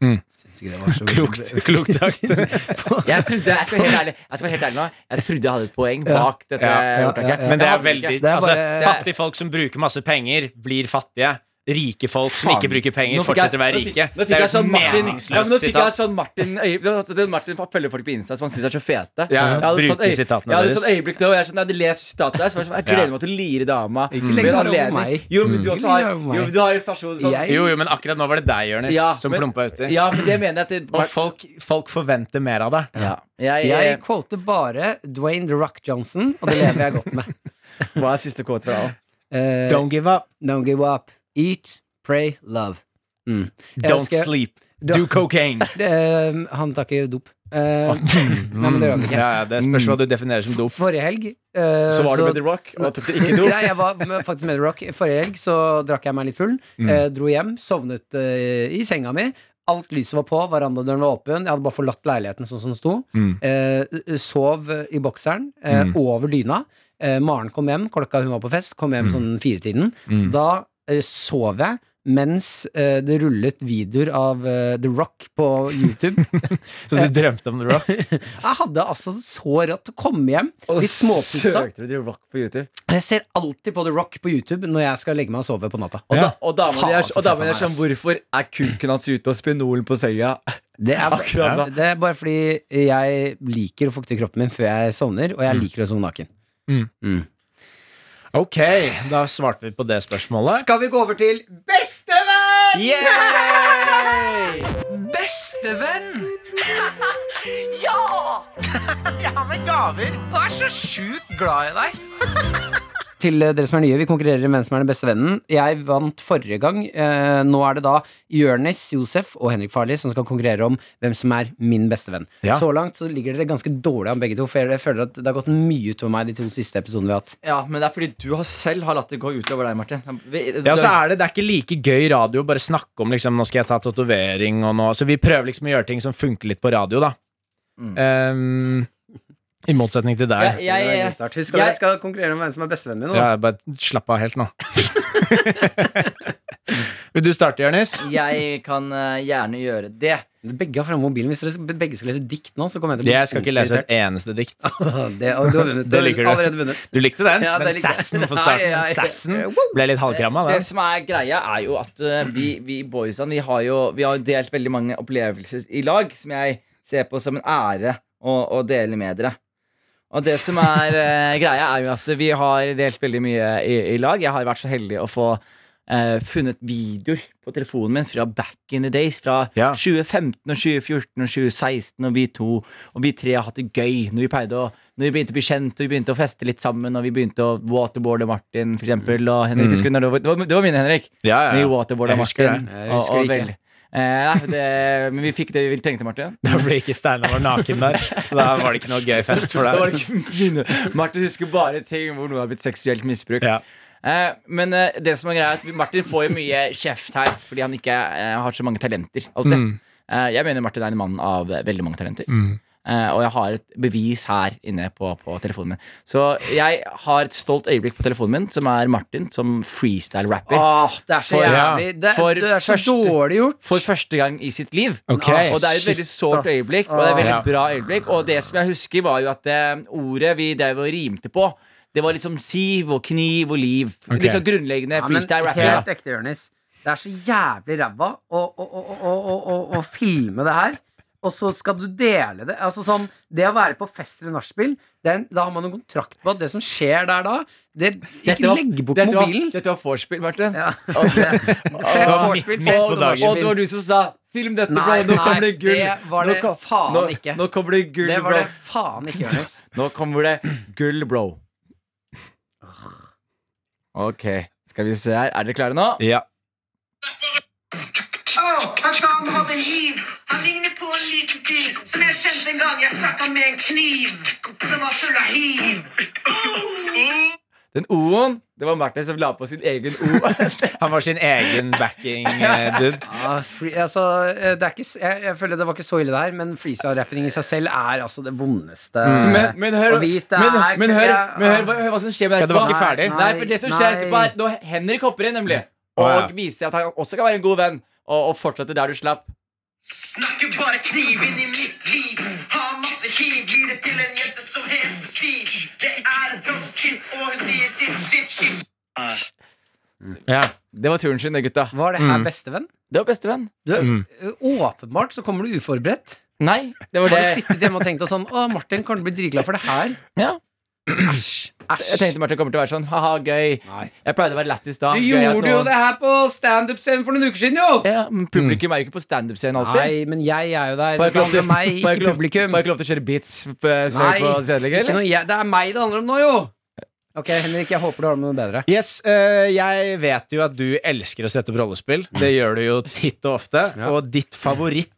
[SPEAKER 2] [laughs] Klokt, klokt
[SPEAKER 4] [laughs]
[SPEAKER 2] sagt.
[SPEAKER 3] Jeg trodde, jeg skal være helt ærlig, jeg skal være helt ærlig nå Jeg trodde jeg hadde et poeng bak dette
[SPEAKER 4] ja,
[SPEAKER 3] ordtaket.
[SPEAKER 4] ja, ja.
[SPEAKER 2] Men det er
[SPEAKER 3] Jeg hadde
[SPEAKER 2] veldig
[SPEAKER 3] ikke.
[SPEAKER 4] Det er
[SPEAKER 2] altså,
[SPEAKER 4] bare-
[SPEAKER 2] Fattige folk som bruker masse penger, blir fattige. Rike folk som
[SPEAKER 3] Faen.
[SPEAKER 2] ikke bruker penger,
[SPEAKER 3] Nå fikk jeg-
[SPEAKER 2] fortsetter å være
[SPEAKER 3] nå fikk-
[SPEAKER 2] rike.
[SPEAKER 3] Nå
[SPEAKER 2] Det
[SPEAKER 3] fikk
[SPEAKER 2] er
[SPEAKER 3] jeg
[SPEAKER 2] jo
[SPEAKER 3] sånn
[SPEAKER 2] et
[SPEAKER 3] Martin ja, men Nå
[SPEAKER 2] meningsløst
[SPEAKER 3] fikk jeg
[SPEAKER 2] sitat.
[SPEAKER 3] sånn Martin Øy- så- så- så Martin følger folk på Insta som han syns er så fete.
[SPEAKER 2] Ja,
[SPEAKER 3] Jeg hadde
[SPEAKER 2] bruker
[SPEAKER 3] sånn øy-
[SPEAKER 2] sitatene
[SPEAKER 3] Jeg hadde
[SPEAKER 2] deres.
[SPEAKER 3] sånn øyeblikk nå, og jeg sånn, jeg hadde lest sitatet der, så var jeg sånn, jeg gleder meg til å lire dama. Ikke
[SPEAKER 4] legg det over meg.
[SPEAKER 3] Jo, men du
[SPEAKER 4] Ikke
[SPEAKER 3] også har
[SPEAKER 4] legg det over meg.
[SPEAKER 3] Jo, men du har en person som
[SPEAKER 4] Jeg-
[SPEAKER 2] Jo, jo, men akkurat nå var det deg, Jonis,
[SPEAKER 3] Ja,
[SPEAKER 2] som
[SPEAKER 3] men-
[SPEAKER 2] plumpa uti.
[SPEAKER 3] Ja, men det mener jeg at det,
[SPEAKER 2] Og folk, folk forventer mer av deg.
[SPEAKER 3] ja. Jeg,
[SPEAKER 4] Jeg
[SPEAKER 3] eh,
[SPEAKER 4] quoter bare Dwayne The Rock Johnson, og det lever jeg godt med.
[SPEAKER 3] Hva er siste kåt fra deg?
[SPEAKER 4] Eh,
[SPEAKER 2] Don't give up.
[SPEAKER 4] [laughs] Don't give up. Eat, pray, love. Mm. Jeg
[SPEAKER 2] Don't
[SPEAKER 4] elsker-
[SPEAKER 2] sleep.
[SPEAKER 4] Da-
[SPEAKER 2] Do cocaine.
[SPEAKER 4] Eh, han tar ikke dop. Eh, nei, men det gjør han
[SPEAKER 2] [laughs]
[SPEAKER 4] ikke.
[SPEAKER 2] Ja, ja, det spørs hva du definerer som dop.
[SPEAKER 4] Forrige helg eh,
[SPEAKER 3] Så var du med The Rock, og da tok det
[SPEAKER 4] [laughs]
[SPEAKER 3] ikke dop.
[SPEAKER 4] Nei, jeg var med, faktisk med The Rock. Forrige helg så drakk jeg meg litt full. eh, dro hjem, sovnet eh, i senga mi. Alt lyset var på, verandadøren var åpen. Jeg hadde bare forlatt leiligheten sånn som den sto. Eh, sov i bokseren eh, over dyna. Eh, Maren kom hjem, klokka hun var på fest, kom hjem sånn firetiden.
[SPEAKER 2] Mm.
[SPEAKER 4] Da eh, sov jeg. Mens eh, det rullet videoer av eh, The Rock på YouTube.
[SPEAKER 2] Så du drømte om The Rock?
[SPEAKER 4] Jeg hadde altså så rått å komme hjem, litt småpussa.
[SPEAKER 3] søkte du til Rock på YouTube.
[SPEAKER 4] Jeg ser alltid på The Rock på YouTube når jeg skal legge meg og sove på natta.
[SPEAKER 3] Og,
[SPEAKER 2] Ja.
[SPEAKER 3] da, og damen
[SPEAKER 4] Faen,
[SPEAKER 3] din er,
[SPEAKER 4] så
[SPEAKER 3] og damen
[SPEAKER 4] fett
[SPEAKER 3] din er
[SPEAKER 4] han er,
[SPEAKER 3] sånn Hvorfor er kuken hans ute og spinolen på senga?
[SPEAKER 4] Det er,
[SPEAKER 3] Akkurat da.
[SPEAKER 4] det er bare fordi jeg liker å fukte kroppen min før jeg sovner, og jeg liker å sove naken.
[SPEAKER 2] [laughs] Ok, da svarte vi på det spørsmålet.
[SPEAKER 4] Skal vi gå over til best
[SPEAKER 2] Yay!
[SPEAKER 4] [laughs]
[SPEAKER 7] Bestevenn!
[SPEAKER 8] Jeg har med gaver.
[SPEAKER 7] Jeg er så sjukt glad i deg!
[SPEAKER 4] [laughs] Til eh, dere som er nye, vi konkurrerer om hvem som er den beste vennen. Jeg vant forrige gang. Eh, nå er det da Jørnis, Josef og Henrik Farli som skal konkurrere om hvem som er min beste venn.
[SPEAKER 2] Ja.
[SPEAKER 4] Så langt så ligger dere ganske dårlig an begge to, for jeg føler at det har gått mye utover meg de to siste episodene vi har hatt.
[SPEAKER 3] Ja, men det er fordi du har selv har latt det gå utover deg, Martin. Vi-
[SPEAKER 2] Ja, så er det, det er ikke like gøy radio å bare snakke om liksom, Nå skal jeg ta tatovering og nå Så vi prøver liksom å gjøre ting som funker litt på radio, da. Um, I motsetning til
[SPEAKER 3] jeg,
[SPEAKER 2] deg.
[SPEAKER 3] jeg,
[SPEAKER 7] eh,
[SPEAKER 3] jeg,
[SPEAKER 4] Husk at
[SPEAKER 3] jeg-
[SPEAKER 4] dere skal konkurrere om hvem som er bestevennen min. nå.
[SPEAKER 2] Ja, bare slapp av helt nå. Vil du starte, Jonis?
[SPEAKER 3] jeg kan eh, gjerne gjøre det.
[SPEAKER 4] Begge har framme mobilen. Hvis dere begge skal lese dikt nå, så kommer jeg til å bli
[SPEAKER 2] Jeg skal ikke lese et
[SPEAKER 4] irritert.
[SPEAKER 2] eneste dikt.
[SPEAKER 4] [laughs] det, og du har vunnet. Du
[SPEAKER 2] Det
[SPEAKER 4] har
[SPEAKER 2] liker du.
[SPEAKER 4] allerede vunnet.
[SPEAKER 2] Du likte den?
[SPEAKER 4] [laughs] Ja, det
[SPEAKER 2] den
[SPEAKER 4] likte jeg.
[SPEAKER 2] sassen for
[SPEAKER 4] Ja,
[SPEAKER 2] starten.
[SPEAKER 4] ja, ja.
[SPEAKER 2] Sassen
[SPEAKER 4] Wow.
[SPEAKER 2] ble litt halvkramma,
[SPEAKER 3] Det
[SPEAKER 2] den.
[SPEAKER 3] som er greia, er jo at eh, vi, vi boysene vi har jo vi har jo delt veldig mange opplevelser i lag, som jeg ser på som en ære å, å dele med dere. Og det som er eh, greia, er jo at vi har delt veldig mye i, i lag. Jeg har vært så heldig å få eh, funnet videoer på telefonen min fra back in the days. Fra
[SPEAKER 2] Ja.
[SPEAKER 3] 2015 og 2014 og 2016, og vi to og vi tre har hatt det gøy når vi pleide å når vi begynte å bli kjent, og vi begynte å feste litt sammen, og vi begynte å waterboarde Martin, for eksempel, og Henrik, husker du når det var, det var, det var mine, Henrik.
[SPEAKER 2] Ja, Mm. ja,
[SPEAKER 3] Vi
[SPEAKER 2] ja.
[SPEAKER 3] waterboarda
[SPEAKER 2] Jeg husker
[SPEAKER 3] Martin.
[SPEAKER 2] det.
[SPEAKER 4] Jeg husker det ikke.
[SPEAKER 3] vel. Eh, nei, det, men vi fikk det vi trengte, Martin.
[SPEAKER 2] Da ble ikke Steinar var naken der. Da var det ikke noe gøy fest
[SPEAKER 4] [laughs]
[SPEAKER 2] for
[SPEAKER 3] Det var
[SPEAKER 2] deg.
[SPEAKER 3] ikke mine. Martin husker bare ting hvor noe har blitt seksuelt misbrukt.
[SPEAKER 2] Ja.
[SPEAKER 3] Eh, men eh, det som er greia er at Martin får jo mye kjeft her fordi han ikke eh, har så mange talenter. alltid.
[SPEAKER 2] Mm.
[SPEAKER 3] Eh, jeg mener Martin er en mann av eh, veldig mange talenter. Eh, og jeg har et bevis her inne på, på telefonen min. Så jeg har et stolt øyeblikk på telefonen min, som er Martin som freestyle-rapper.
[SPEAKER 4] Åh, Ah, det er så
[SPEAKER 3] For-
[SPEAKER 4] jævlig. Det,
[SPEAKER 3] for
[SPEAKER 4] det er så
[SPEAKER 3] første-
[SPEAKER 4] dårlig gjort.
[SPEAKER 3] For første gang i sitt liv.
[SPEAKER 2] Ok.
[SPEAKER 3] Og det er jo et veldig sårt øyeblikk, og det er et veldig bra øyeblikk. Og det som jeg husker, var jo at det ordet vi drev og rimte på, det var liksom siv og kniv og liv.
[SPEAKER 2] Ok.
[SPEAKER 3] Litt sånn grunnleggende
[SPEAKER 4] Ja, men
[SPEAKER 3] freestyle-rapper.
[SPEAKER 4] helt ekte, Jonis. Det er så jævlig ræva å, å, å, å, å, å, å filme det her. Og så skal du dele det. Altså sånn, Det å være på fest eller nachspiel, det er en- da har man en kontrakt på at det som skjer der da det,
[SPEAKER 3] Dette
[SPEAKER 4] Ikke
[SPEAKER 3] var-
[SPEAKER 4] legg bort
[SPEAKER 3] dette var-
[SPEAKER 4] mobilen.
[SPEAKER 3] Dette var vorspiel, Martin.
[SPEAKER 4] [laughs] Ja. Vorspiel,
[SPEAKER 2] midt på
[SPEAKER 4] fest
[SPEAKER 3] Og,
[SPEAKER 4] og
[SPEAKER 3] og
[SPEAKER 4] nachspiel.
[SPEAKER 3] det var du som sa 'film dette,
[SPEAKER 4] Nei,
[SPEAKER 3] bro, nå
[SPEAKER 4] nei,
[SPEAKER 3] kommer det gull'.
[SPEAKER 4] det var det
[SPEAKER 3] nå, kom-
[SPEAKER 4] faen
[SPEAKER 3] nå,
[SPEAKER 4] ikke.
[SPEAKER 3] Nå kommer det gull,
[SPEAKER 4] Det var
[SPEAKER 3] bro.
[SPEAKER 4] det faen ikke, Jonis.
[SPEAKER 3] Nå kommer det gull, bro. Ok, skal vi se her. Er dere klare nå?
[SPEAKER 2] Ja.
[SPEAKER 9] Åh, hva faen hadde hiv? Han ligner på en liten fyr som jeg kjente en gang jeg stakk av med en kniv som var full av hiv.
[SPEAKER 3] Den O-en, det var Martin som la på sin egen O.
[SPEAKER 2] Han var sin egen eh, backing-dude.
[SPEAKER 4] Ja, free, altså, eh, det er ikke, s- jeg, jeg føler det var ikke så ille der, men freestyle-rapping i seg selv er altså det vondeste
[SPEAKER 3] Men, men hør,
[SPEAKER 4] å vite.
[SPEAKER 3] men,
[SPEAKER 4] er-
[SPEAKER 3] men, hør,
[SPEAKER 4] jeg-
[SPEAKER 3] men hør, hva- hør hva som skjer med
[SPEAKER 2] Ja,
[SPEAKER 3] deg
[SPEAKER 2] det var ikke
[SPEAKER 3] etterpå.
[SPEAKER 2] ferdig.
[SPEAKER 3] Nei, for det som skjer
[SPEAKER 4] Nei.
[SPEAKER 3] etterpå er når Henrik hopper inn, nemlig. Og
[SPEAKER 2] Å, ja.
[SPEAKER 3] viser at han også kan være en god venn. Og, og fortsetter der du slapp.
[SPEAKER 9] Snakker bare kniv inn i mitt liv. Har masse hiv, gir det til en jente som heter Stiv. Det er en prostitutt, og hun sier sitt, sitt, sitt.
[SPEAKER 2] Ja.
[SPEAKER 3] Det var turen sin, det, gutta.
[SPEAKER 4] Var det her bestevenn?
[SPEAKER 3] Det var bestevenn.
[SPEAKER 4] Du, ø, Åpenbart så kommer du uforberedt.
[SPEAKER 3] Nei, det var
[SPEAKER 4] Har du
[SPEAKER 3] det.
[SPEAKER 4] sittet hjemme og tenkt og sånn Å, Martin kan du bli dritglad for det her?
[SPEAKER 3] Ja.
[SPEAKER 4] Æsj.
[SPEAKER 3] Jeg tenkte Martin kommer til å være sånn ha-ha, gøy. Jeg pleide å være lættis da.
[SPEAKER 4] Du
[SPEAKER 3] Gøy at
[SPEAKER 4] gjorde jo
[SPEAKER 3] noen-
[SPEAKER 4] det her på standup-scenen for noen uker siden, jo!
[SPEAKER 3] Ja, men Publikum er jo ikke på standup-scenen alltid.
[SPEAKER 4] Nei, men jeg er jo der.
[SPEAKER 3] Får jeg
[SPEAKER 4] Det
[SPEAKER 3] ikke lov til-
[SPEAKER 4] handler om meg,
[SPEAKER 3] får jeg
[SPEAKER 4] ikke
[SPEAKER 3] lov-
[SPEAKER 4] publikum.
[SPEAKER 3] Får jeg ikke lov til å kjøre beats på,
[SPEAKER 4] Nei,
[SPEAKER 3] på Sedelig,
[SPEAKER 4] ikke
[SPEAKER 3] eller?
[SPEAKER 4] noe jeg, det er meg det handler om nå, jo! Ok, Henrik, jeg håper du har med noe bedre.
[SPEAKER 2] Yes, eh, jeg vet jo at du elsker å sette opp rollespill. Det gjør du jo titt og ofte. Og ditt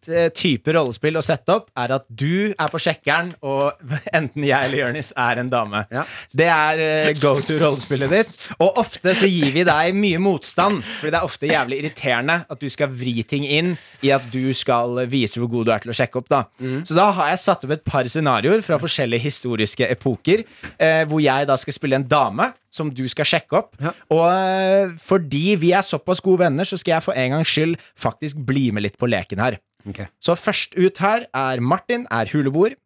[SPEAKER 2] favoritt-type rollespill å sette opp er at du er på sjekkeren, og [laughs] enten jeg eller Jonis er en dame.
[SPEAKER 4] Ja.
[SPEAKER 2] Det er go to rollespillet ditt. Og ofte så gir vi deg mye motstand, Fordi det er ofte jævlig irriterende at du skal vri ting inn i at du skal vise hvor god du er til å sjekke opp. da Så da har jeg satt opp et par scenarioer fra forskjellige historiske epoker, eh, hvor jeg da skal spille en dame som du skal sjekke opp. Og eh, fordi vi er såpass gode venner, så skal jeg for en gangs skyld faktisk bli med litt på leken her. Så først ut her er Martin er huleboer.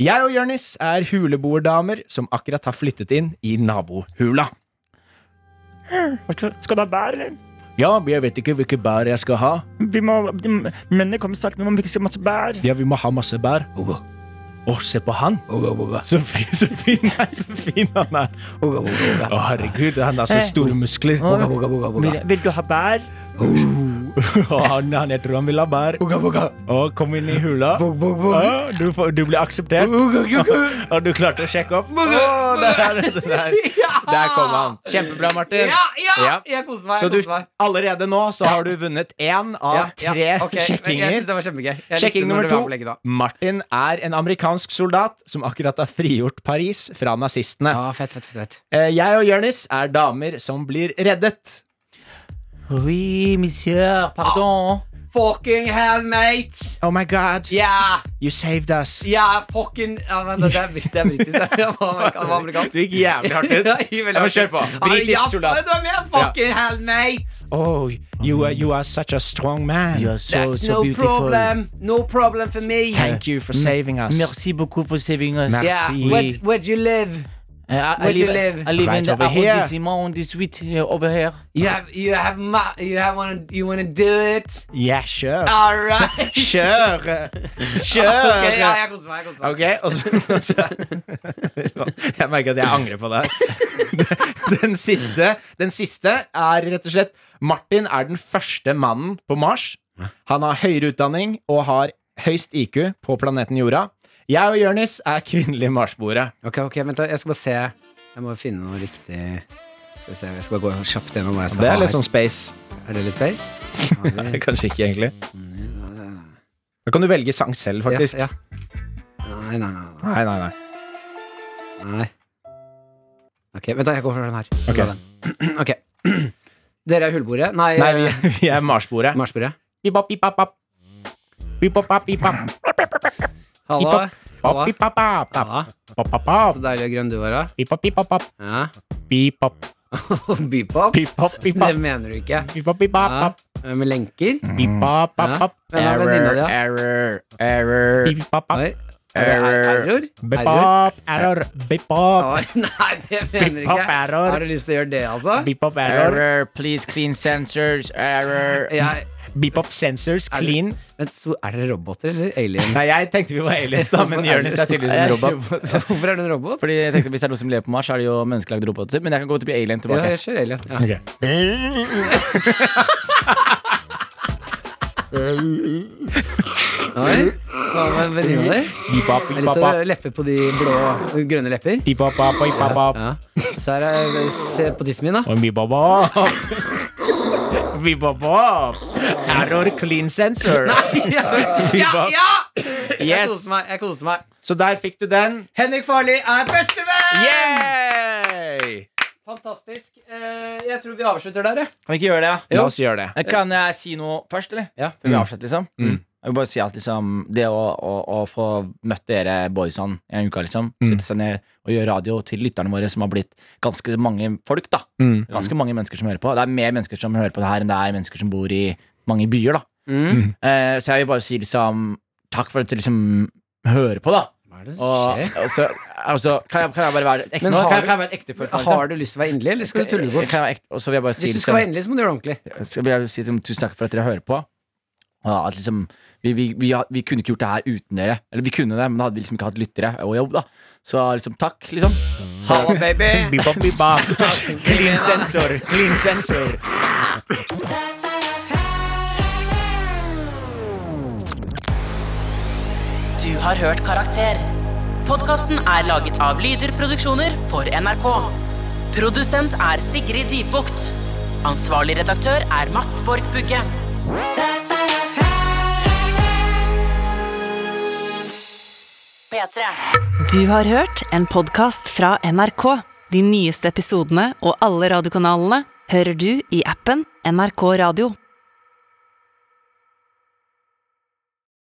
[SPEAKER 2] Jeg og Jørnis er huleboerdamer som akkurat har flyttet inn i nabohula.
[SPEAKER 10] Skal du ha bær, eller?
[SPEAKER 2] Ja, men jeg vet ikke hvilke bær jeg skal ha.
[SPEAKER 10] Vi må, de, mennene kommer snart, vi må ikke se masse bær.
[SPEAKER 2] Ja, vi må ha masse bær. Å, se på han! Så fin, så fin, [laughs] så fin han er! Å, herregud, han har så store muskler.
[SPEAKER 10] Vil, vil du ha bær?
[SPEAKER 2] [laughs] han, han, jeg tror han vil ha bær. Og kom inn i hula. Ja, du, får- du blir akseptert. Og du klarte å sjekke opp. Å, der, der, der kom han. Kjempebra, Martin.
[SPEAKER 11] Ja, ja,
[SPEAKER 2] Ja.
[SPEAKER 11] jeg koser meg.
[SPEAKER 2] Så
[SPEAKER 11] Jeg
[SPEAKER 2] du,
[SPEAKER 11] koser meg.
[SPEAKER 2] allerede nå så har du vunnet én av
[SPEAKER 11] Ja, ja,
[SPEAKER 2] tre
[SPEAKER 11] ok, men
[SPEAKER 2] sjekkinger.
[SPEAKER 11] Jeg synes det var kjempegøy. Jeg
[SPEAKER 2] Sjekking
[SPEAKER 11] likte når
[SPEAKER 2] nummer
[SPEAKER 11] det var
[SPEAKER 2] to.
[SPEAKER 11] på leggen da.
[SPEAKER 2] Martin er en amerikansk soldat som akkurat har frigjort Paris fra nazistene. Eh, Jeg og Jonis er damer som blir reddet.
[SPEAKER 3] Oui, monsieur, pardon.
[SPEAKER 11] Fucking hell, mate!
[SPEAKER 2] Ah. Oh my god,
[SPEAKER 11] Yeah,
[SPEAKER 2] you saved us.
[SPEAKER 11] yeah, fucking ja, men Det det er britt- det er britisk. Det er amerikansk. Det var amerikansk.
[SPEAKER 2] Du gikk jævlig hardt ut.
[SPEAKER 11] [laughs] Ja, jeg gikk veldig
[SPEAKER 2] Ja, men
[SPEAKER 11] hardt
[SPEAKER 2] kjør
[SPEAKER 11] ut.
[SPEAKER 2] på.
[SPEAKER 11] Ja, men
[SPEAKER 2] Britisk
[SPEAKER 11] ja,
[SPEAKER 2] soldat.
[SPEAKER 11] men da er jeg Fucking hell, mate!
[SPEAKER 2] Oh, you are, you are such a strong man.
[SPEAKER 3] You are so,
[SPEAKER 11] That's
[SPEAKER 3] so
[SPEAKER 11] no
[SPEAKER 3] beautiful.
[SPEAKER 11] problem. No problem for me.
[SPEAKER 2] Thank you for saving us.
[SPEAKER 3] Mm. Merci beaucoup for saving us.
[SPEAKER 2] Merci.
[SPEAKER 11] Yeah,
[SPEAKER 2] see.
[SPEAKER 11] where, where'd you live?
[SPEAKER 3] I, I
[SPEAKER 11] Where do you live?
[SPEAKER 3] I live
[SPEAKER 2] Right
[SPEAKER 3] in the
[SPEAKER 2] over here.
[SPEAKER 3] arrondissement on the street uh, over here.
[SPEAKER 11] You have, you have, ma you have one, you wanna do it?
[SPEAKER 2] Yeah, kjør.
[SPEAKER 11] All
[SPEAKER 2] [laughs]
[SPEAKER 11] right.
[SPEAKER 2] Kjør! Kjør!
[SPEAKER 11] Ok, ja, jeg koser meg, jeg koser meg.
[SPEAKER 2] Ok, og så, og så Jeg merker at jeg angrer på det. her. Den siste, den siste er rett og slett Martin er den første mannen på Mars. Han har høyere utdanning og har høyst IQ på planeten Jorda. Jeg og Jonis er kvinnelige marsboere.
[SPEAKER 4] Ok, ok, vent da, jeg skal bare se Jeg må finne noe riktig Skal vi se, jeg skal bare gå kjapt gjennom hva jeg skal
[SPEAKER 2] Det
[SPEAKER 4] ha
[SPEAKER 2] er litt
[SPEAKER 4] her.
[SPEAKER 2] sånn space.
[SPEAKER 4] Er det litt
[SPEAKER 2] [laughs]
[SPEAKER 4] space?
[SPEAKER 2] Kanskje ikke, egentlig. Da kan du velge sang selv, faktisk.
[SPEAKER 4] Ja, ja. Nei, nei, nei,
[SPEAKER 2] Nei, nei, nei.
[SPEAKER 4] nei Nei Ok, vent da, jeg går for den her
[SPEAKER 2] Ok.
[SPEAKER 4] Den. [clears throat] Ok Dere er hullbordet? Nei, eh,
[SPEAKER 2] nei vi, vi er marsboere.
[SPEAKER 4] marsbordet
[SPEAKER 2] Bipap, bipap, bap. Bipap, bap, bipap.
[SPEAKER 4] Halla
[SPEAKER 2] Hiphop. Bap, bipap, bap. Bap,
[SPEAKER 4] Halla
[SPEAKER 2] bap, bap.
[SPEAKER 4] Så deilig og grønn du var da
[SPEAKER 2] Bipap, bipap, bap.
[SPEAKER 4] Ja [laughs]
[SPEAKER 2] Bipap, bipap,
[SPEAKER 4] Bypop
[SPEAKER 2] bipap.
[SPEAKER 4] Det mener du ikke
[SPEAKER 2] Bipap, bipap,
[SPEAKER 4] Ja Eh,
[SPEAKER 2] bap.
[SPEAKER 4] Med lenker
[SPEAKER 2] Bipap, bap, bap.
[SPEAKER 4] Ja. Hvem er venninna di, da?
[SPEAKER 2] error, error. Bipap, bap.
[SPEAKER 4] Oi Er det er- error? Error?
[SPEAKER 2] Bipap, error. Bipap.
[SPEAKER 4] Oi, [laughs] nei, det mener du
[SPEAKER 2] Bipop
[SPEAKER 4] ikke
[SPEAKER 2] error.
[SPEAKER 4] Har du lyst til å gjøre det altså?
[SPEAKER 2] Bipap, error.
[SPEAKER 3] Error, please clean sensors. Øh, Error.
[SPEAKER 4] Jeg
[SPEAKER 2] Bipap sensors,
[SPEAKER 4] Er det-
[SPEAKER 2] clean.
[SPEAKER 4] Men så er dere roboter eller aliens?
[SPEAKER 2] Nei, jeg tenkte vi var aliens, da, men Jonis er tydeligvis
[SPEAKER 4] [laughs]
[SPEAKER 2] en robot.
[SPEAKER 4] Hvorfor er du en robot?
[SPEAKER 3] Fordi jeg tenkte Hvis det er noe som lever på Mars, så er det jo menneskelagde roboter. Men jeg kan gå til å bli alien
[SPEAKER 4] Ja,
[SPEAKER 3] tilbake.
[SPEAKER 4] jeg kjører alien. Ja.
[SPEAKER 2] Ok.
[SPEAKER 4] Oi, Hva med venninna di?
[SPEAKER 2] Bipap,
[SPEAKER 4] Det er Litt
[SPEAKER 2] bipap,
[SPEAKER 4] å
[SPEAKER 2] bap.
[SPEAKER 4] leppe på de blå og grønne lepper.
[SPEAKER 2] Bipap, bap, bipap, bap.
[SPEAKER 4] Ja. Så her er se på tissen [laughs] min, da.
[SPEAKER 2] Og bipap, [laughs] bap. Bipap, bap. Error, clean sensor.
[SPEAKER 11] Ja,
[SPEAKER 2] Bipap.
[SPEAKER 11] ja! Jeg
[SPEAKER 2] Yes.
[SPEAKER 11] koser meg, jeg koser meg.
[SPEAKER 2] Så der fikk du den.
[SPEAKER 11] Henrik Farli er bestevenn!
[SPEAKER 2] Yay!
[SPEAKER 11] Fantastisk. Eh, jeg tror vi avslutter der, jeg.
[SPEAKER 3] Kan vi ikke gjøre det? ja?
[SPEAKER 2] La oss gjøre det.
[SPEAKER 3] Men Eh, Kan jeg si noe først, eller?
[SPEAKER 4] Ja.
[SPEAKER 3] Før vi avslutter, liksom? Jeg vil bare si at liksom, det å, å, å få møtt dere boysene i en uke, liksom Sitte seg ned og gjøre radio til lytterne våre, som har blitt ganske mange folk, da.
[SPEAKER 2] Mm.
[SPEAKER 3] Ganske mange mennesker som hører på. Det er mer mennesker som hører på det her, enn det er mennesker som bor i mange byer, da.
[SPEAKER 4] Mm.
[SPEAKER 3] Eh, så jeg vil bare si liksom takk for at dere liksom hører på, da.
[SPEAKER 4] Hva er det
[SPEAKER 3] Og,
[SPEAKER 4] som skjer?
[SPEAKER 3] og så altså, kan, jeg, kan jeg bare være ekte
[SPEAKER 4] Men
[SPEAKER 3] nå?
[SPEAKER 4] har
[SPEAKER 3] Kan jeg,
[SPEAKER 4] du-
[SPEAKER 3] kan jeg være et ekte folk,
[SPEAKER 4] Har du lyst til å være inderlig, eller altså? skal du tulle det bort?
[SPEAKER 3] Kan jeg være ekte, og så vil jeg bare si
[SPEAKER 4] Hvis du
[SPEAKER 3] liksom-
[SPEAKER 4] skal være inderlig, så må du gjøre det ordentlig.
[SPEAKER 3] skal jeg si liksom, tusen takk for at dere hører på. Og at liksom, vi, vi, vi, har- vi kunne ikke gjort det her uten dere. Eller vi kunne det, men da hadde vi liksom ikke hatt lyttere og jobb. da Så liksom takk, liksom.
[SPEAKER 9] Halla, baby.
[SPEAKER 2] Bipap, bipap. Clean sensor, clean sensor.
[SPEAKER 12] Du har hørt Karakter. Podkasten er laget av Lyder Produksjoner for NRK. Produsent er Sigrid Dybukt. Ansvarlig redaktør er Mats Borg Bugge. P3.
[SPEAKER 1] Du har hørt en podcast fra NRK. De nyeste episodene og alle radiokanalene hører du i appen NRK Radio.